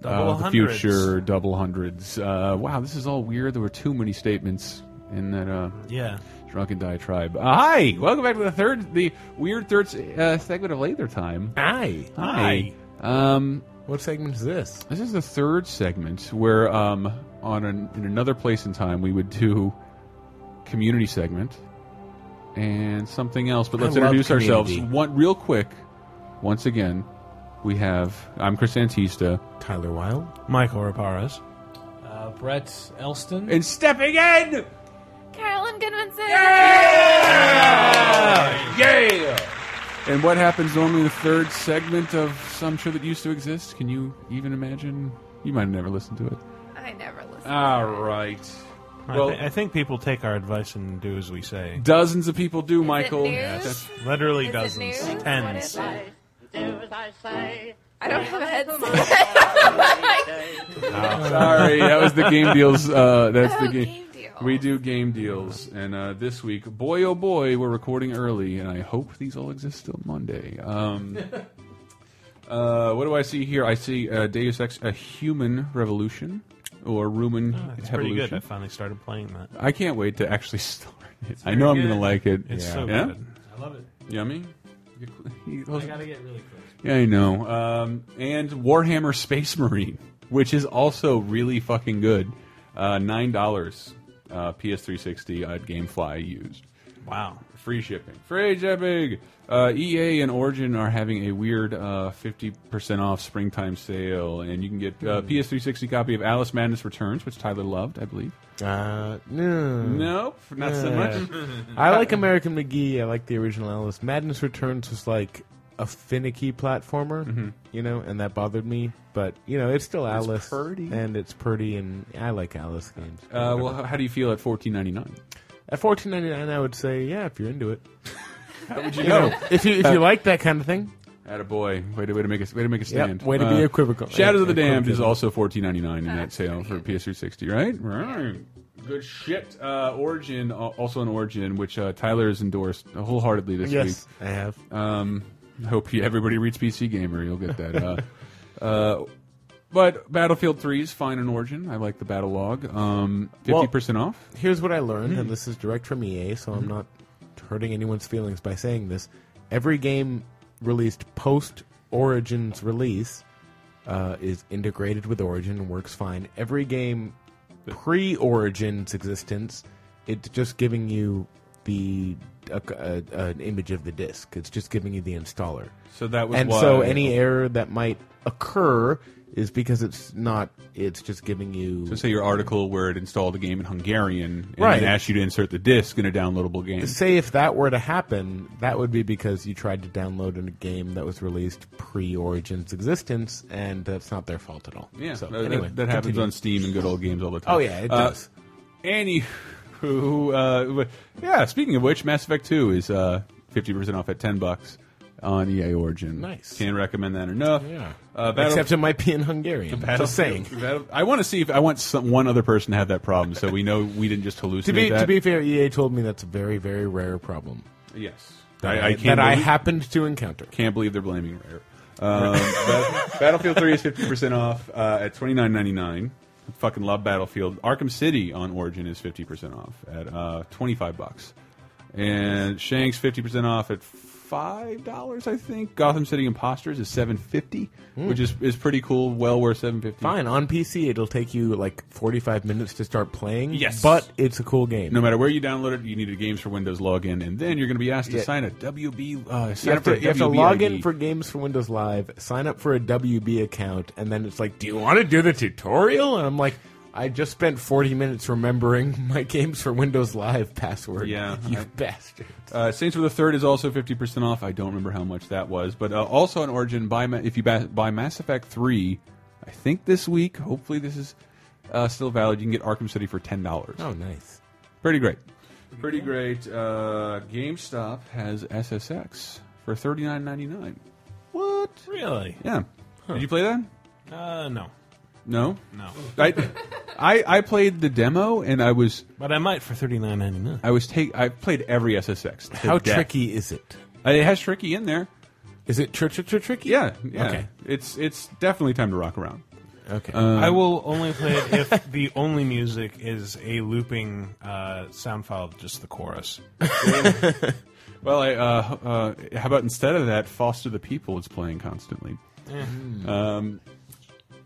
U: Double
G: uh, the
U: hundreds.
G: future, double hundreds. Uh, wow, this is all weird. There were too many statements in that. Uh,
U: Yeah.
G: drunken diatribe. Uh, hi, welcome back to the third, the weird third uh, segment of laser time.
I: Hi,
G: hi. Um,
I: what segment is this?
G: This is the third segment where, um, on an, in another place in time, we would do community segment and something else. But
U: I
G: let's
U: love
G: introduce ourselves
U: Community.
G: one real quick. Once again, we have I'm Chris Antista,
I: Tyler Wild,
G: Michael Raparas,
H: Uh, Brett Elston.
G: and stepping in.
T: Carolyn Goodmanson.
G: Yeah! And what happens normally in the third segment of some show that used to exist? Can you even imagine? You might have never listened to it.
T: I never listened.
G: All right.
U: I,
G: Well-
U: thi- I think people take our advice and do as we say.
G: Dozens of people do, Michael.
T: news?
G: That's-
U: Literally
T: Is it
U: dozens.
T: news? What
U: Tens.
T: is it?
C: I don't have a
G: Oh,
C: headset.
G: sorry, that was the game deals. Uh, that's the game. We do game deals, and uh, this week, boy oh boy, we're recording early, and I hope these all exist till Monday. Um, uh, what do I see here? I see uh, Deus Ex: A Human Revolution or Rumen
U: Oh, that's pretty
G: Revolution.
U: good. I finally started playing that.
G: I can't wait to actually start it. I
U: very
G: know I'm
U: good.
G: going to like it.
U: It's
G: yeah.
U: so
G: yeah?
U: good.
H: I love it.
G: Yummy.
H: I gotta get really close.
G: Yeah, I know. Um, and Warhammer Space Marine. which is also really fucking good. Uh, Nine dollars uh, PS360 at GameFly used. Wow, free shipping. Free shipping. Uh, EA and Origin are having a weird uh, 50% off springtime sale, and you can get uh,
I: Hmm.
G: PS360 copy of Alice Madness Returns, which Tyler loved, I believe.
I: Uh, no.
H: Hmm.
G: Nope, not so much.
I: I like American McGee. I like the original Alice. Madness Returns was like a finicky platformer, you know, and that bothered me. But, you know, it's still
G: It's
I: Alice.
G: pretty.
I: And it's pretty, and I like Alice games.
G: Uh, well, how, how do you feel at fourteen ninety nine?
I: At fourteen ninety nine, I would say, yeah, if you're into it.
G: How would you
I: No,
G: know?
I: if you if
G: Uh,
I: you like that kind of thing,
G: At a boy, way to way to make a way to make a
I: Yep,
G: stand. Uh,
I: way to be equivocal.
G: Shadows of the
I: Equivocal.
G: Damned is also fourteen ninety nine in that sale for PS360, right? Right. Good shit. Uh, Origin, al- also an Origin, which uh, Tyler has endorsed wholeheartedly this
I: Yes,
G: week. I have. Um, I hope you, everybody reads PC Gamer. You'll get that. Uh, uh, but Battlefield 3 is fine in Origin. I like the battle log. Um, 50% off.
I: Here's what I learned,
G: Mhm.
I: and this is direct from EA, so
G: Mhm.
I: I'm not hurting anyone's feelings by saying this. Every game released post Origins release uh, is integrated with Origin and works fine. Every game pre Origins existence, it's just giving you the uh, a, a, an image of the disc. It's just giving you the installer.
G: So that was
I: and so
G: why-
I: any error that might occur is because it's not. It's just giving you.
G: So say your article where it installed a game in Hungarian and
I: Right.
G: then asked you to insert the disc in a downloadable game.
I: Say if that were to happen, that would be because you tried to download a game that was released pre Origin's existence, and that's not their fault at all.
G: Yeah,
I: So,
G: that, that-
I: anyway,
G: that happens
I: continue.
G: on Steam and good old games all the time.
I: Oh, yeah, it
G: Uh,
I: does.
G: Anywho, uh, w- yeah. Speaking of which, Mass Effect Two is uh, fifty percent off at ten bucks on EA Origin.
I: Nice.
G: Can't recommend that enough.
I: Yeah.
G: Uh, Battle-
I: Except it might be in Hungarian.
G: Battlefield-
I: Just saying.
G: Battle- I want to see if I want some, one other person to have that problem, so we know we didn't just hallucinate
I: To be
G: that.
I: to be fair, EA told me that's a very very rare problem.
G: Yes.
I: that
G: I-
I: I,
G: I can't
I: that I
G: believe-
I: happened to encounter.
G: Can't believe they're blaming Rare. Um, Bat- Battlefield 3 is 50% off uh, at twenty nine ninety nine. Fucking love Battlefield. Arkham City on Origin is 50% off at uh, 25 bucks. And Shanks 50% off at five dollars, I think. Gotham City Imposters is 750,
I: Hmm.
G: which is is pretty cool. Well worth 750.
I: Fine on PC, it'll take you like forty five minutes to start playing.
G: Yes.
I: but it's a cool game.
G: No matter where you download it, you need a Games for Windows login, and then you're going to be asked to
I: Yeah.
G: sign a WB. Uh,
I: You
G: sign
I: have,
G: up for
I: to,
G: a
I: you have to
G: WB
I: log
G: ID.
I: in for Games for Windows Live, sign up for a WB account, and then it's like, do you want to do the tutorial? And I'm like, I just spent 40 minutes remembering my Games for Windows Live password.
G: Yeah,
I: You
G: I-
I: bastard.
G: Uh, Saints of the Third is also fifty percent off. I don't remember how much that was, but uh, also on Origin, buy Ma- if you ba buy Mass Effect Three, I think this week. Hopefully, this is uh, still valid. You can get Arkham City for ten dollars.
I: Oh, nice.
G: Pretty great. Pretty great. Uh, GameStop has SSX for thirty nine ninety nine. What?
H: Really?
G: Yeah. Did you play that?
H: Uh, no.
G: No.
H: No.
G: I, I I played the demo and I was
H: But I might for thirty nine ninety nine.
G: I was take I played every SSX. to
I: How
G: death.
I: tricky is it?
G: Uh, It has tricky in there.
I: Is it tr- tr- tr- tricky?
G: Yeah, yeah.
I: Okay.
G: It's it's definitely time to rock around.
I: Okay.
G: Um,
U: I will only play it if the only music is a looping uh, sound file of just the chorus.
G: Well, I, uh, uh, how about instead of that, Foster the People is playing constantly.
U: Yeah.
I: Mm-hmm.
U: Hmm.
G: Um,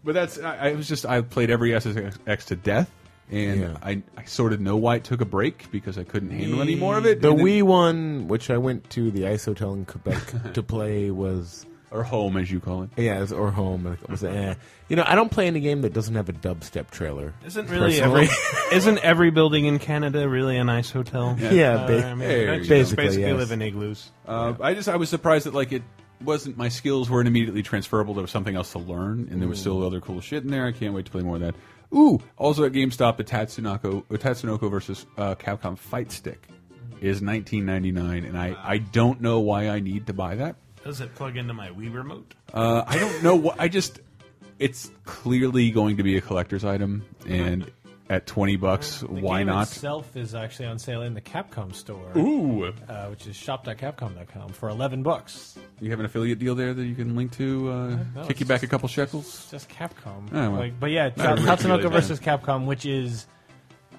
G: but that's I, I was just I played every SSX to death, and
I: Yeah.
G: I I sort of know why it took a break because I couldn't handle any more of it.
I: The
G: And then-
I: Wii one, which I went to the Ice Hotel in Quebec to play, was
G: or home as you call it.
I: Yeah, it was, or home. Like, it was, eh. You know, I don't play any game that doesn't have a dubstep trailer.
H: Isn't really
I: personally.
H: every, isn't every building in Canada really a nice hotel?
I: Yeah. Yeah,
H: Uh,
I: ba-
H: I mean,
I: there
H: don't
I: you go.
H: you just
I: Basically,
H: basically
I: yes.
H: live in igloos.
G: Uh, I just I was surprised that like it wasn't my skills weren't immediately transferable. There was something else to learn, and there was
H: Mm.
G: still other cool shit in there. I can't wait to play more of that. Ooh, also at GameStop, the Tatsunoko uh, Tatsunoko versus uh, Capcom Fight Stick is 19.99, and I I don't know why I need to buy that.
H: Does it plug into my Wii remote?
G: Uh, I don't know what I just. It's clearly going to be a collector's item, and at 20 bucks,
H: The
G: why
H: game
G: not?
H: Itself is actually on sale in the Capcom store.
G: Ooh.
H: uh, which is shop.capcom.com for eleven bucks.
G: You have an affiliate deal there that you can link to, uh,
H: no,
G: kick
H: it's
G: you back a couple shekels.
H: It's just Capcom.
G: Oh, well.
H: like, but yeah,
G: Not
H: Ta-
G: really
H: Tatsunoko
G: bad.
H: versus Capcom, which is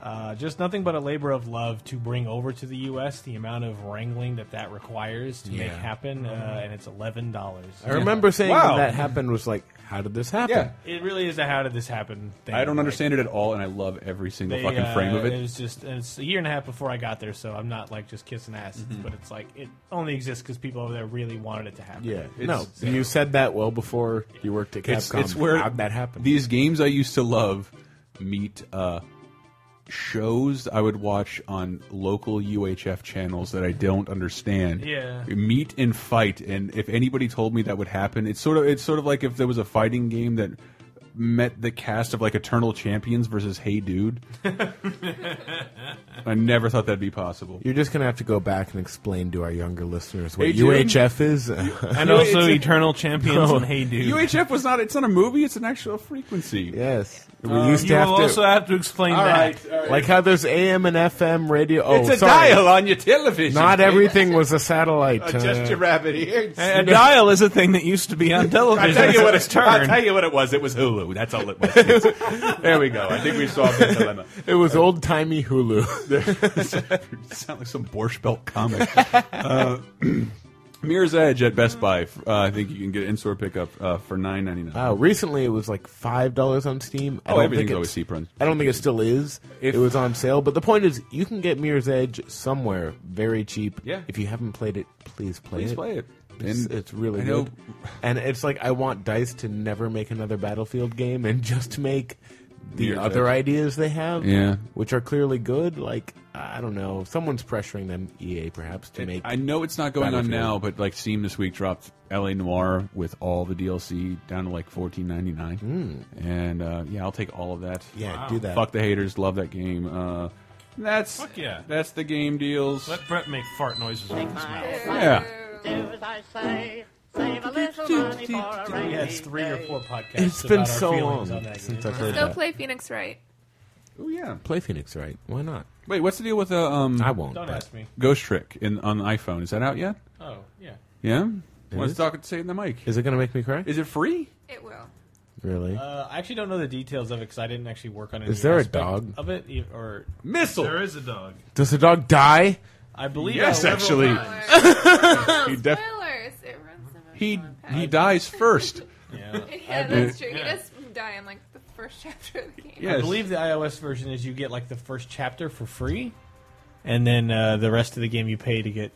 H: Uh, just nothing but a labor of love to bring over to the U.S. the amount of wrangling that that requires to make
I: Yeah.
H: happen, uh, and it's eleven dollars.
I: Mm-hmm. I remember saying when that happened was like, how did this happen?
H: It really is a how did this happen thing.
G: I don't
H: Like,
G: understand it at all, and I love every single
H: they,
G: fucking
H: uh,
G: frame of it.
H: It was just and it's a year and a half before I got there, so I'm not like just kissing ass,
I: Mhm.
H: but it's like it only exists because people over there really wanted it to happen.
I: Yeah, no, you said that well before you worked at Capcom.
G: It's, it's where
I: How'd that happen.
G: These games I used to love meet uh, shows I would watch on local UHF channels that I don't understand.
H: Yeah.
G: meet and fight, and if anybody told me that would happen, it's sort of it's sort of like if there was a fighting game that met the cast of like Eternal Champions versus Hey Dude. I never thought that'd be possible.
I: You're just gonna have to go back and explain to our younger listeners what
G: Hey, dude.
I: UHF is,
G: And also Eternal Champions and Hey Dude. UHF was not. It's not a movie. It's an actual frequency.
I: Yes, we
G: Uh,
I: used to
G: you
I: have
G: will
I: to
G: also have to explain
I: All
G: that.
I: right, all right. like how there's AM and FM radio. Oh,
G: it's a
I: sorry.
G: dial on your television.
I: Not
G: Dave.
I: everything was a satellite.
G: Uh, just your rabbit ears.
U: A, a dial is a thing that used to be on television.
G: I tell you what
U: it's
G: it,
U: turned.
G: I tell you what it was. It was Hulu. That's all it was. there we go. I think we solved the dilemma.
I: It was old timey Hulu.
G: sound like some Borscht Belt comic. Uh, Mirror's Edge at Best Buy. Uh, I think you can get in store pickup uh, for nine ninety nine.
I: Wow, recently it was like five dollars on Steam.
G: Oh,
I: don't
G: everything's
I: think
G: always
I: it's-
G: cheaper on-
I: I don't think it still is. it was on sale, but the point is, you can get Mirror's Edge somewhere very cheap.
G: Yeah.
I: If you haven't played it, please play
G: Please
I: it.
G: play it.
I: It's,
G: And
I: it's really
G: I know-
I: good. And it's like I want Dice to never make another Battlefield game and just make the uh,
G: Mirror's
I: other
G: Edge.
I: ideas they have,
G: Yeah.
I: which are clearly good. Like I don't know, someone's pressuring them, EA perhaps, to make.
G: I know it's not going on
I: Battlefield.
G: now, but like Steam this week dropped L.A. Noir with all the DLC down to like fourteen ninety nine, and uh, yeah, I'll take all of that.
I: Hmm. Yeah, Wow. do that.
G: Fuck the haters, love that game. Uh, That's
F: Fuck yeah.
G: That's the game deals.
F: Let Brett make fart noises with his mouth.
G: yeah,
H: We had three or four podcasts.
I: It's
H: about
I: been
H: our
I: so
H: feelings
I: long
H: on that
I: since
H: game.
I: I've heard
T: Go
I: that.
T: play Phoenix Wright.
G: Oh yeah.
I: Play Phoenix, right? Why not?
G: Wait, what's the deal with uh, um? I
I: won't.
H: Don't but- ask me.
G: Ghost Trick in on the iPhone is that out yet?
H: Oh yeah.
G: Yeah.
I: Is
G: Want to
I: it?
G: talk say it in the mic?
I: Is it going to make me cry?
G: Is it free?
T: It will.
I: Really?
H: Uh, I actually don't know the details of it because I didn't actually work on it.
I: Is there a dog?
H: of it? e- Or
G: missile?
H: There is a dog.
I: Does the dog die?
H: I believe.
G: Yes,
H: at
G: actually.
H: level
T: Spoilers!
G: He def-
T: Spoilers! It runs in
G: He he dies first.
H: Yeah.
T: a- Yeah, that's true. He does die in like the first chapter of the game.
H: I believe the iOS version is you get like the first chapter for free, and then uh, the rest of the game you pay to get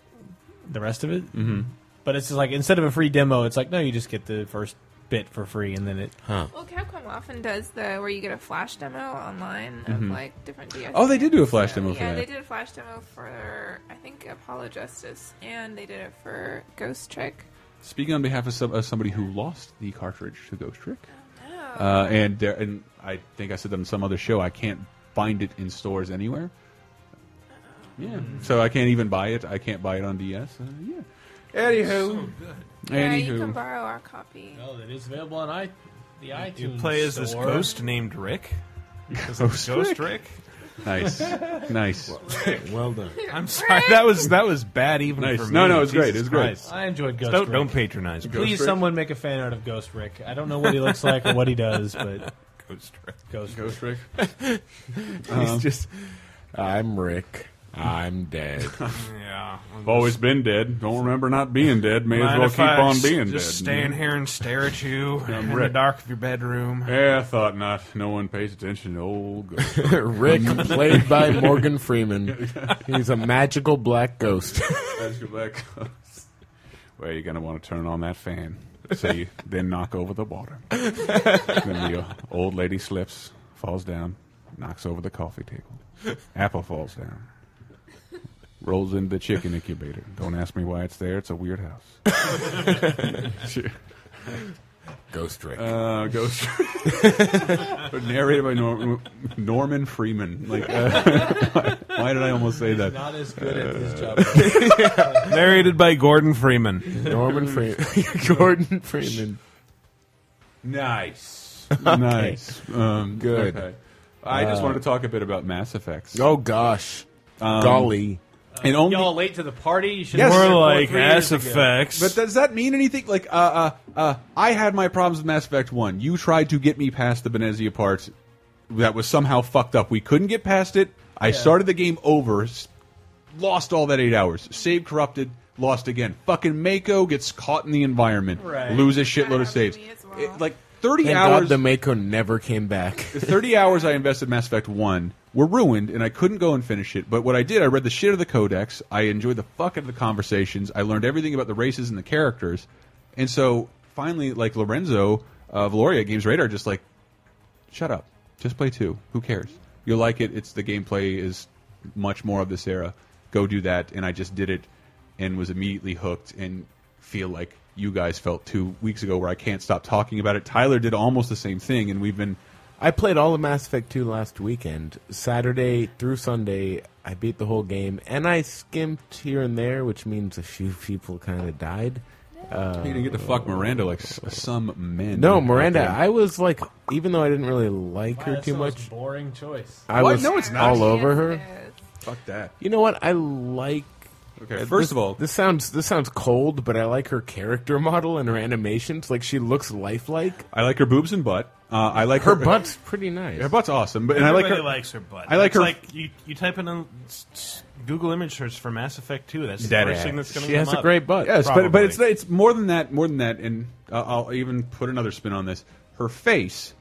H: the rest of it.
G: Mhm.
H: But it's just like instead of a free demo, it's like no, you just get the first bit for free, and then it.
T: Well, Capcom often does the where you get a flash demo online of
H: Mhm.
T: like different DLC.
G: Oh, they did do a flash demo for
T: Yeah,
G: that.
T: they did a flash demo for I think Apollo Justice, and they did it for Ghost Trick.
G: Speaking on behalf of, some, of somebody who lost the cartridge to Ghost Trick, uh, and there, and I think I said that on some other show. I can't find it in stores anywhere. Yeah, so I can't even buy it. I can't buy it on DS. Uh, yeah. Anywho.
T: Yeah, you
G: Anywho.
T: can borrow our copy.
H: Oh, it is available on i the iTunes.
U: You play as this
H: store.
U: ghost named Rick. Is it
G: Ghost
U: ghost
G: Rick?
U: Rick.
G: Nice, nice.
I: Well done.
U: I'm sorry. That was that was bad even
G: Nice.
U: for me.
G: No, no, it's great,
U: Jesus
G: it's great.
U: Christ.
H: I enjoyed Ghost
U: Don't,
H: Rick.
U: don't patronize. me.
H: Please, someone make a fan art of Ghost Rick. I don't know what he looks like or what he does, but
U: Ghost Rick.
H: Ghost,
G: Ghost Rick.
I: He's just. Um, I'm Rick. I'm dead.
U: Yeah.
G: I've always been dead. Don't remember not being dead. May
U: Mind
G: as well
U: if
G: keep
U: I
G: on
U: s-
G: being dead.
U: Just stay in here and stare at you
G: Yeah,
U: in the
G: Rick.
U: dark of your bedroom.
G: Yeah, I thought not. No one pays attention to old ghost.
I: Rick, played by Morgan Freeman. He's a magical black ghost.
G: Magical black ghost. Well, you're gonna want to turn on that fan, so you then knock over the water. then the old lady slips, falls down, knocks over the coffee table. Apple falls down, rolls into the chicken incubator. Don't ask me why it's there. It's a weird house. Sure.
I: Ghost Rick.
G: Uh, Ghost Rick. Narrated by Nor- Norman Freeman. Like, uh, why did I almost say
H: He's
G: that?
H: not as good at his job.
G: Uh,
U: Narrated by Gordon Freeman.
I: Norman Freeman. Gordon Freeman.
G: Nice.
I: Okay.
G: Nice. Um,
I: Good.
G: okay. I just
I: Uh,
G: wanted to talk a bit about Mass Effects.
I: Oh, gosh.
G: Um,
I: Golly.
G: And only
H: Y'all late to the party. You should
G: Yes.
H: have
G: More
H: like
U: Mass Effects.
G: But does that mean anything? Like, uh, uh, uh, I had my problems with Mass Effect One. You tried to get me past the Benezia part. that was somehow fucked up. We couldn't get past it. I started the game over, s- lost all that eight hours, save corrupted, lost again. Fucking Mako gets caught in the environment,
I: Right.
G: lose a shitload of saves. It- like thirty
I: Thank God
G: hours.
I: the Mako never came back.
G: the 30 hours I invested in Mass Effect 1 were ruined, and I couldn't go and finish it. But what I did, I read the shit of the codex. I enjoyed the fuck out of the conversations. I learned everything about the races and the characters. And so, finally, like Lorenzo uh, Valoria at Games Radar, just like, shut up. Just play 2. Who cares? You'll like it. It's The gameplay is much more of this era. Go do that. And I just did it and was immediately hooked and feel like you guys felt two weeks ago where I can't stop talking about it. Tyler did almost the same thing, and we've been
I: I played all of Mass Effect 2 last weekend. Saturday through Sunday, I beat the whole game, and I skimped here and there, which means a few people kind of died. Uh,
G: You didn't get to fuck Miranda like s- some men.
I: No, Miranda,
G: Okay.
I: I was like, even though I didn't really like her too much,
L: boring choice.
I: I was all over her.
G: Fuck that.
I: You know what? I like.
G: Okay,
I: uh,
G: first
I: this-
G: of all-
I: this sounds this sounds cold, but I like her character model and her animations. Like she looks lifelike.
G: I like her boobs and butt. Uh, I like
I: her,
G: her,
I: butt's pretty nice.
G: Her butt's awesome, but and I like her.
U: Everybody likes her butt.
G: I like
U: It's
G: her.
U: Like you, you type in a s- s- Google image search for Mass Effect 2. That's the
G: Dead
U: first
G: ass.
U: thing that's going to
G: She
U: come
G: has
U: up.
G: a great butt. Yes, but, but
U: Probably.
G: it's it's more than that. More than that, and uh, I'll even put another spin on this. Her face,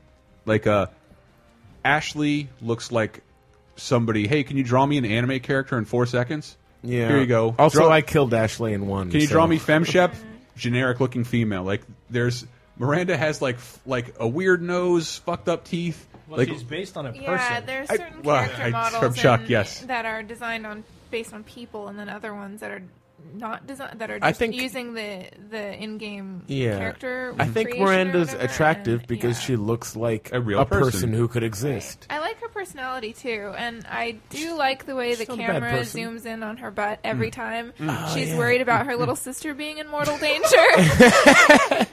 G: like uh, Ashley looks like somebody. Hey, can you draw me an anime character in four seconds?
I: Yeah.
G: Here you go.
I: Also,
G: Draw-
I: I killed Ashley in one.
G: Can you
I: so-
G: draw me FemShep? Generic looking female. Like there's Miranda has like f- like a weird nose, fucked up teeth.
L: Well,
G: like
L: she's based on a person.
T: Yeah, there's
G: I-
T: certain
G: well,
T: character
G: I-
T: models
G: from Chuck,
T: and-
G: yes.
T: that are designed on based on people, and then other ones that are not designed that are just
I: I think-
T: using the the in-game
I: Yeah.
T: character.
I: I think
T: creation or
I: Miranda's
T: whatever,
I: attractive
T: and-
I: because she looks like a
G: real
I: person.
G: person.
I: who could exist.
T: I like her personality too, and I do like the way the
I: not a bad
T: camera
I: person.
T: zooms in on her butt every time
I: Mm. Oh,
T: she's
I: yeah.
T: worried about her little sister being in mortal danger.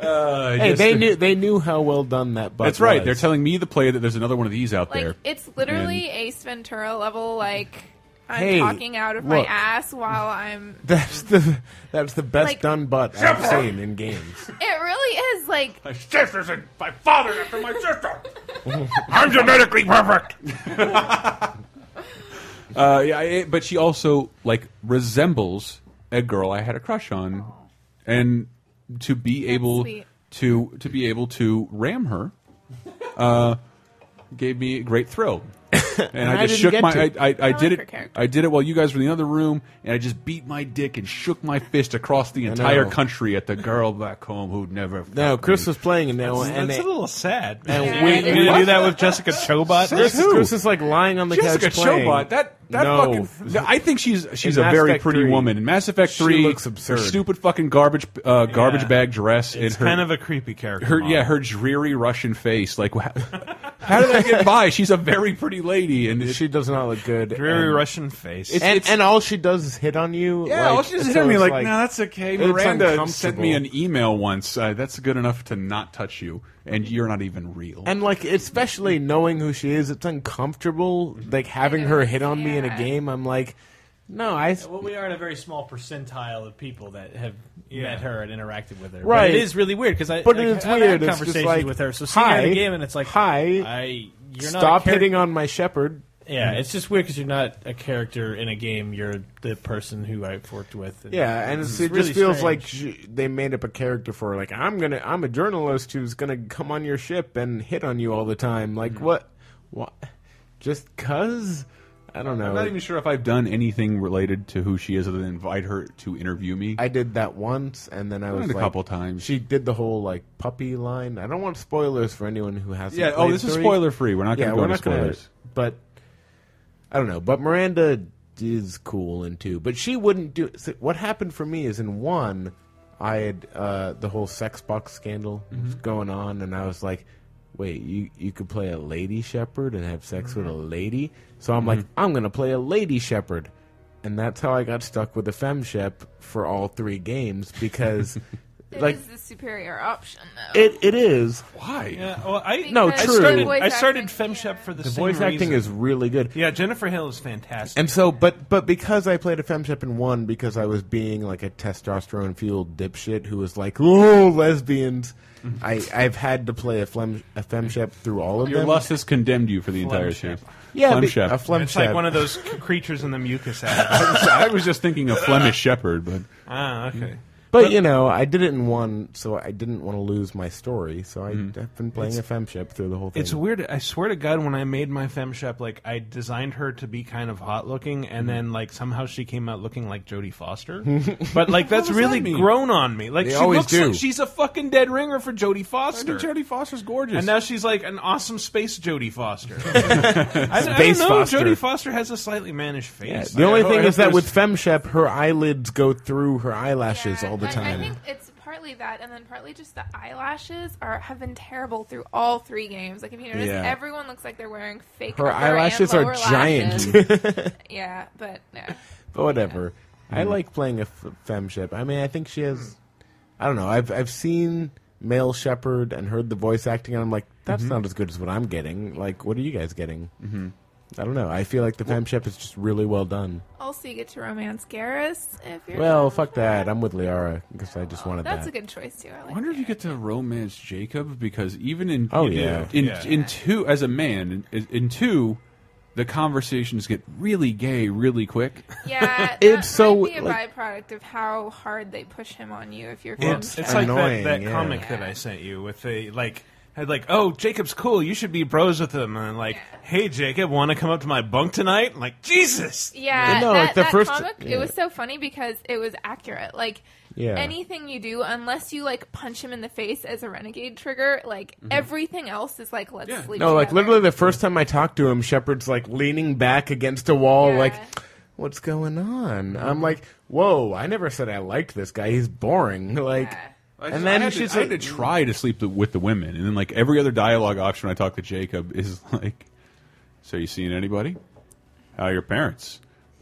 G: Uh,
I: hey,
G: just-
I: they knew they knew how well done that. Butt
G: That's right.
I: was.
G: They're telling me the play that there's another one of these out there.
T: it's literally Ace Ventura level, like I'm
I: Hey,
T: talking out of my
I: look.
T: ass while I'm
I: That's the that's the best
T: Like-
I: done butt I've seen in games.
T: It really is like
O: My sisters and my father after my sister. I'm genetically perfect.
G: Uh, yeah, I- but she also like resembles a girl I had a crush on, and to be able
T: sweet.
G: to to be able to ram her, uh, gave me a great thrill. And
I: And
G: I
I: I
G: just
I: didn't
G: shook
I: get
G: my. I,
I: to.
G: I, I,
I: I like
G: did
I: her
G: it.
I: character.
G: I did it while you guys were in the other room, and I just beat my dick and shook my fist across the
I: I
G: entire
I: know.
G: country at the girl back home who'd never.
I: No,
G: fucked
I: Chris
G: me.
I: was playing it now,
G: That's-
I: and
G: that's
I: they,
G: a little
I: sad.
G: Yeah, it is. What?
U: Jessica Chobot?
I: Chris,
G: Says who?
I: Chris is like lying on the
G: Jessica
I: couch playing.
G: Chobot. That that
I: no.
G: fucking. I think she's she's
I: In
G: a
I: Mass
G: very
I: Effect
G: pretty
I: 3,
G: woman. In Mass Effect
I: she
G: Three,
I: looks absurd.
G: Her stupid fucking garbage uh, garbage bag dress.
U: It's
G: and her,
U: kind of a creepy character
G: Her
U: model.
G: yeah, her dreary Russian face. Like wha- how did I get by? She's a very pretty lady, and
I: she does not look good.
U: Dreary
I: and-
U: Russian face.
I: and, and all she does is hit on you.
G: Yeah,
I: like,
G: all she does is
I: so
G: hit me
I: it's
G: like, no, that's okay.
I: it's
G: Miranda sent
I: uncomfortable.
G: me an email once. Uh, that's good enough to not touch you, and you're not even real.
I: And like, especially knowing who she is, it's uncomfortable. Like having her hit on me in a game, I'm like, no, I.
L: Well, we are in a very small percentile of people that have
U: Yeah.
L: met her and interacted with her. But
I: Right.
L: it is really weird because I
I: But
L: like,
I: it's
L: I've
I: weird.
L: had
I: It's just
L: conversations
I: like,
L: with her. So seeing her in
I: "Hi,
L: a game and it's like,
I: hi,
L: I, you're not a
I: stop
L: char-
I: hitting on my shepherd.
L: Yeah, it's just weird because you're not a character in a game. You're the person who I've worked with.
I: Yeah, and it's, it
L: really
I: just feels
L: strange.
I: like she, they made up a character for her. Like I'm gonna, I'm a journalist who's gonna come on your ship and hit on you all the time. Like what? What? Just cause? I don't know.
G: I'm not even sure if I've done anything related to who she is other than invite her to interview me.
I: I did that once, and then I
G: I
I: was
G: did a
I: like-
G: couple times.
I: She did the whole like puppy line. I don't want spoilers for anyone who hasn't.
G: Yeah, oh,
I: played
G: this is
I: three.
G: spoiler-free. We're not
I: Yeah,
G: gonna go
I: we're
G: into
I: not gonna-
G: spoilers.
I: but I don't know. But Miranda is cool in two, but she wouldn't do. so what happened for me is in one, I had uh, the whole sex box scandal was
H: Mhm.
I: going on, and I was like. Wait, you you could play a lady shepherd and have sex with a lady. So I'm like, I'm gonna play a lady shepherd, and that's how I got stuck with the fem shep for all three games because
T: It
I: like
T: is the superior option, though.
I: it, it is.
G: Why?
F: Yeah, well, I
T: No,
F: I
T: true.
F: Started,
T: Voice
F: I started FemShep for the,
I: The
F: same
I: voice acting
F: reason.
I: is really good.
F: Yeah, Jennifer Hill is fantastic.
I: And
F: And
I: so, but but because I played a femship and won because I was being like a testosterone fueled dipshit who was like, oh, lesbians.
F: Mm-hmm.
I: I I've had to play a fem a femship through all of
G: Your
I: them.
G: lust has condemned you for the entire series.
I: Yeah,
G: Flem
I: be-
G: Shep.
I: a Flem
F: it's like one of those c- creatures in the mucus.
G: I
F: Ad.
G: was, I was just thinking of Flemish Shepherd, but
F: ah, okay.
I: But, you know, I did it in one, so I didn't want to lose my story. So I,
F: Mm-hmm.
I: have been playing
F: It's-
I: a femship through the whole thing.
F: It's weird. I swear to God, when I made my fem shop, like I designed her to be kind of hot looking,
G: Mm-hmm.
F: and then like somehow she came out looking like Jodie Foster. but like that's
G: What does that
F: really
G: mean?
F: grown on me. Like
G: They
F: she
G: always
F: looks
G: do.
F: like she's a fucking dead ringer for Jodie Foster.
G: Jodie Foster's gorgeous,
F: and now she's like an awesome space Jodie Foster. I, I don't
I: Space
F: know.
I: Foster.
F: Jodie Foster has a slightly mannish face.
I: Yeah,
F: Like,
I: the only
F: I-
G: Oh,
I: thing
F: I
I: is that
F: hope
I: with femship, her eyelids go through her eyelashes all the
T: I-
I: time.
T: I, think it's partly that, and then partly just the eyelashes are have been terrible through all three games. Like if you notice,
I: Yeah.
T: everyone looks like they're wearing fake.
I: Her
T: upper and
I: eyelashes are
T: lower
I: giant.
T: lashes. yeah, but no.
I: but whatever. I
T: Mhm.
I: like playing a f- femship. I mean, I think she has. I don't know. I've I've seen male shepherd and heard the voice acting, and I'm like, that's
G: Mhm.
T: Mm-hmm.
I: not as good as what I'm getting. Like, what are you guys getting?
G: Mhm.
I: I don't know. I feel like the femship is just really well done.
T: Also, you get to romance Garrus if you're.
I: Well, fuck that. I'm with Liara because I just wanted
T: that's
I: that.
T: a good choice too. I
I: I
T: like.
G: wonder if you get to romance Jacob because even in
I: Oh,
G: in,
I: yeah.
G: in,
I: Yeah.
G: in two as a man in, in two, the conversations get really gay really quick.
T: Yeah, that
G: It's so,
T: might be a
G: like-
T: byproduct of how hard they push him on you if you're.
F: It's,
T: from
F: it's like
I: annoying,
F: that, that
I: yeah.
F: comic that I sent you with the like had like oh Jacob's cool you should be bros with him and like hey Jacob want to come up to my bunk tonight I'm like Jesus
T: Yeah,
F: no
T: that, that comic, it was so funny because it was accurate. Like
F: Yeah.
T: anything you do, unless you like punch him in the face as a renegade trigger, like everything else is like let's sleep.
I: Mm-hmm. No, like
T: together.
I: literally the first time I talked to him, Shepard's like leaning back against a wall, like, "What's going on?"
T: Mm-hmm.
I: I'm like, "Whoa, I never said I liked this guy. He's boring." Like, and
G: I
I: then
G: had,
I: she's
G: to, I had
I: like,
G: to try to sleep the, with the women, and then like every other dialogue option I talk to Jacob is like, "So you seen anybody? How are your parents?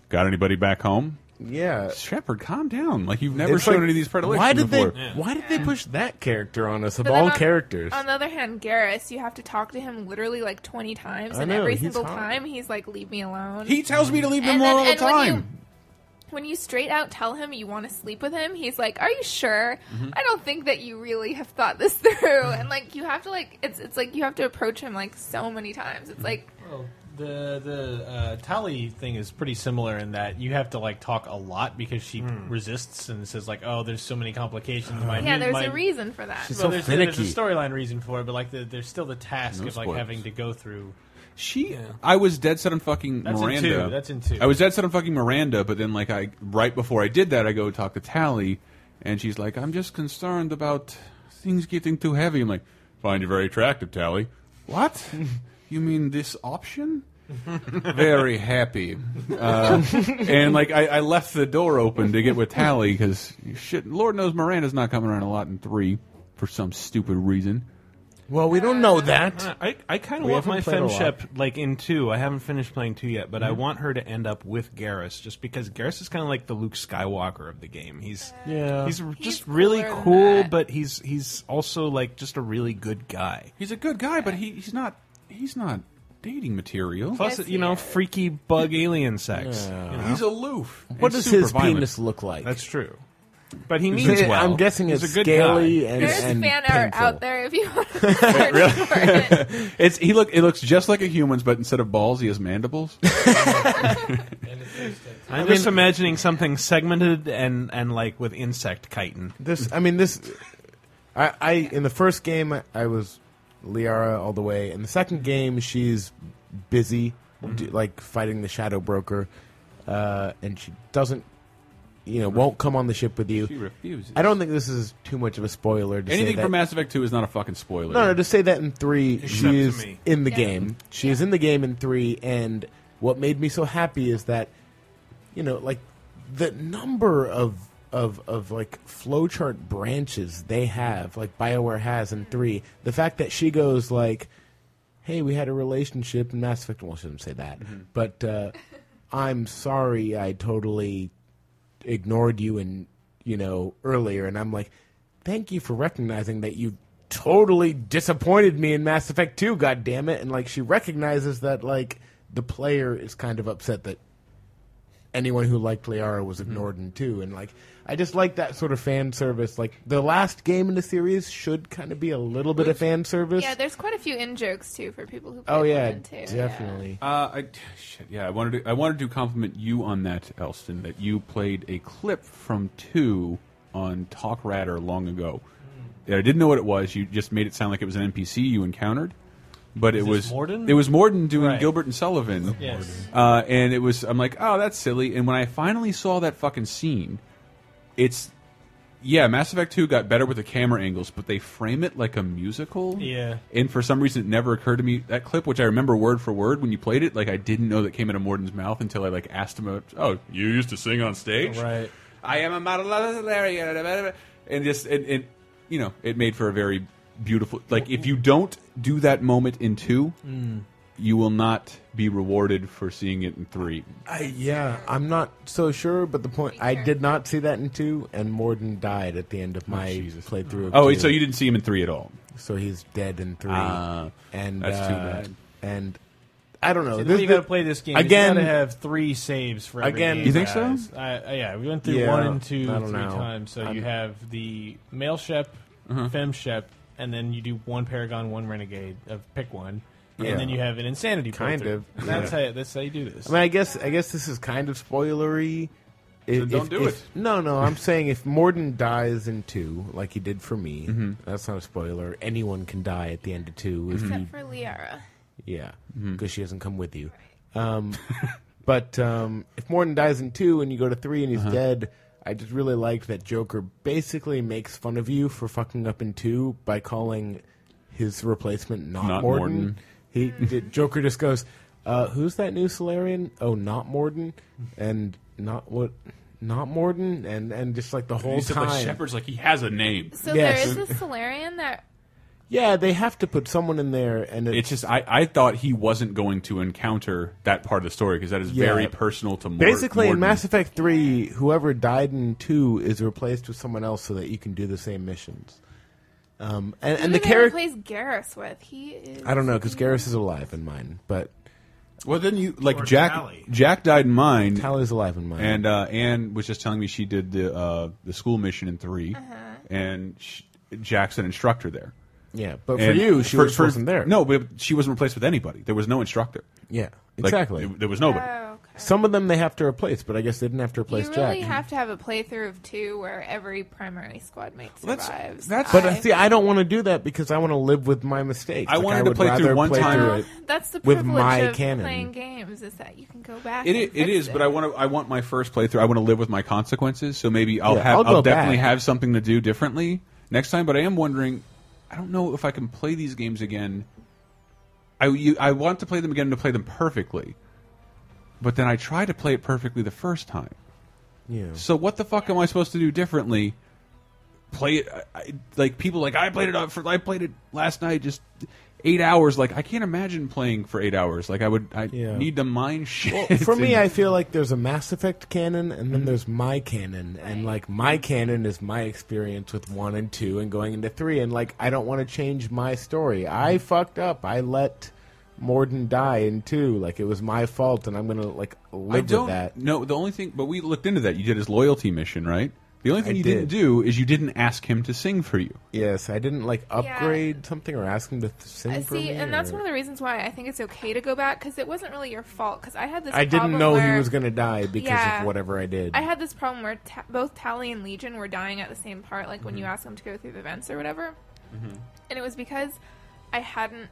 G: Got anybody back home?"
I: Yeah,
G: Shepard, calm down. Like you've never
I: It's
G: shown
I: like,
G: any of these predilections
I: why did
G: before.
I: They, Why did they push that character on us of
T: But then
I: all
T: on-
I: characters?
T: On the other hand, Garrus, you have to talk to him literally like twenty times,
I: I
T: and
I: know,
T: every
I: he's
T: single
I: hot.
T: time he's like, "Leave me alone."
I: He tells me to leave him
T: Oh, And then-
I: alone all the
T: and when you-
I: time.
T: When you straight out tell him you want to sleep with him, he's like, "Are you sure?
V: Mhm.
T: I don't think that you really have thought this through." And like, you have to like, it's it's like you have to approach him like so many times. It's like
H: Oh, The the uh, Tali thing is pretty similar in that you have to like talk a lot because she resists and says like, "Oh, there's so many complications." My,
T: Yeah, there's
H: my-
T: a reason for that. She's
H: well,
T: so
H: there's,
G: finicky.
H: There's a storyline reason for it, but like the, there's still the task
G: No
H: of like
G: spoilers.
H: having to go through.
G: She, I was dead set on fucking
H: That's in
G: Miranda.
H: two. That's in two.
G: I was dead set on fucking Miranda, but then like I right before I did that, I go talk to Tally, and she's like, "I'm just concerned about things getting too heavy." I'm like, "Find you very attractive, Tally." What? you mean this option? very happy, uh, and like I, I left the door open to get with Tally because shit, Lord knows Miranda's not coming around a lot in three for some stupid reason.
I: Well, we don't know that.
F: I, I kind of
I: We
F: want my
I: haven't played a lot.
F: femship like in two. I haven't finished playing two yet, but I
I: Mhm.
F: want her to end up with Garrus, just because Garrus is kind of like the Luke Skywalker of the game. He's
I: Yeah.
F: he's just
I: He's
F: really
I: cooler than
F: cool, but he's he's also like just a really good guy.
G: He's a good guy, but he, he's not he's not dating material.
F: Plus, you know, freaky bug alien sex.
G: Yeah.
F: you know?
G: He's aloof.
I: What does his penis look like?
F: That's true. But he
I: Is
F: means
I: it-
F: well.
I: I'm guessing
F: He's
I: it's
F: a good
I: scaly
F: guy.
I: and-
T: there's fan art out there if you want. To
G: Wait,
T: search
G: really?
T: for it.
G: it's he look it looks just like a human's, but instead of balls, he has mandibles.
F: I'm
I: I
F: just
I: mean-
F: imagining something segmented and and like with insect chitin.
I: This, I mean, this. I, I in the first game I was Liara all the way. In the second game, she's busy,
F: Mm-hmm.
I: d- like fighting the Shadow Broker, uh, and she doesn't, you know, won't come on the ship with you.
G: She refuses.
I: I don't think this is too much of a spoiler. To
G: Anything
I: say
G: from
I: that.
G: Mass Effect Two is not a fucking spoiler.
I: No, no, to say that in three,
G: to
I: she is
G: me.
I: in the game. She is in the game in three, and what made me so happy is that, you know, like the number of of of like flowchart branches they have, like Bioware has in three. The fact that she goes like, "Hey, we had a relationship in Mass Effect." Well, I shouldn't say that, but uh, I'm sorry, I totally ignored you and you know earlier, and I'm like thank you for recognizing that you totally disappointed me in Mass Effect 2, God damn it. And like she recognizes that like the player is kind of upset that anyone who liked Liara was ignored in 2 and like I just like that sort of fan service. Like the last game in the series should kind of be a little bit of fan service.
T: Yeah, there's quite a few in jokes too for people who. Play
I: Oh yeah,
T: one and two.
I: definitely.
G: Uh, I, shit, yeah, I wanted to, I wanted to compliment you on that, Elston. That you played a clip from two on Talk Radar long ago.
P: Hmm.
G: And I didn't know what it was. You just made it sound like it was an NPC you encountered, but
P: Is
G: it
P: this
G: was
P: Morden?
G: It was Morden doing
P: Right.
G: Gilbert and Sullivan.
P: Yes.
G: Uh, and it was I'm like, oh, that's silly. And when I finally saw that fucking scene, it's yeah, Mass Effect Two got better with the camera angles, but they frame it like a musical.
P: Yeah.
G: And for some reason, it never occurred to me that clip, which I remember word for word when you played it. Like I didn't know that came out of Morden's mouth until I like asked him, "Oh, you used to sing on stage,
P: Right.
G: I am a model, and just and, and you know, it made for a very beautiful. Like if you don't do that moment in two,
I: Mm.
G: you will not be rewarded for seeing it in three.
I: I, yeah, I'm not so sure, but the point I did not see that in two, and Morden died at the end of my playthrough. Of
G: Oh,
I: two.
G: so you didn't see him in three at all.
I: So he's dead in three,
G: Ah,
I: and
G: that's too
I: uh,
G: bad.
I: And I don't know.
H: See, the
I: Oh, This-
H: way you got to play this game
I: again.
H: Is you got to have three saves for every
I: again,
H: game, guys. I, I- yeah, we went through
I: Yeah,
H: one and two,
I: I don't
H: three
I: know.
H: times. So you
I: I'm-
H: have the male ship, fem ship, and then you do one paragon, one renegade of pick one,
I: Yeah.
H: and then you have an insanity.
I: Kind
H: playthrough.
I: of,
H: And That's
I: yeah.
H: how that's how you do this.
I: I mean, I guess I guess this is kind of spoilery. If-
H: don't
I: if-
H: do
I: if-
H: it.
I: No, no. I'm saying if Morden dies in two, like he did for me, that's not a spoiler. Anyone can die at the end of two if you
T: Except for Liara.
I: Yeah, because she doesn't come with you. Um, but um, if Morton dies in two and you go to three and he's
G: Uh-huh.
I: dead, I just really liked that Joker basically makes fun of you for fucking up in two by calling his replacement not,
G: Not
I: Morden.
G: Morden.
I: He did, Joker just goes, uh, "Who's that new Solarian? Oh, not Morden, and not what." Not Morden, and and just like the whole
G: He said,
I: time,
G: like, Shepard's like, he has a name.
T: So
I: Yes.
T: there is a Solarian that
I: yeah, they have to put someone in there, and it's,
G: It's just I, I thought he wasn't going to encounter that part of the story because that is
I: Yeah.
G: very personal to Mor-
I: Basically,
G: Morden.
I: in Mass Effect 3, whoever died in 2 is replaced with someone else so that you can do the same missions. Um, and, and the character.
T: plays Garrus with. He is.
I: I don't know, because Garrus is alive in mine, but.
G: Well, then you. Like
I: Or
G: Jack,
I: Tally.
G: Jack died in mine.
I: Tally's alive in mine.
G: And uh, Anne was just telling me she did the uh, the school mission in 3 and sh Jack's an instructor there.
I: Yeah, but for you, she was- wasn't there.
G: No, but she wasn't replaced with anybody. There was no instructor.
I: Yeah,
G: Like,
I: exactly.
G: there- there was nobody.
I: Some of them they have to replace, but I guess they didn't have
T: You
I: to replace
T: really
I: Jack.
T: have to have a playthrough of two where every primary squad mate survives.
I: but uh, see, I don't want to do that because I want to live with my mistakes.
G: I
I: Like,
G: wanted to
I: would
G: play through
I: rather
G: one
I: play
G: time-
I: through
G: Well,
I: it
T: That's the
I: with
T: privilege
I: my
T: of
I: canon.
T: playing games is that you can go back.
G: It,
T: and
G: i- it
T: fix
G: is, but I want to. I want my first playthrough. I want to live with my consequences. So maybe I'll
I: Yeah,
G: have.
I: I'll
G: I'll,
I: go
G: definitely
I: back.
G: have something to do differently next time. But I am wondering. I don't know if I can play these games again. I you, I want to play them again to play them perfectly, but then I try to play it perfectly the first time.
I: Yeah.
G: So what the fuck am I supposed to do differently? Play it I, I, like people like I played it up for I played it last night just eight hours. Like I can't imagine playing for eight hours. Like I would I need to mind shit.
I: Well, for me,
G: and-
I: I feel like there's a Mass Effect canon, and
G: Mm-hmm.
I: then there's my canon, and like my canon is my experience with one and two, and going into three, and like I don't want to change my story.
G: Mm-hmm.
I: I fucked up. I let Morden die in two. Like it was my fault, and I'm gonna like live
G: I don't
I: with that.
G: No, the only thing, but we looked into that. You did his loyalty mission, right? The only thing
I: I
G: you
I: did.
G: didn't do is you didn't ask him to sing for you.
I: Yes, I didn't like upgrade something or ask him to th- sing
T: Uh,
I: for
T: See,
I: me.
T: and that's
I: or-
T: one of the reasons why I think it's okay to go back because it wasn't really your fault. Because I had this.
I: I didn't
T: problem
I: know he
T: where-
I: was gonna die because
T: Yeah.
I: of whatever I did.
T: I had this problem where ta- both Tally and Legion were dying at the same part, like when you ask them to go through the vents or whatever. And it was because I hadn't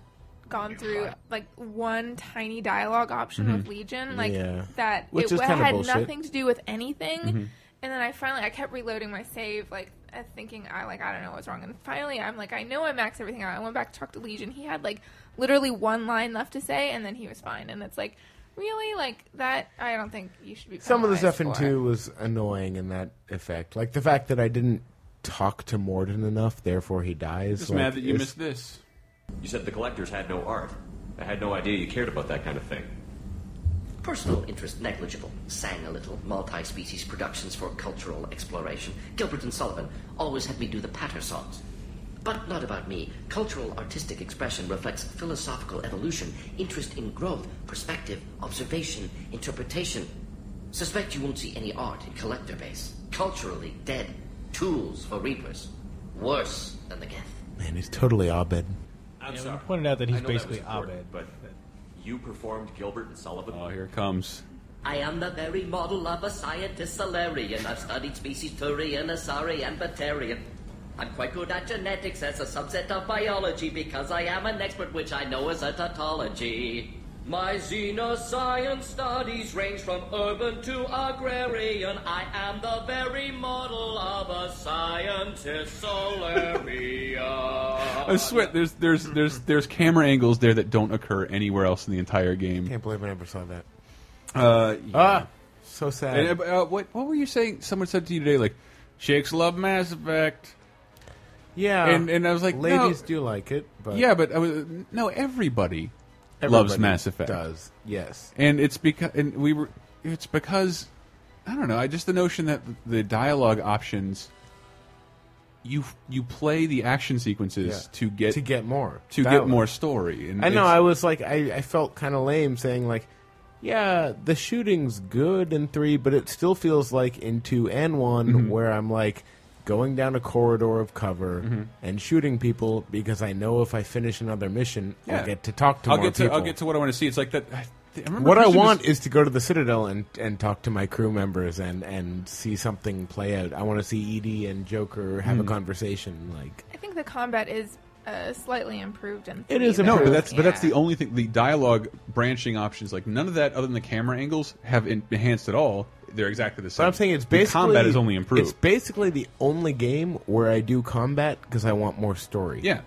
T: gone through like one tiny dialogue option with
F: Mhm.
T: Legion, like
F: Yeah.
T: that
F: Which
T: it
F: is
T: wa-
F: kinda
T: had
F: bullshit.
T: nothing to do with anything.
F: Mhm.
T: And then I finally I kept reloading my save, like uh, thinking I like I don't know what's wrong. And finally I'm like I know I maxed everything out. I went back to talk to Legion. He had like literally one line left to say, and then he was fine. And it's like. Really, like that? I don't think you should be.
I: Some of the
T: penalized
I: stuff in
T: for.
I: two was annoying in that effect, like the fact that I didn't talk to Morden enough, therefore he dies.
G: Just
I: like,
G: mad that you
I: it's-
G: missed this.
W: You said the collectors had no art. I had no idea you cared about that kind of thing. Personal interest negligible. Sang a little. Multi-species productions for cultural exploration. Gilbert and Sullivan always had me do the patter songs. But not about me. Cultural artistic expression reflects philosophical evolution, interest in growth, perspective, observation, interpretation. Suspect you won't see any art in collector base. Culturally dead. Tools for reapers. Worse than the Geth.
I: Man, he's totally Abed.
L: I'm
H: Yeah,
L: sorry.
H: We pointed out that he's
W: I know that was
H: basically
W: important,
H: Abed, but
W: You performed Gilbert and Sullivan.
G: Oh, here it comes.
W: I am the very model of a scientist Solarian. I've studied species Turian, Asari, and Batarian. I'm quite good at genetics as a subset of biology because I am an expert, which I know is a tautology. My xenoscience studies range from urban to agrarian. I am the very model of a scientist Solarian.
G: I swear, there's there's there's there's camera angles there that don't occur anywhere else in the entire game.
I: Can't believe I never saw that.
G: Uh,
I: Ah, so sad.
G: And, uh, what what were you saying? Someone said to you today, like, chicks love Mass Effect.
I: Yeah,
G: and and I was like, no.
I: Ah, ladies do like it, but
G: yeah, but I was, no, everybody, loves
I: Everybody
G: Mass Effect.
I: does, yes.
G: and it's because and we were it's because I don't know. I just the notion that the dialogue options. You you play the action sequences
I: Yeah.
G: to get
I: To get more
G: to
I: dialogue.
G: get more story. And
I: I know.
G: it's-
I: I was like, I, I felt kind of lame saying like, yeah, the shooting's good in three, but it still feels like in two and one
G: Mhm.
I: where I'm like going down a corridor of cover
G: Mhm.
I: and shooting people because I know if I finish another mission,
G: Yeah.
I: I'll get to talk to
G: I'll
I: more
G: get to
I: people.
G: I'll get to what I want to see. It's like that. I, I remember
I: what I
G: Christian was-
I: want is to go to the Citadel and, and talk to my crew members and, and see something play out. I want to see Edie and Joker have a
G: Mm.
I: conversation. Like
T: I think the combat is uh, slightly improved and
I: It is
G: no, but
I: improved.
G: that's but that's the only thing. The dialogue branching options, like none of that, other than the camera angles, have en- enhanced at all. They're exactly the same.
I: But I'm saying it's
G: The
I: basically
G: combat is only
I: It's
G: improved.
I: basically the only game where I do combat because I want more story.
G: Yeah.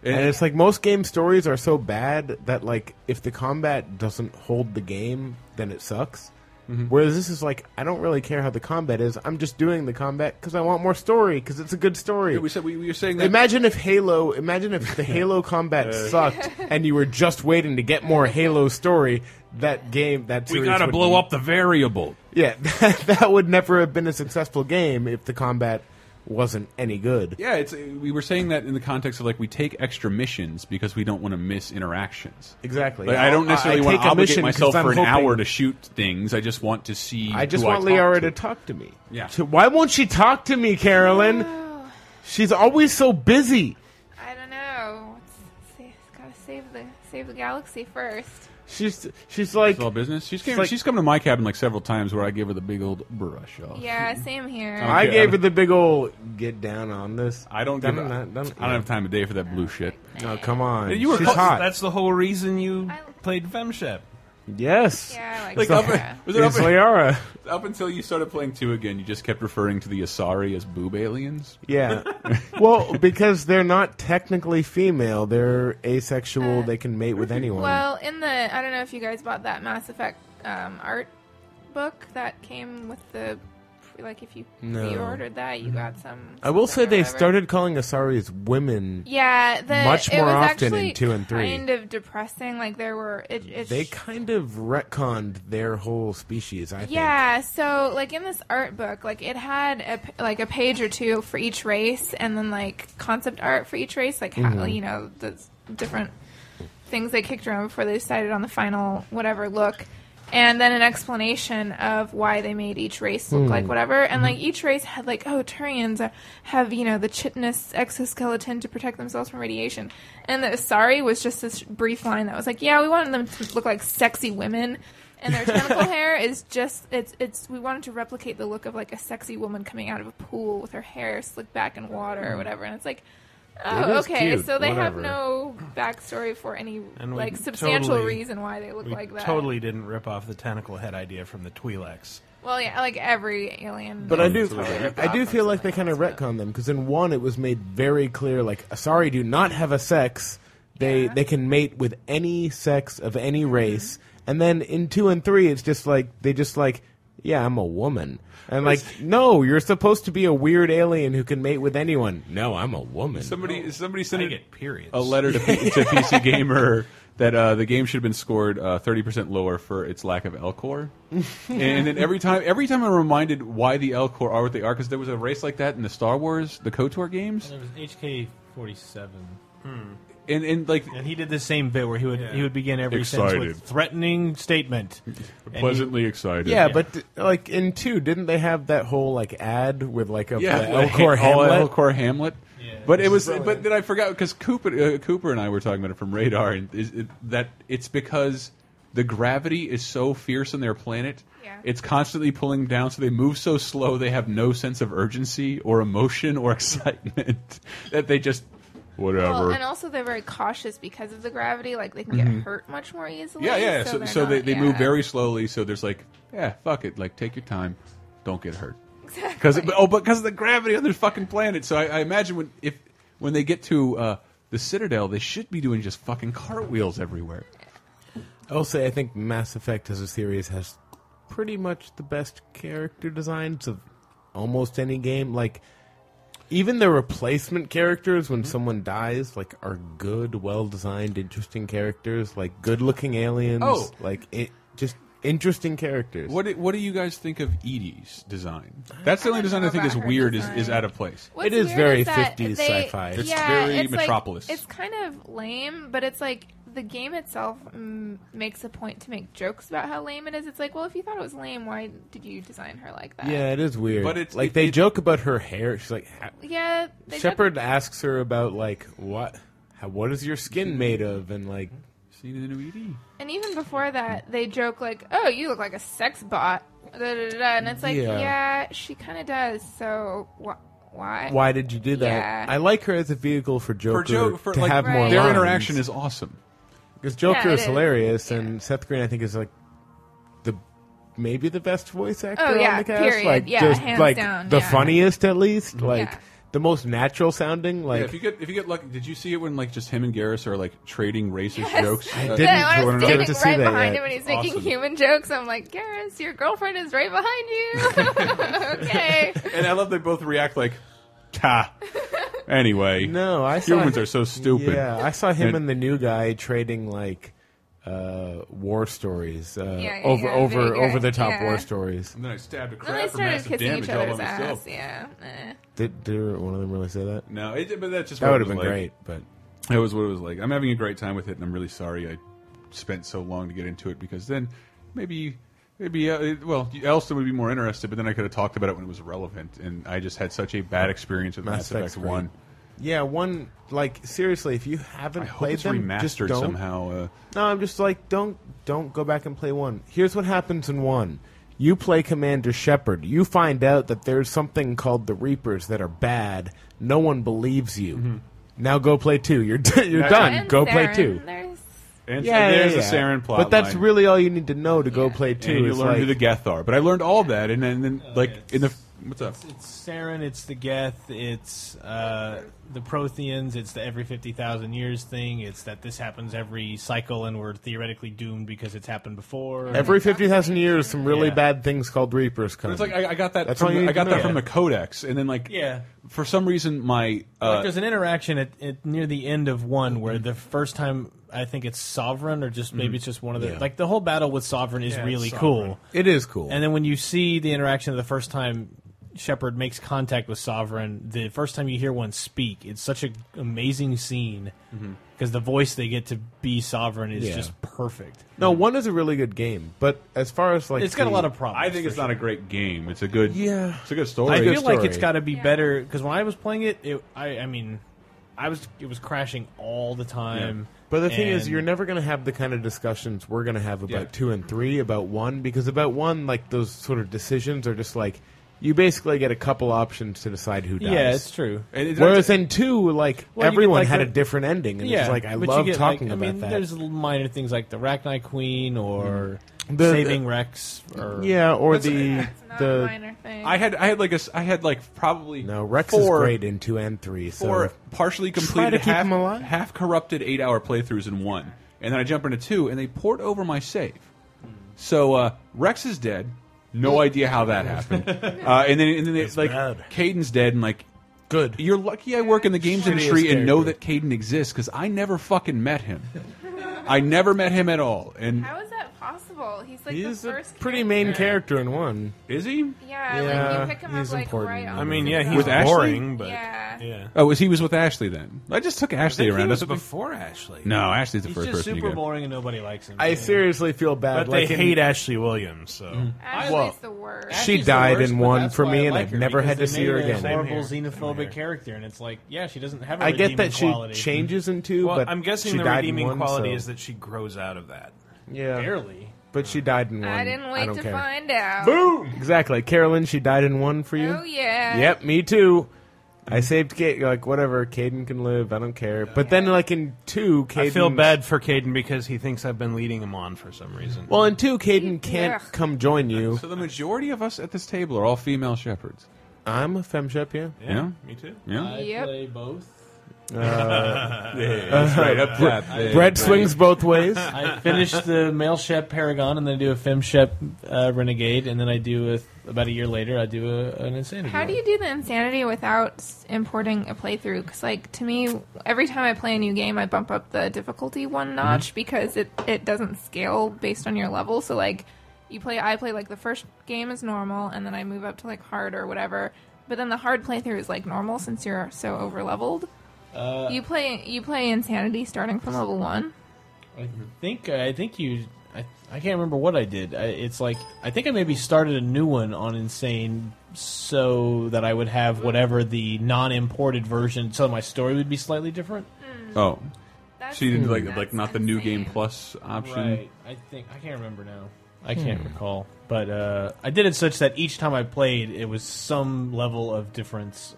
I: And,
G: And-
I: it's like most game stories are so bad that like if the combat doesn't hold the game, then it sucks.
U: Mm-hmm.
G: Mhm.
I: Whereas this is like I don't really care how the combat is. I'm just doing the combat because I want more story because it's a good story.
G: Yeah, we said we, we were saying that.
I: Imagine if Halo. Imagine if the Halo combat
G: Uh.
I: sucked, and you were just waiting to get more Halo story. That game, that
U: We
I: series
U: gotta
I: would
U: blow
I: be-
U: up the variable.
I: Yeah, that, would never have been a successful game if the combat wasn't any good.
G: Yeah, it's we were saying that in the context of like we take extra missions because we don't want to miss interactions.
I: Exactly.
G: Like, I don't
I: I-
G: necessarily
I: I
G: want
I: take
G: to
I: a
G: obligate
I: mission 'cause
G: myself
I: I'm
G: for an
I: hoping-
G: hour to shoot things. I just want to see.
I: I just
G: who
I: want
G: talk
I: Liara
G: to.
I: to talk to me.
G: Yeah.
I: To- why won't she talk to me, Carolyn? She's always so busy.
T: I don't know. It's, see, it's gotta save the save the galaxy first.
I: She's she's like
G: all business. She's came,
I: like-
G: she's come to my cabin like several times where I give her the big old brush off.
T: Yeah, same here.
G: Okay,
I: I gave
G: I-
I: her the big old get down on this.
G: I don't give.
I: Dun-
G: a- I
I: dun- dun-
G: don't have time of day for that blue shit.
I: No, come on.
U: You were
I: she's
U: close-
I: hot.
U: That's the whole reason you played Femshep.
I: Yes.
T: Yeah, I
G: Like
I: So-
G: up, was it up,
I: It's Liara.
G: up until you started playing two again, you just kept referring to the Asari as boob aliens.
I: Yeah. well, because they're not technically female. They're asexual. they can mate with anyone.
T: Uh, Well, in the I don't know if you guys bought that Mass Effect um, art book that came with the like if you
I: No.
T: pre-ordered that you got some.
I: I will say they
T: whatever.
I: started calling Asari's women.
T: Yeah, the,
I: much more
T: it was
I: often
T: actually
I: in two and three.
T: Kind of depressing. Like there were it. it
I: they kind of retconned their whole species. I think.
T: yeah, so like in this art book, like it had a, p- like a page or two for each race, and then like concept art for each race, like how,
C: Mhm.
T: you know the s- different things they kicked around before they decided on the final whatever look, and then an explanation of why they made each race look
C: Hmm.
T: like whatever, and
I: Mm-hmm.
C: Mhm.
T: like each race had like oh Turians uh, have you know the chitinous exoskeleton to protect themselves from radiation, and the Asari was just this brief line that was like yeah we wanted them to look like sexy women and their tentacle hair is just it's it's we wanted to replicate the look of like a sexy woman coming out of a pool with her hair slicked back in water or whatever and it's like
C: It
T: oh
C: is
T: okay
C: cute,
T: so they
C: whatever.
T: have no backstory for any
U: And we
T: like substantial
U: totally-
T: reason why they look
U: we
T: like that
U: Totally didn't rip off the tentacle head idea from the Twi'leks.
T: well yeah like every alien
I: But I do,
T: is totally ripped
I: I do
T: off.
I: feel like they kind of retcon them because in one it was made very clear like Asari do not have a sex. They they can mate with any sex of any race, and then in two and three it's just like they just like yeah, I'm a woman. And like, no, you're supposed to be a weird alien who can mate with anyone. No, I'm a woman.
G: Somebody,
H: Oh,
G: somebody sent a,
U: periods.
G: a letter to, P- to PC Gamer that uh, the game should have been scored uh, thirty percent lower for its lack of Elcor. and then every time, every time I'm reminded why the Elcor are what they are, because there was a race like that in the Star Wars, the Kotor games,
H: There was HK forty seven.
G: and and like
H: And he did the same bit where he would he would begin every sentence
G: Excited.
H: with threatening statement. And he-
G: pleasantly excited.
I: Yeah, but th- like in two, didn't they have that whole like ad with like a
G: yeah,
I: the Elcor
G: all
I: Hamlet?
G: Elcor Hamlet. but it was,
I: Brilliant.
G: but then I forgot because Cooper, uh, Cooper and I were talking about it from Radar, and is, it, that it's because the gravity is so fierce on their planet.
T: Yeah.
G: It's constantly pulling them down, so they move so slow they have no sense of urgency or emotion or excitement that they just whatever.
T: Well, and also they're very cautious because of the gravity. Like they can get
G: Mhm.
T: hurt much more easily.
G: yeah, yeah.
T: So,
G: So,
T: they're
G: so they,
T: not-
G: they
T: yeah.
G: move very slowly. So there's like, yeah, fuck it. Like, take your time. Don't get hurt. Because oh, but because of the gravity on their fucking planet. So I, I imagine when if when they get to uh, the Citadel, they should be doing just fucking cartwheels everywhere.
I: I'll say I think Mass Effect as a series has pretty much the best character designs of almost any game. Like even the replacement characters
T: Mm-hmm.
I: when someone dies, like are good, well designed, interesting characters. Like good looking aliens.
G: Oh.
I: like it just interesting characters.
G: What do, what do you guys think of Edie's design? That's the only design I think
T: about
G: is
T: her
G: weird is,
T: design.
G: is out of place.
T: What's
I: It is
T: weird
I: very
T: that
I: 50s
T: they-
I: sci-fi. It's
T: yeah,
G: very
T: like-
G: Metropolis.
T: it's kind of lame, but it's like the game itself mm, makes a point to make jokes about how lame it is. It's like, well, if you thought it was lame, why did you design her like that?
I: Yeah, it is weird.
G: But it's-
I: like
G: it-
I: they
G: it-
I: joke about her hair. She's like, "Ha-
T: Yeah, they joke-
I: Shepard asks her about like what, how, what is your skin made of, and like.
G: Seen the new ED.
T: And even before that, they joke like, "Oh, you look like a sex bot," da, da, da, da. and it's like,
I: Yeah.
T: yeah, she kind of does. So wh- why?
I: Why did you do that?
T: Yeah.
I: I like her as a vehicle for Joker
G: For joke, for
I: to
G: like
I: have more.
G: their
I: lines.
G: interaction is awesome.
I: because
T: Yeah,
I: Joker
T: it
I: is
T: is.
I: hilarious, and Seth Green I think is like the maybe the best voice actor
T: Oh, yeah,
I: on the cast.
T: period.
I: Like
T: Yeah,
I: just
T: hands
I: like
T: down,
I: the
T: yeah.
I: funniest at least, like
T: Yeah.
I: the most natural sounding. Like
G: yeah, if you get if you get lucky, did you see it when like just him and Garrus are like trading racist jokes?
I: I
G: Uh,
I: didn't,
T: Then I was
I: but I wanted
T: standing
I: to
T: right
I: see that
T: behind
I: yet.
T: him and he's making
G: Awesome.
T: human jokes. I'm like, Garrus, your girlfriend is right behind you. okay.
G: and I love they both react like, ta. Anyway,
I: No, I saw
G: humans
I: him-
G: are so stupid.
I: Yeah, I saw him
G: And-
I: and, the new guy trading like uh, war stories uh,
T: yeah,
I: over
T: yeah,
I: over
T: vinegar,
I: over the top
T: yeah.
I: war stories.
G: And then I stabbed a
T: Then they
G: crab for
T: started
G: massive
T: kissing
G: damage
T: each
G: all by
T: other's ass.
G: myself.
T: Yeah. eh.
I: Did, did one of them really say that?
G: No, it, but that's just
I: That
G: what it
I: would have
G: was
I: been great,
G: like.
I: but
G: That was what it was like. I'm having a great time with it, and I'm really sorry I spent so long to get into it because then maybe. Maybe uh, it- well, Elston would be more interested, but then I could have talked about it when it was relevant, and I just had such a bad experience with Mass, Effect
I: Effect's great.
G: One.
I: Yeah, one like seriously, if you haven't
G: I hope
I: played
G: it's
I: them, just
G: remastered
I: don't.
G: somehow. Uh,
I: No, I'm just like don't don't go back and play one. Here's what happens in one. You play Commander Shepard. You find out that there's something called the Reapers that are bad. No one believes you.
G: Mm-hmm.
I: Now go play two. You're d- you're
G: Yeah.
I: done.
T: And
I: go play
T: Saren,
I: two.
T: there's-
G: and so there's a Saren plot
I: But that's
G: line.
I: really all you need to know to go play two.
G: and you
I: is
G: learn who the
I: like-
G: Geth are. But I learned all that, and then, then like in the what's up?
H: It's Saren, it's the Geth, it's uh, the Protheans, it's the every 50,000 years thing, it's that this happens every cycle and we're theoretically doomed because it's happened before.
I: Every fifty thousand years, some really
H: Yeah.
I: bad things called Reapers come.
G: But it's like I, I got that.
I: That's all
G: From,
I: you need
G: I got
I: to
G: that
I: know.
G: from the Codex, and then like
H: Yeah.
G: for some reason my
H: like
G: uh,
H: there's an interaction at, at near the end of one where the first time I think it's Sovereign or just maybe it's just one of the
I: Yeah.
H: like the whole battle with Sovereign is
I: Yeah,
H: really
I: Sovereign.
H: cool.
I: It is cool.
H: And then when you see the interaction of the first time Shepard makes contact with Sovereign, the first time you hear one speak, it's such an amazing scene because the voice they get to be Sovereign is
I: Mm-hmm. Yeah.
H: just perfect.
I: no, one is a really good game, but as far as like
H: it's got a
I: the-
H: lot of problems.
G: I think it's not a great game. It's a good
I: Yeah.
G: It's a good story.
H: I feel like
I: story.
H: it's got to be better because when I was playing it, it I, I mean, I was it was crashing all the time.
I: But the thing is,
H: and-
I: you're never going to have the kind of discussions we're going to have about
H: Yeah.
I: two and three, about one, because about one, like those sort of decisions are just like you basically get a couple options to decide who dies.
H: Yeah, it's true. And it-
I: Whereas in two, like
H: Well, you get,
I: everyone
H: like,
I: had a,
H: the-
I: different ending, and it's like I
H: but you
I: love
H: get, like,
I: talking
H: I mean,
I: about that.
H: There's minor things like the Rachni Queen or
I: Mm-hmm. The-
H: saving
I: the-
H: Rex, or
I: Yeah, or
G: That's-
I: the the
G: I had I had like a s- I had like probably
I: no Rex
G: four,
I: is great in two and three. So
G: four partially
I: Try to
G: completed
I: keep
G: half
I: them alive.
G: half corrupted eight hour playthroughs in one, and then I jump into two, and they port over my save. So uh, Rex is dead. No idea how that happened. Uh, and then, and then it's like Caden's dead, and like, good. You're lucky I work in the games
I: Shittiest
G: industry and know that
I: character.
G: Caden exists because I never fucking met him. I never met him at all, and
T: How is that possible? He's like
I: He's
T: the
I: a
T: first.
I: pretty main character in one.
G: Is he?
T: Yeah,
I: Yeah,
T: like you pick him
I: he's
T: up like
I: important.
T: right
I: I
T: off
F: mean,
T: the
F: yeah,
T: bat.
F: he's
G: With Ashley?
F: boring, but
T: Yeah.
G: oh, was he was with Ashley then? I just took Ashley
F: think he
G: around.
F: was
G: That's what-
F: before Ashley.
G: No, Ashley's the
H: He's
G: first
H: just
G: person.
H: super
G: you go.
H: boring and nobody likes him.
I: I seriously feel bad.
F: But Mm-hmm.
I: like
F: they
I: in-
F: hate Ashley Williams, so
T: Ashley's
I: Well,
T: the worst.
I: She
H: She's the
I: died
H: worst,
I: in
H: but
I: one
H: that's
I: for
H: why
I: me,
H: I
I: and
H: like
I: I've
H: her,
I: never
H: because
I: had
H: they
I: to see
H: made
I: her
H: a
I: again.
H: Horrible xenophobic character, and it's like, yeah, she doesn't have. I
I: I get that she changes in two,
F: well,
I: but
F: I'm guessing
I: she
F: the
I: died in
F: redeeming
I: one,
F: quality
I: so-
F: is that she grows out of that.
I: Yeah.
H: Barely.
I: But she died in one.
T: I didn't wait
I: don't
T: to
I: care.
T: find out.
I: Boom! Exactly. Carolyn, she died in one for you?
T: Oh, yeah.
I: Yep, me too. I saved Kate. Like, whatever. Caden can live. I don't care. But then, like, in two, Caden.
F: I feel bad for Caden because he thinks I've been leading him on for some reason.
I: Well, in two, Caden can't
F: Ugh.
I: come join you.
G: So the majority of us at this table are all female shepherds.
I: I'm a femme shep, yeah.
G: Yeah,
F: me too.
G: Yeah.
H: I
T: Yep.
H: play both.
I: Uh,
G: Yeah, that's right, up that
H: I-
G: thing. Brett
I: swings both ways.
H: I finish the male Shep Paragon, and then I do a Fem Shep uh, Renegade, and then I do a, about a year later I do a, an Insanity.
T: How do you do the insanity without s- importing a playthrough? Because, like, to me, every time I play a new game, I bump up the difficulty
G: Mm-hmm.
T: one notch because it it doesn't scale based on your level. So, like, you play, I play like the first game is normal, and then I move up to like hard or whatever. But then the hard playthrough is like normal since you're so over leveled.
H: Uh,
T: you play you play insanity starting from level one.
H: I think uh, I think you. I, I can't remember what I did. I, it's like I think I maybe started a new one on Insane so that I would have whatever the non-imported version, so my story would be slightly different.
G: Oh,
T: That's-
G: she didn't like
H: that's
G: like not the new game plus option.
H: Right. I think I can't remember now. I can't recall, but uh, I did it such that each time I played, it was some level of difference.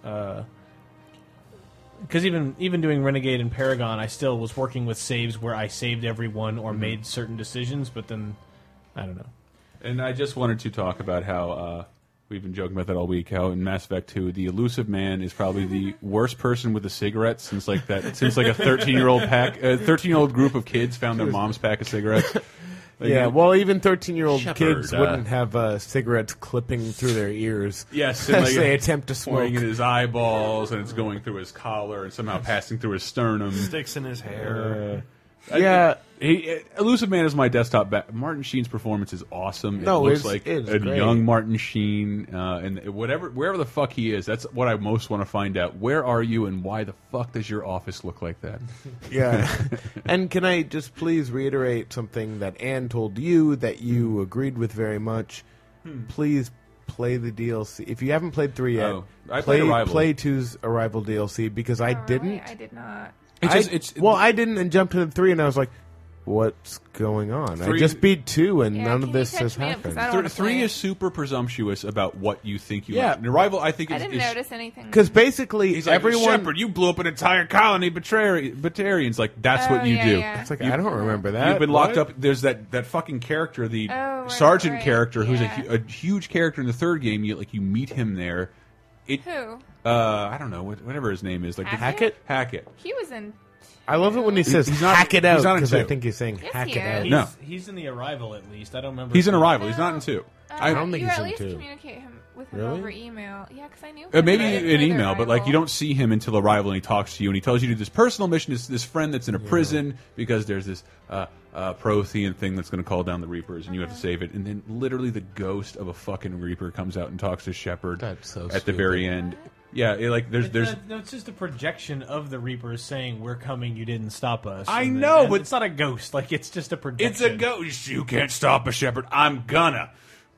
H: Because even even doing Renegade and Paragon, I still was working with saves where I saved everyone or
G: Mhm.
H: made certain decisions. But then, I don't know.
G: And I just wanted to talk about how uh, we've been joking about that all week. How in Mass Effect Two, the elusive man is probably the worst person with a cigarette since like that since like a thirteen year old pack, a thirteen year old group of kids found their mom's pack of cigarettes. Like,
I: yeah, well, even 13 year old
G: Shepherd,
I: kids
G: uh,
I: wouldn't have uh, cigarettes clipping through their ears.
G: Yes,
I: as
G: and like
I: they attempt to smoke.
G: pointing at his eyeballs, and it's going through his collar, and somehow passing through his sternum.
F: Sticks in his hair.
G: I-
I: Yeah.
G: he, uh, Elusive Man is my desktop. Ba Martin Sheen's performance is awesome.
I: No,
G: it looks
I: it's-
G: like
I: it's
G: a
I: great.
G: young Martin Sheen, uh, and whatever, wherever the fuck he is, that's what I most want to find out. Where are you, and why the fuck does your office look like that?
I: Yeah. and can I just please reiterate something that Anne told you that
G: Hmm.
I: you agreed with very much? Please play the DLC. If you haven't played 3 yet,
G: Oh, I
I: play,
G: played Arrival.
I: play 2's Arrival DLC because I didn't.
T: I did not.
G: It's just-
I: I-
G: it's-
I: well, I didn't and jumped into 3 and I was like, what's going on? I
G: Three-
I: just beat 2 and
T: Yeah,
I: none
T: can
I: of
T: you
I: this
T: catch
I: has
T: me up? 'Cause I don't
I: happened.
T: wanna
G: Three, three is super presumptuous about what you think you.
I: Yeah.
G: like. And Arrival, I think
T: I
G: is.
T: didn't
G: is-
T: notice anything.
I: basically,
G: He's like, Shepard, you blew up an entire colony, Batari- Batarians. Like that's
T: Oh,
G: what you
T: yeah,
G: do.
T: yeah. It's
I: like, I don't remember that.
G: You've been locked
I: What?
G: up. There's that that fucking character, the
I: Oh, right,
G: sergeant
I: right.
G: character, who's a,
I: Yeah.
G: hu- a huge character in the third game. You like you meet him there. It,
T: Who?
G: Uh, I don't know. what- Whatever his name is, like the-
T: Hackett?
G: Hackett.
T: He was in.
I: I love it when he
G: He's-
I: says
G: he's not-
I: hack it
G: he's
I: out
G: not in
I: because I
G: two.
I: think he's saying
T: Yes,
I: hack
T: he
I: it out.
T: is.
G: No.
H: He's in the Arrival at least. I don't remember.
G: He's an arrival. He's not in two.
I: Oh, I don't think
T: you
I: he's
T: at
I: in
T: least
I: two.
T: communicate him with him
I: Really?
T: over email. Yeah, because I knew.
G: Uh,
T: him,
G: maybe
T: but I didn't
G: an
T: know their
G: email, but like you
T: rival.
G: don't see him until arrival, and he talks to you, and he tells you to do this personal mission. This this friend that's in a prison because there's this uh, uh, Prothean thing that's going to call down the Reapers, and you
I: Uh-huh.
G: have to save it. And then literally the ghost of a fucking Reaper comes out and talks to Shepard at the very end. Yeah, it, like there's
H: It's
G: there's
H: not- no, it's just a projection of the Reapers saying, "We're coming. You didn't stop us."
G: I
H: and then-
G: know,
H: and
G: but-
H: it's not a ghost. Like it's just a projection.
G: it's a ghost. You can't stop a Shepard. I'm gonna,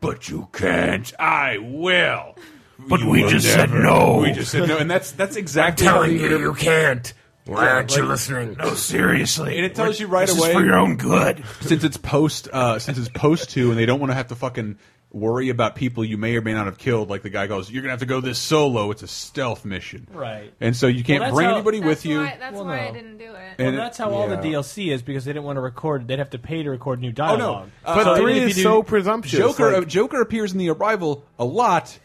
G: but you can't. I will. But
X: we just said no.
G: We just said no, and that's that's exactly
X: I'm telling
G: how-
X: you, you can't. Why
G: Yeah,
X: aren't you
G: like-
X: listening? No, seriously.
G: And it
X: We're-
G: tells you right
X: this
G: away
X: is for your own good.
G: Since it's post, uh, since it's post two, and they don't want to have to fucking worry about people you may or may not have killed. Like the guy goes, "You're gonna have to go this solo. It's a stealth mission,
H: Right.
G: And so you can't
H: Well, that's
G: bring
H: how-
G: anybody
H: That's
G: with you.
T: Why, that's
H: Well,
T: why I
H: no.
T: didn't do it.
H: Well,
G: And it-
H: that's how all the
G: yeah.
H: DLC is because they didn't want to record. They'd have to pay to record new
G: Oh
H: dialogue.
G: no!
H: So even if you do-
G: Joker, Joker appears in the arrival a lot,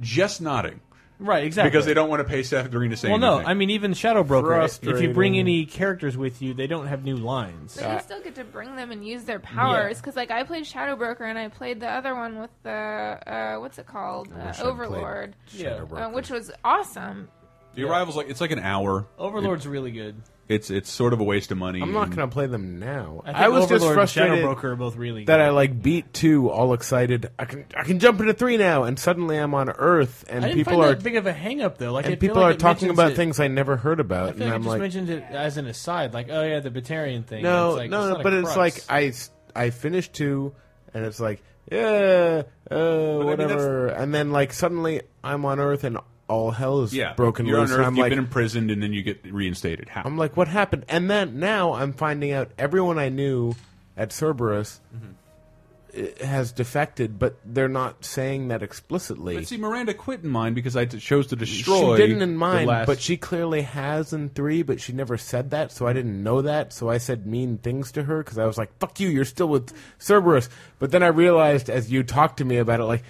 G: just nodding.
H: Right, exactly.
G: Because they don't want to pay Seth Green to say
H: Well, no,
G: anything.
H: I mean even Shadow Broker. If you bring
G: Frustrating.
H: any characters with you, they don't have new lines.
G: Uh,
T: But you still get to bring them and use their powers because, like, I played Shadow Broker and I played the other one with the uh, what's it called,
G: I wish
T: uh,
G: I'd
T: Overlord,
G: played Shadow
T: uh,
G: Broker.
T: which was awesome.
G: the arrival's like it's like an hour.
I: Oh.
H: Overlord's really good.
G: It, it's it's sort of a waste of money.
I: I'm not
G: and-
I: gonna play them now.
H: I
I: I,
H: think
I: was
H: Overlord
I: just
H: and Shadow
I: frustrated
H: Broker are both really
I: that
H: good.
I: I like beat two, all excited. I can I can jump into three now, and suddenly I'm on Earth,
H: I
I: and
H: didn't
I: people
H: find
I: are
H: that big of a hang up though. Like I
I: and
H: feel
I: people
H: like
I: are
H: it
I: talking
H: mentions
I: about
H: it-
I: things I never heard
H: I
I: about, and
H: feel like it
I: I'm
H: just
I: like,
H: mentioned it as an aside, like oh yeah, the Batarian thing.
I: no,
H: It's like,
I: no,
H: it's
I: no,
H: not a
I: but it's
H: crux.
I: like I s- I finished two, and it's like yeah, uh,
G: mean, that's-
I: whatever, and then like suddenly I'm on Earth, and all hell is
G: yeah,
I: broken
G: You're
I: loose.
G: on
I: and
G: Earth.
I: I'm
G: you've
I: like,
G: been imprisoned, and then you get reinstated. How?
I: I'm like, what happened? And then now I'm finding out everyone I knew at Cerberus
G: Mm-hmm.
I: i- has defected, but they're not saying that explicitly.
G: But see, Miranda quit in mine because I t- chose to destroy.
I: She didn't
G: the
I: in mine,
G: last-
I: but she clearly has in three, but she never said that, so I didn't know that. So I said mean things to her because I was like, "Fuck you, you're still with Cerberus." But then I realized as you talked to me about it, like,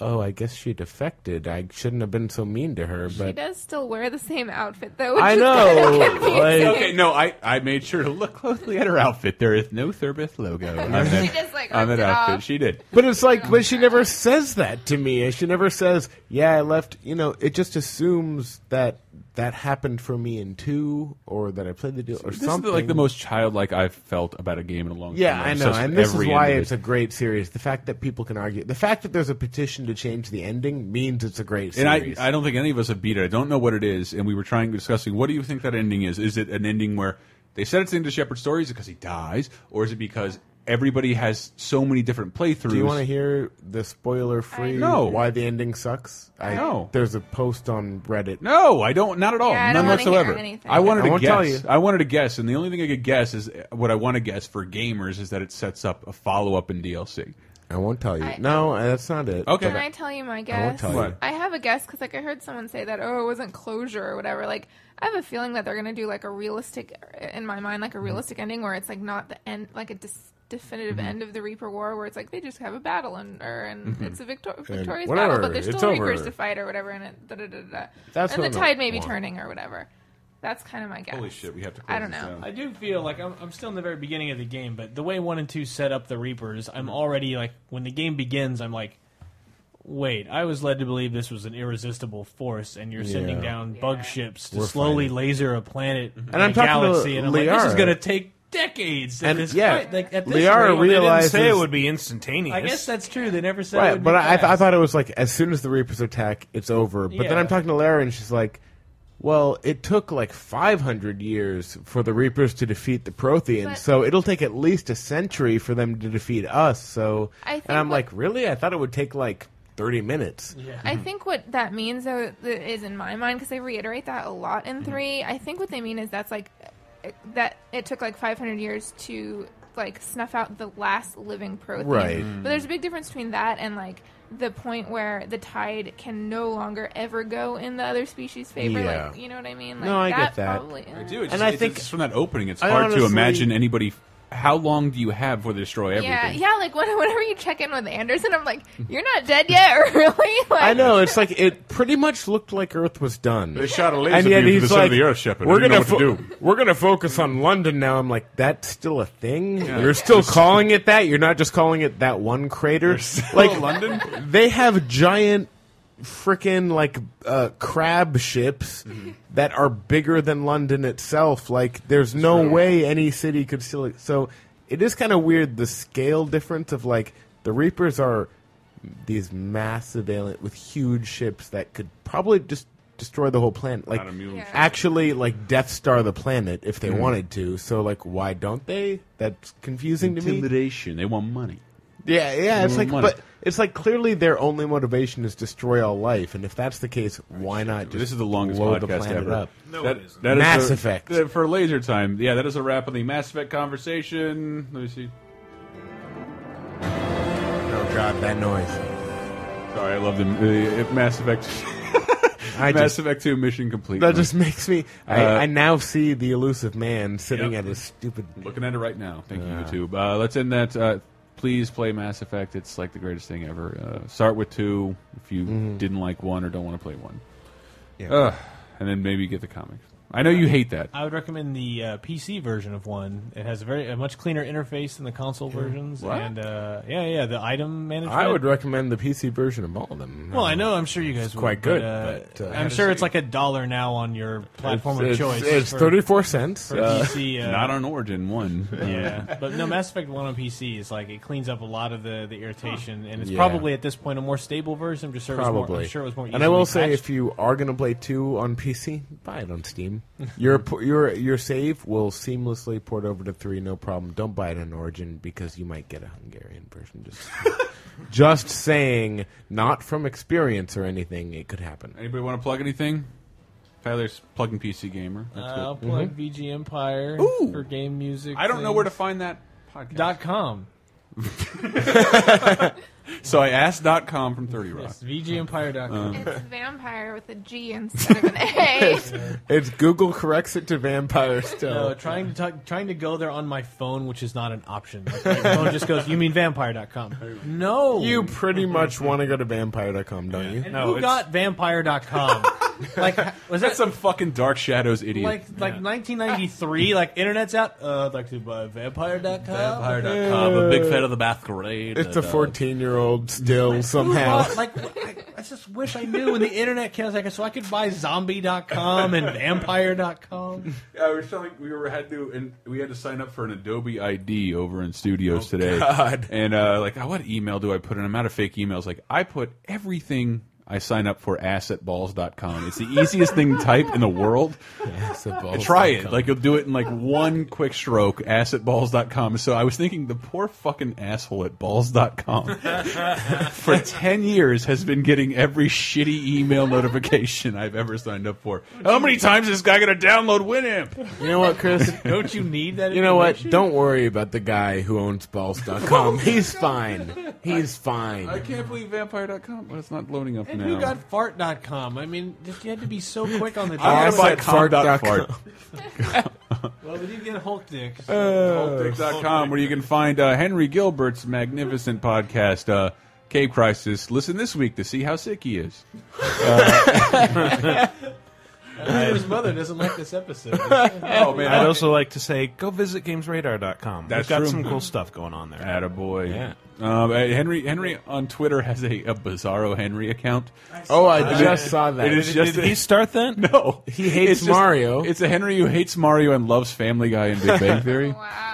I: "Oh, I guess she defected. I shouldn't have been so mean to her."
T: She
I: But
T: does still wear the same outfit though. Which
I: I
T: is
I: know.
T: Kind of confusing.
G: okay, no, I, I made sure to look closely at her outfit. There is no Thurbith logo on that,
I: just, like,
G: on that
I: ripped it
G: outfit.
I: off.
G: She did.
I: But it's like, but she never says that to me. She never says, "Yeah, I left." You know, it just assumes that that happened for me in two, or that I played the deal, or
G: This
I: something.
G: is like the most childlike I've felt about a game in a long
I: Yeah,
G: time.
I: I
G: I'm
I: know,
G: obsessed
I: and
G: with
I: this is
G: every
I: why
G: individual-
I: it's a great series. The fact that people can argue, the fact that there's a petition to change the ending means it's a great
G: And I,
I: series.
G: I don't think any of us have beat it. I don't know what it is. And we were trying discussing what do you think that ending is? Is it an ending where they said it's into Shepard's story? Is it because he dies, or is it because everybody has so many different playthroughs?
I: Do you want to hear the spoiler-free?
G: No.
I: why the ending sucks? I
G: No.
I: There's a post on Reddit.
G: No, I don't. Not at all.
I: Yeah, I
G: None
I: don't wanna hear
G: whatsoever.
I: anything.
G: I wanted
I: I
G: to
I: won't
G: guess.
I: tell you.
G: I wanted to guess, and the only thing I could guess is what I want to guess for gamers is that it sets up a follow up in DLC.
I: I won't tell you. no, that's not it.
G: Okay.
T: Can I tell you my
G: I won't
T: guess?
G: tell you. What?
T: I have a guess because like I heard someone say that oh it wasn't closure or whatever. Like I have a feeling that they're gonna do like a realistic in my mind
I: Mm-hmm.
T: like a realistic ending where it's like not the end like a dis- definitive
I: Mhm.
T: end of the Reaper War where it's like they just have a battle and or and
I: Mhm.
T: it's a victor-
I: And
T: victorious
I: whatever,
T: battle but there's
I: it's
T: still Reapers
I: over.
T: to fight or whatever and it da da da da. da.
I: That's
T: and
I: what
T: the
I: I
T: tide may be
I: want.
T: turning or whatever. That's kind of my guess.
G: Holy shit, we have to.
T: I don't know.
H: I do feel like I'm, I'm still in the very beginning of the game, but the way one and two set up the Reapers,
I: Mm.
H: I'm already like when the game begins, I'm like, wait, I was led to believe this was an irresistible force, and you're sending
I: Yeah.
H: down bug ships to
I: We're
H: slowly
I: fighting.
H: laser a planet
I: And I'm talking
H: a
I: to
H: galaxy, and I'm like, this is
I: Liara.
H: gonna take decades. at
I: And,
H: this
I: yeah,
H: point. like at this
I: Liara
H: rate-
F: Well, They didn't say
I: realizes-
F: it would be instantaneous.
H: I guess that's true. They never said it
I: Right,
H: would
I: but
H: be
I: I, I, th- I
H: fast.
I: thought it was like as soon as the Reapers attack, it's over. But then
H: Yeah.
I: I'm talking to Lara, and she's like, "Well, it took like 500 years for the Reapers to defeat the Protheans,
T: But-
I: so it'll take at least a century for them to defeat us." So,
T: I think
I: and I'm
T: what-
I: like, "Really? I thought it would take like 30 minutes."
T: I think what that means, though, that is in my mind because they reiterate that a lot
I: Mm-hmm.
T: in three. I think what they mean is that's like it- that it took like 500 years to like snuff out the last living protein.
I: Right. Mm.
T: But there's a big difference between that and like the point where the tide can no longer ever go in the other species' favor.
G: Yeah.
T: Like, you know what I mean? Like,
I: No, I get that.
T: Probably,
G: I do. It's
I: And
G: just-
I: I
G: it's
I: think-
G: just from that opening, it's
I: I
G: hard to
I: honestly-
G: imagine anybody. How long do you have before they destroy everything?
T: yeah, yeah. Like when, whenever you check in with Anderson, I'm like, "You're not dead yet, really?" Like,
I: I know it's like it pretty much looked like Earth was done.
G: They shot a laser
I: and yet
G: beam to
I: he's
G: the center
I: like,
G: of the Earth, Shepard. I
I: We're
G: didn't
I: gonna
G: know what to
I: fo- we're gonna focus on London now. I'm like, that's still a thing.
G: Yeah.
I: You're still calling it that. You're not just calling it that one crater. Like
G: London?
I: they have giant freaking like uh, crab ships
G: Mm-hmm.
I: that are bigger than London itself. Like there's no way any city could still. e-, So it is kind of weird the scale difference of like the Reapers are these massive alien with huge ships that could probably just destroy the whole planet like
G: Not a mule Yeah. ship.
I: actually like death star the planet if they
G: Mhm.
I: wanted to so like why don't they that's confusing to me
G: Intimidation. They want money.
I: yeah, yeah. It's
G: Mm,
I: like,
G: money.
I: but it's like clearly their only motivation is destroy all life, and if that's the case, why not? Just
G: This is the longest
I: blow the
G: podcast
I: planet
G: ever.
I: Up?
G: That- that is
I: Mass
G: a-
I: Effect.
G: that- for laser time. Yeah, that is a wrap on the Mass Effect conversation. Let me see.
I: Oh God, that noise!
G: Sorry, I love the uh, Mass Effect.
I: I
G: Mass
I: just-
G: Effect Two Mission Complete.
I: That just makes me. I,
G: Uh,
I: I now see the elusive man sitting
G: Yep.
I: at his stupid.
G: Looking at it right now. Thank
I: Yeah.
G: you, YouTube. Uh, let's end that. Uh, please play Mass
I: Mm-hmm.
G: Effect. It's like the greatest thing ever. Uh, start with two if you didn't like one or don't want to play one.
P: Yeah.
G: Ugh. And then maybe get the comics. I know you hate that.
H: I would recommend the uh, PC version of one. It has a very a much cleaner interface than the console versions,
I: What?
H: and uh, yeah, yeah, the item management.
I: I would recommend the PC version of all of them.
H: Well, I know. I'm sure you guys
I: It's
H: would,
I: quite
H: but,
I: good,
H: uh,
I: but, uh,
H: I'm sure it's like a dollar now on your platform
G: It's-
H: of choice.
G: it's- it's
H: for-
G: 34 cents,
H: for
G: uh,
H: PC. Uh,
G: not on Origin, one.
H: Yeah, but no, Mass Effect One on PC is like it cleans up a lot of the, the irritation, and it's
I: Yeah.
H: probably at this point a more stable version. I'm just sure It was more,
I: Probably.
H: I'm sure it was more.
I: and I will
H: easily
I: say,
H: patched.
I: if you are going to play two on PC, buy it on Steam. your po- your your save will seamlessly port over to three, no problem. Don't buy it on Origin because you might get a Hungarian version. Just just saying, not from experience or anything, it could happen.
G: Anybody want to plug anything? Tyler's plugging PC Gamer.
H: Uh,
G: That's good.
H: I'll plug
I: Mm-hmm.
H: VG Empire for game music.
G: I don't know where to find that podcast. Dot
H: com.
G: so I asked dot com from Thirty Rock.
H: Yes, VGEmpire.com.
T: It's vampire with a G instead of an A.
I: It's Google corrects it to vampire still.
H: No, trying to talk, trying to go there on my phone, which is not an option. Like, my phone just goes. You mean vampire.com? No,
I: you pretty much want to go to vampire.com, don't you?
H: And who got vampire.com? like was
G: that some fucking Dark Shadows idiot?
H: like like 1993? Like internet's out. Uh, I'd like to buy vampire.com.
G: uh,
I: Vampire.com, a big fan of the
U: masquerade.
I: It's a fourteen-year-old still somehow.
H: Who bought- like I, I just wish I knew when the internet came. I was like, so I could buy zombie.com and vampire.com.
G: Yeah, we were telling we were had to and we had to sign up for an Adobe ID over in studios today.
I: God.
G: And uh, like, oh, what email do I put in? I'm out of fake emails. Like, I put everything I sign up for assetballs.com. It's the easiest thing to type in the world.
I: Assetballs.com.
G: Try it. Like you'll do it in like one quick stroke. Assetballs.com. So I was thinking the poor fucking asshole at balls.com for 10 years has been getting every shitty email notification I've ever signed up for. How many times is this guy going to download Winamp?
I: You know what, Chris?
H: Don't you need that?
I: You know what?
H: information?
I: Don't worry about the guy who owns balls.com. He's fine. He's fine.
G: I can't believe vampire.com. Well, it's not loading up
H: And
G: now.
H: who got fart.com? I mean, just, you had to be so quick on the.
G: I want to buy
H: draw.
G: com dot fart.
H: Well, we did get Hulk Dick.
G: Hulkdick.com, where you can find uh, Henry Gilbert's magnificent podcast, uh, Cape Crisis. Listen this week to see how sick he is. Uh,
H: his mother doesn't like this episode.
G: Oh, man.
U: I'd also like to say go visit GamesRadar.com.
G: That's
U: We've got
G: true. Mm-hmm.
U: some cool stuff going on there.
G: Attaboy.
U: Yeah.
G: Um, uh, Henry Henry on Twitter has a, a Bizarro Henry account.
I: Oh, I just saw that.
G: It is
I: Did-
G: just
I: did
G: a-
I: he
U: start that?
G: No,
I: He hates
G: It's just-
I: Mario.
G: It's a Henry who hates Mario and loves Family Guy and Big Bang Theory.
T: wow.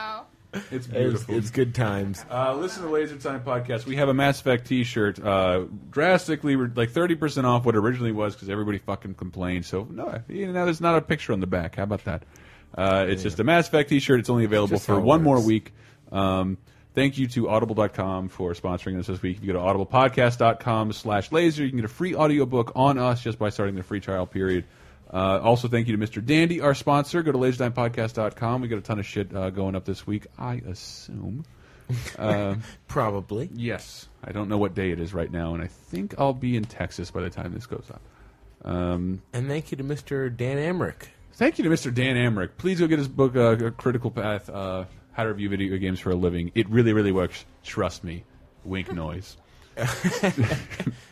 G: It's
I: It's,
G: beautiful.
I: it's good times.
G: Uh, listen to Laser Time podcast. We have a Mass Effect T-shirt, uh, drastically re- like thirty percent off what it originally was because everybody fucking complained. So no, you know, there's not a picture on the back. How about that? Uh, it's just a Mass Effect T-shirt. It's only available
I: just how
G: for
I: it
G: one more
I: works.
G: week. Um, thank you to Audible.com for sponsoring us this week. If you go to audiblepodcast.com slash laser, you can get a free audiobook on us just by starting the free trial period. Uh, also, thank you to Mr. Dandy, our sponsor. Go to lasertimepodcast.com. We got a ton of shit uh, going up this week, I assume. Um,
I: Probably.
G: Yes. I don't know what day it is right now, and I think I'll be in Texas by the time this goes up. Um,
I: And thank you to Mr. Dan Amrick.
G: Thank you to Mr. Dan Amrick. Please go get his book, uh, Critical Path: uh, How to Review Video Games for a Living. It really, really works. Trust me. Wink noise.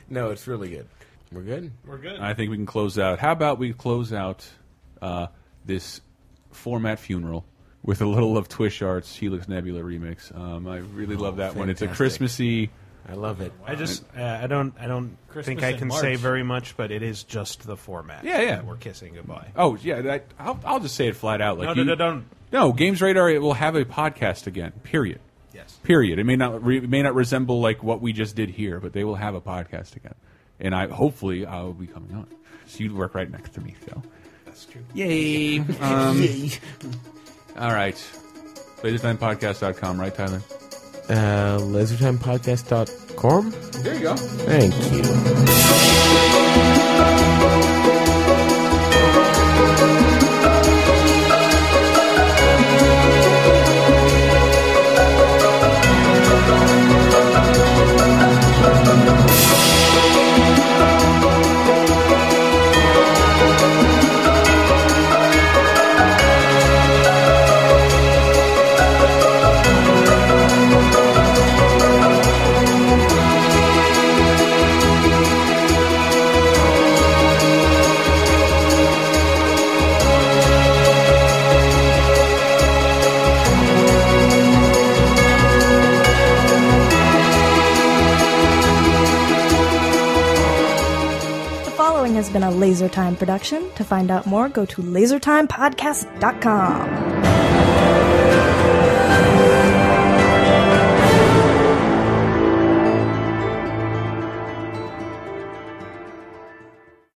I: No, it's really good. We're good.
H: We're good.
G: I think we can close out. How about we close out uh, this format funeral with a little of Twish Arts Helix Nebula remix? Um, I really love that one. It's a
I: fantastic.
G: Christmassy.
I: I love it.
U: I just uh, I don't I don't think
H: Christmas
U: I
H: in
U: can
H: March.
U: say very much, but it is just the format.
G: Yeah, yeah.
U: that We're kissing goodbye.
G: Oh yeah, that, I'll, I'll just say it flat out. Like
U: No,
G: you,
U: no, no, don't.
G: No, Games Radar it will have a podcast again. Period.
U: Yes.
G: Period. It may not re, it may not resemble like what we just did here, but they will have a podcast again, and I hopefully I will be coming on. So you work right next to me, so
U: That's true.
G: yay. Um, All right, lasertimepodcast.com, right, Tyler?
I: Uh, lasertimepodcast.com.
G: There you go.
I: Thank you.
B: Thank
A: been a Laser Time production. To find out more, go to lasertimepodcast.com.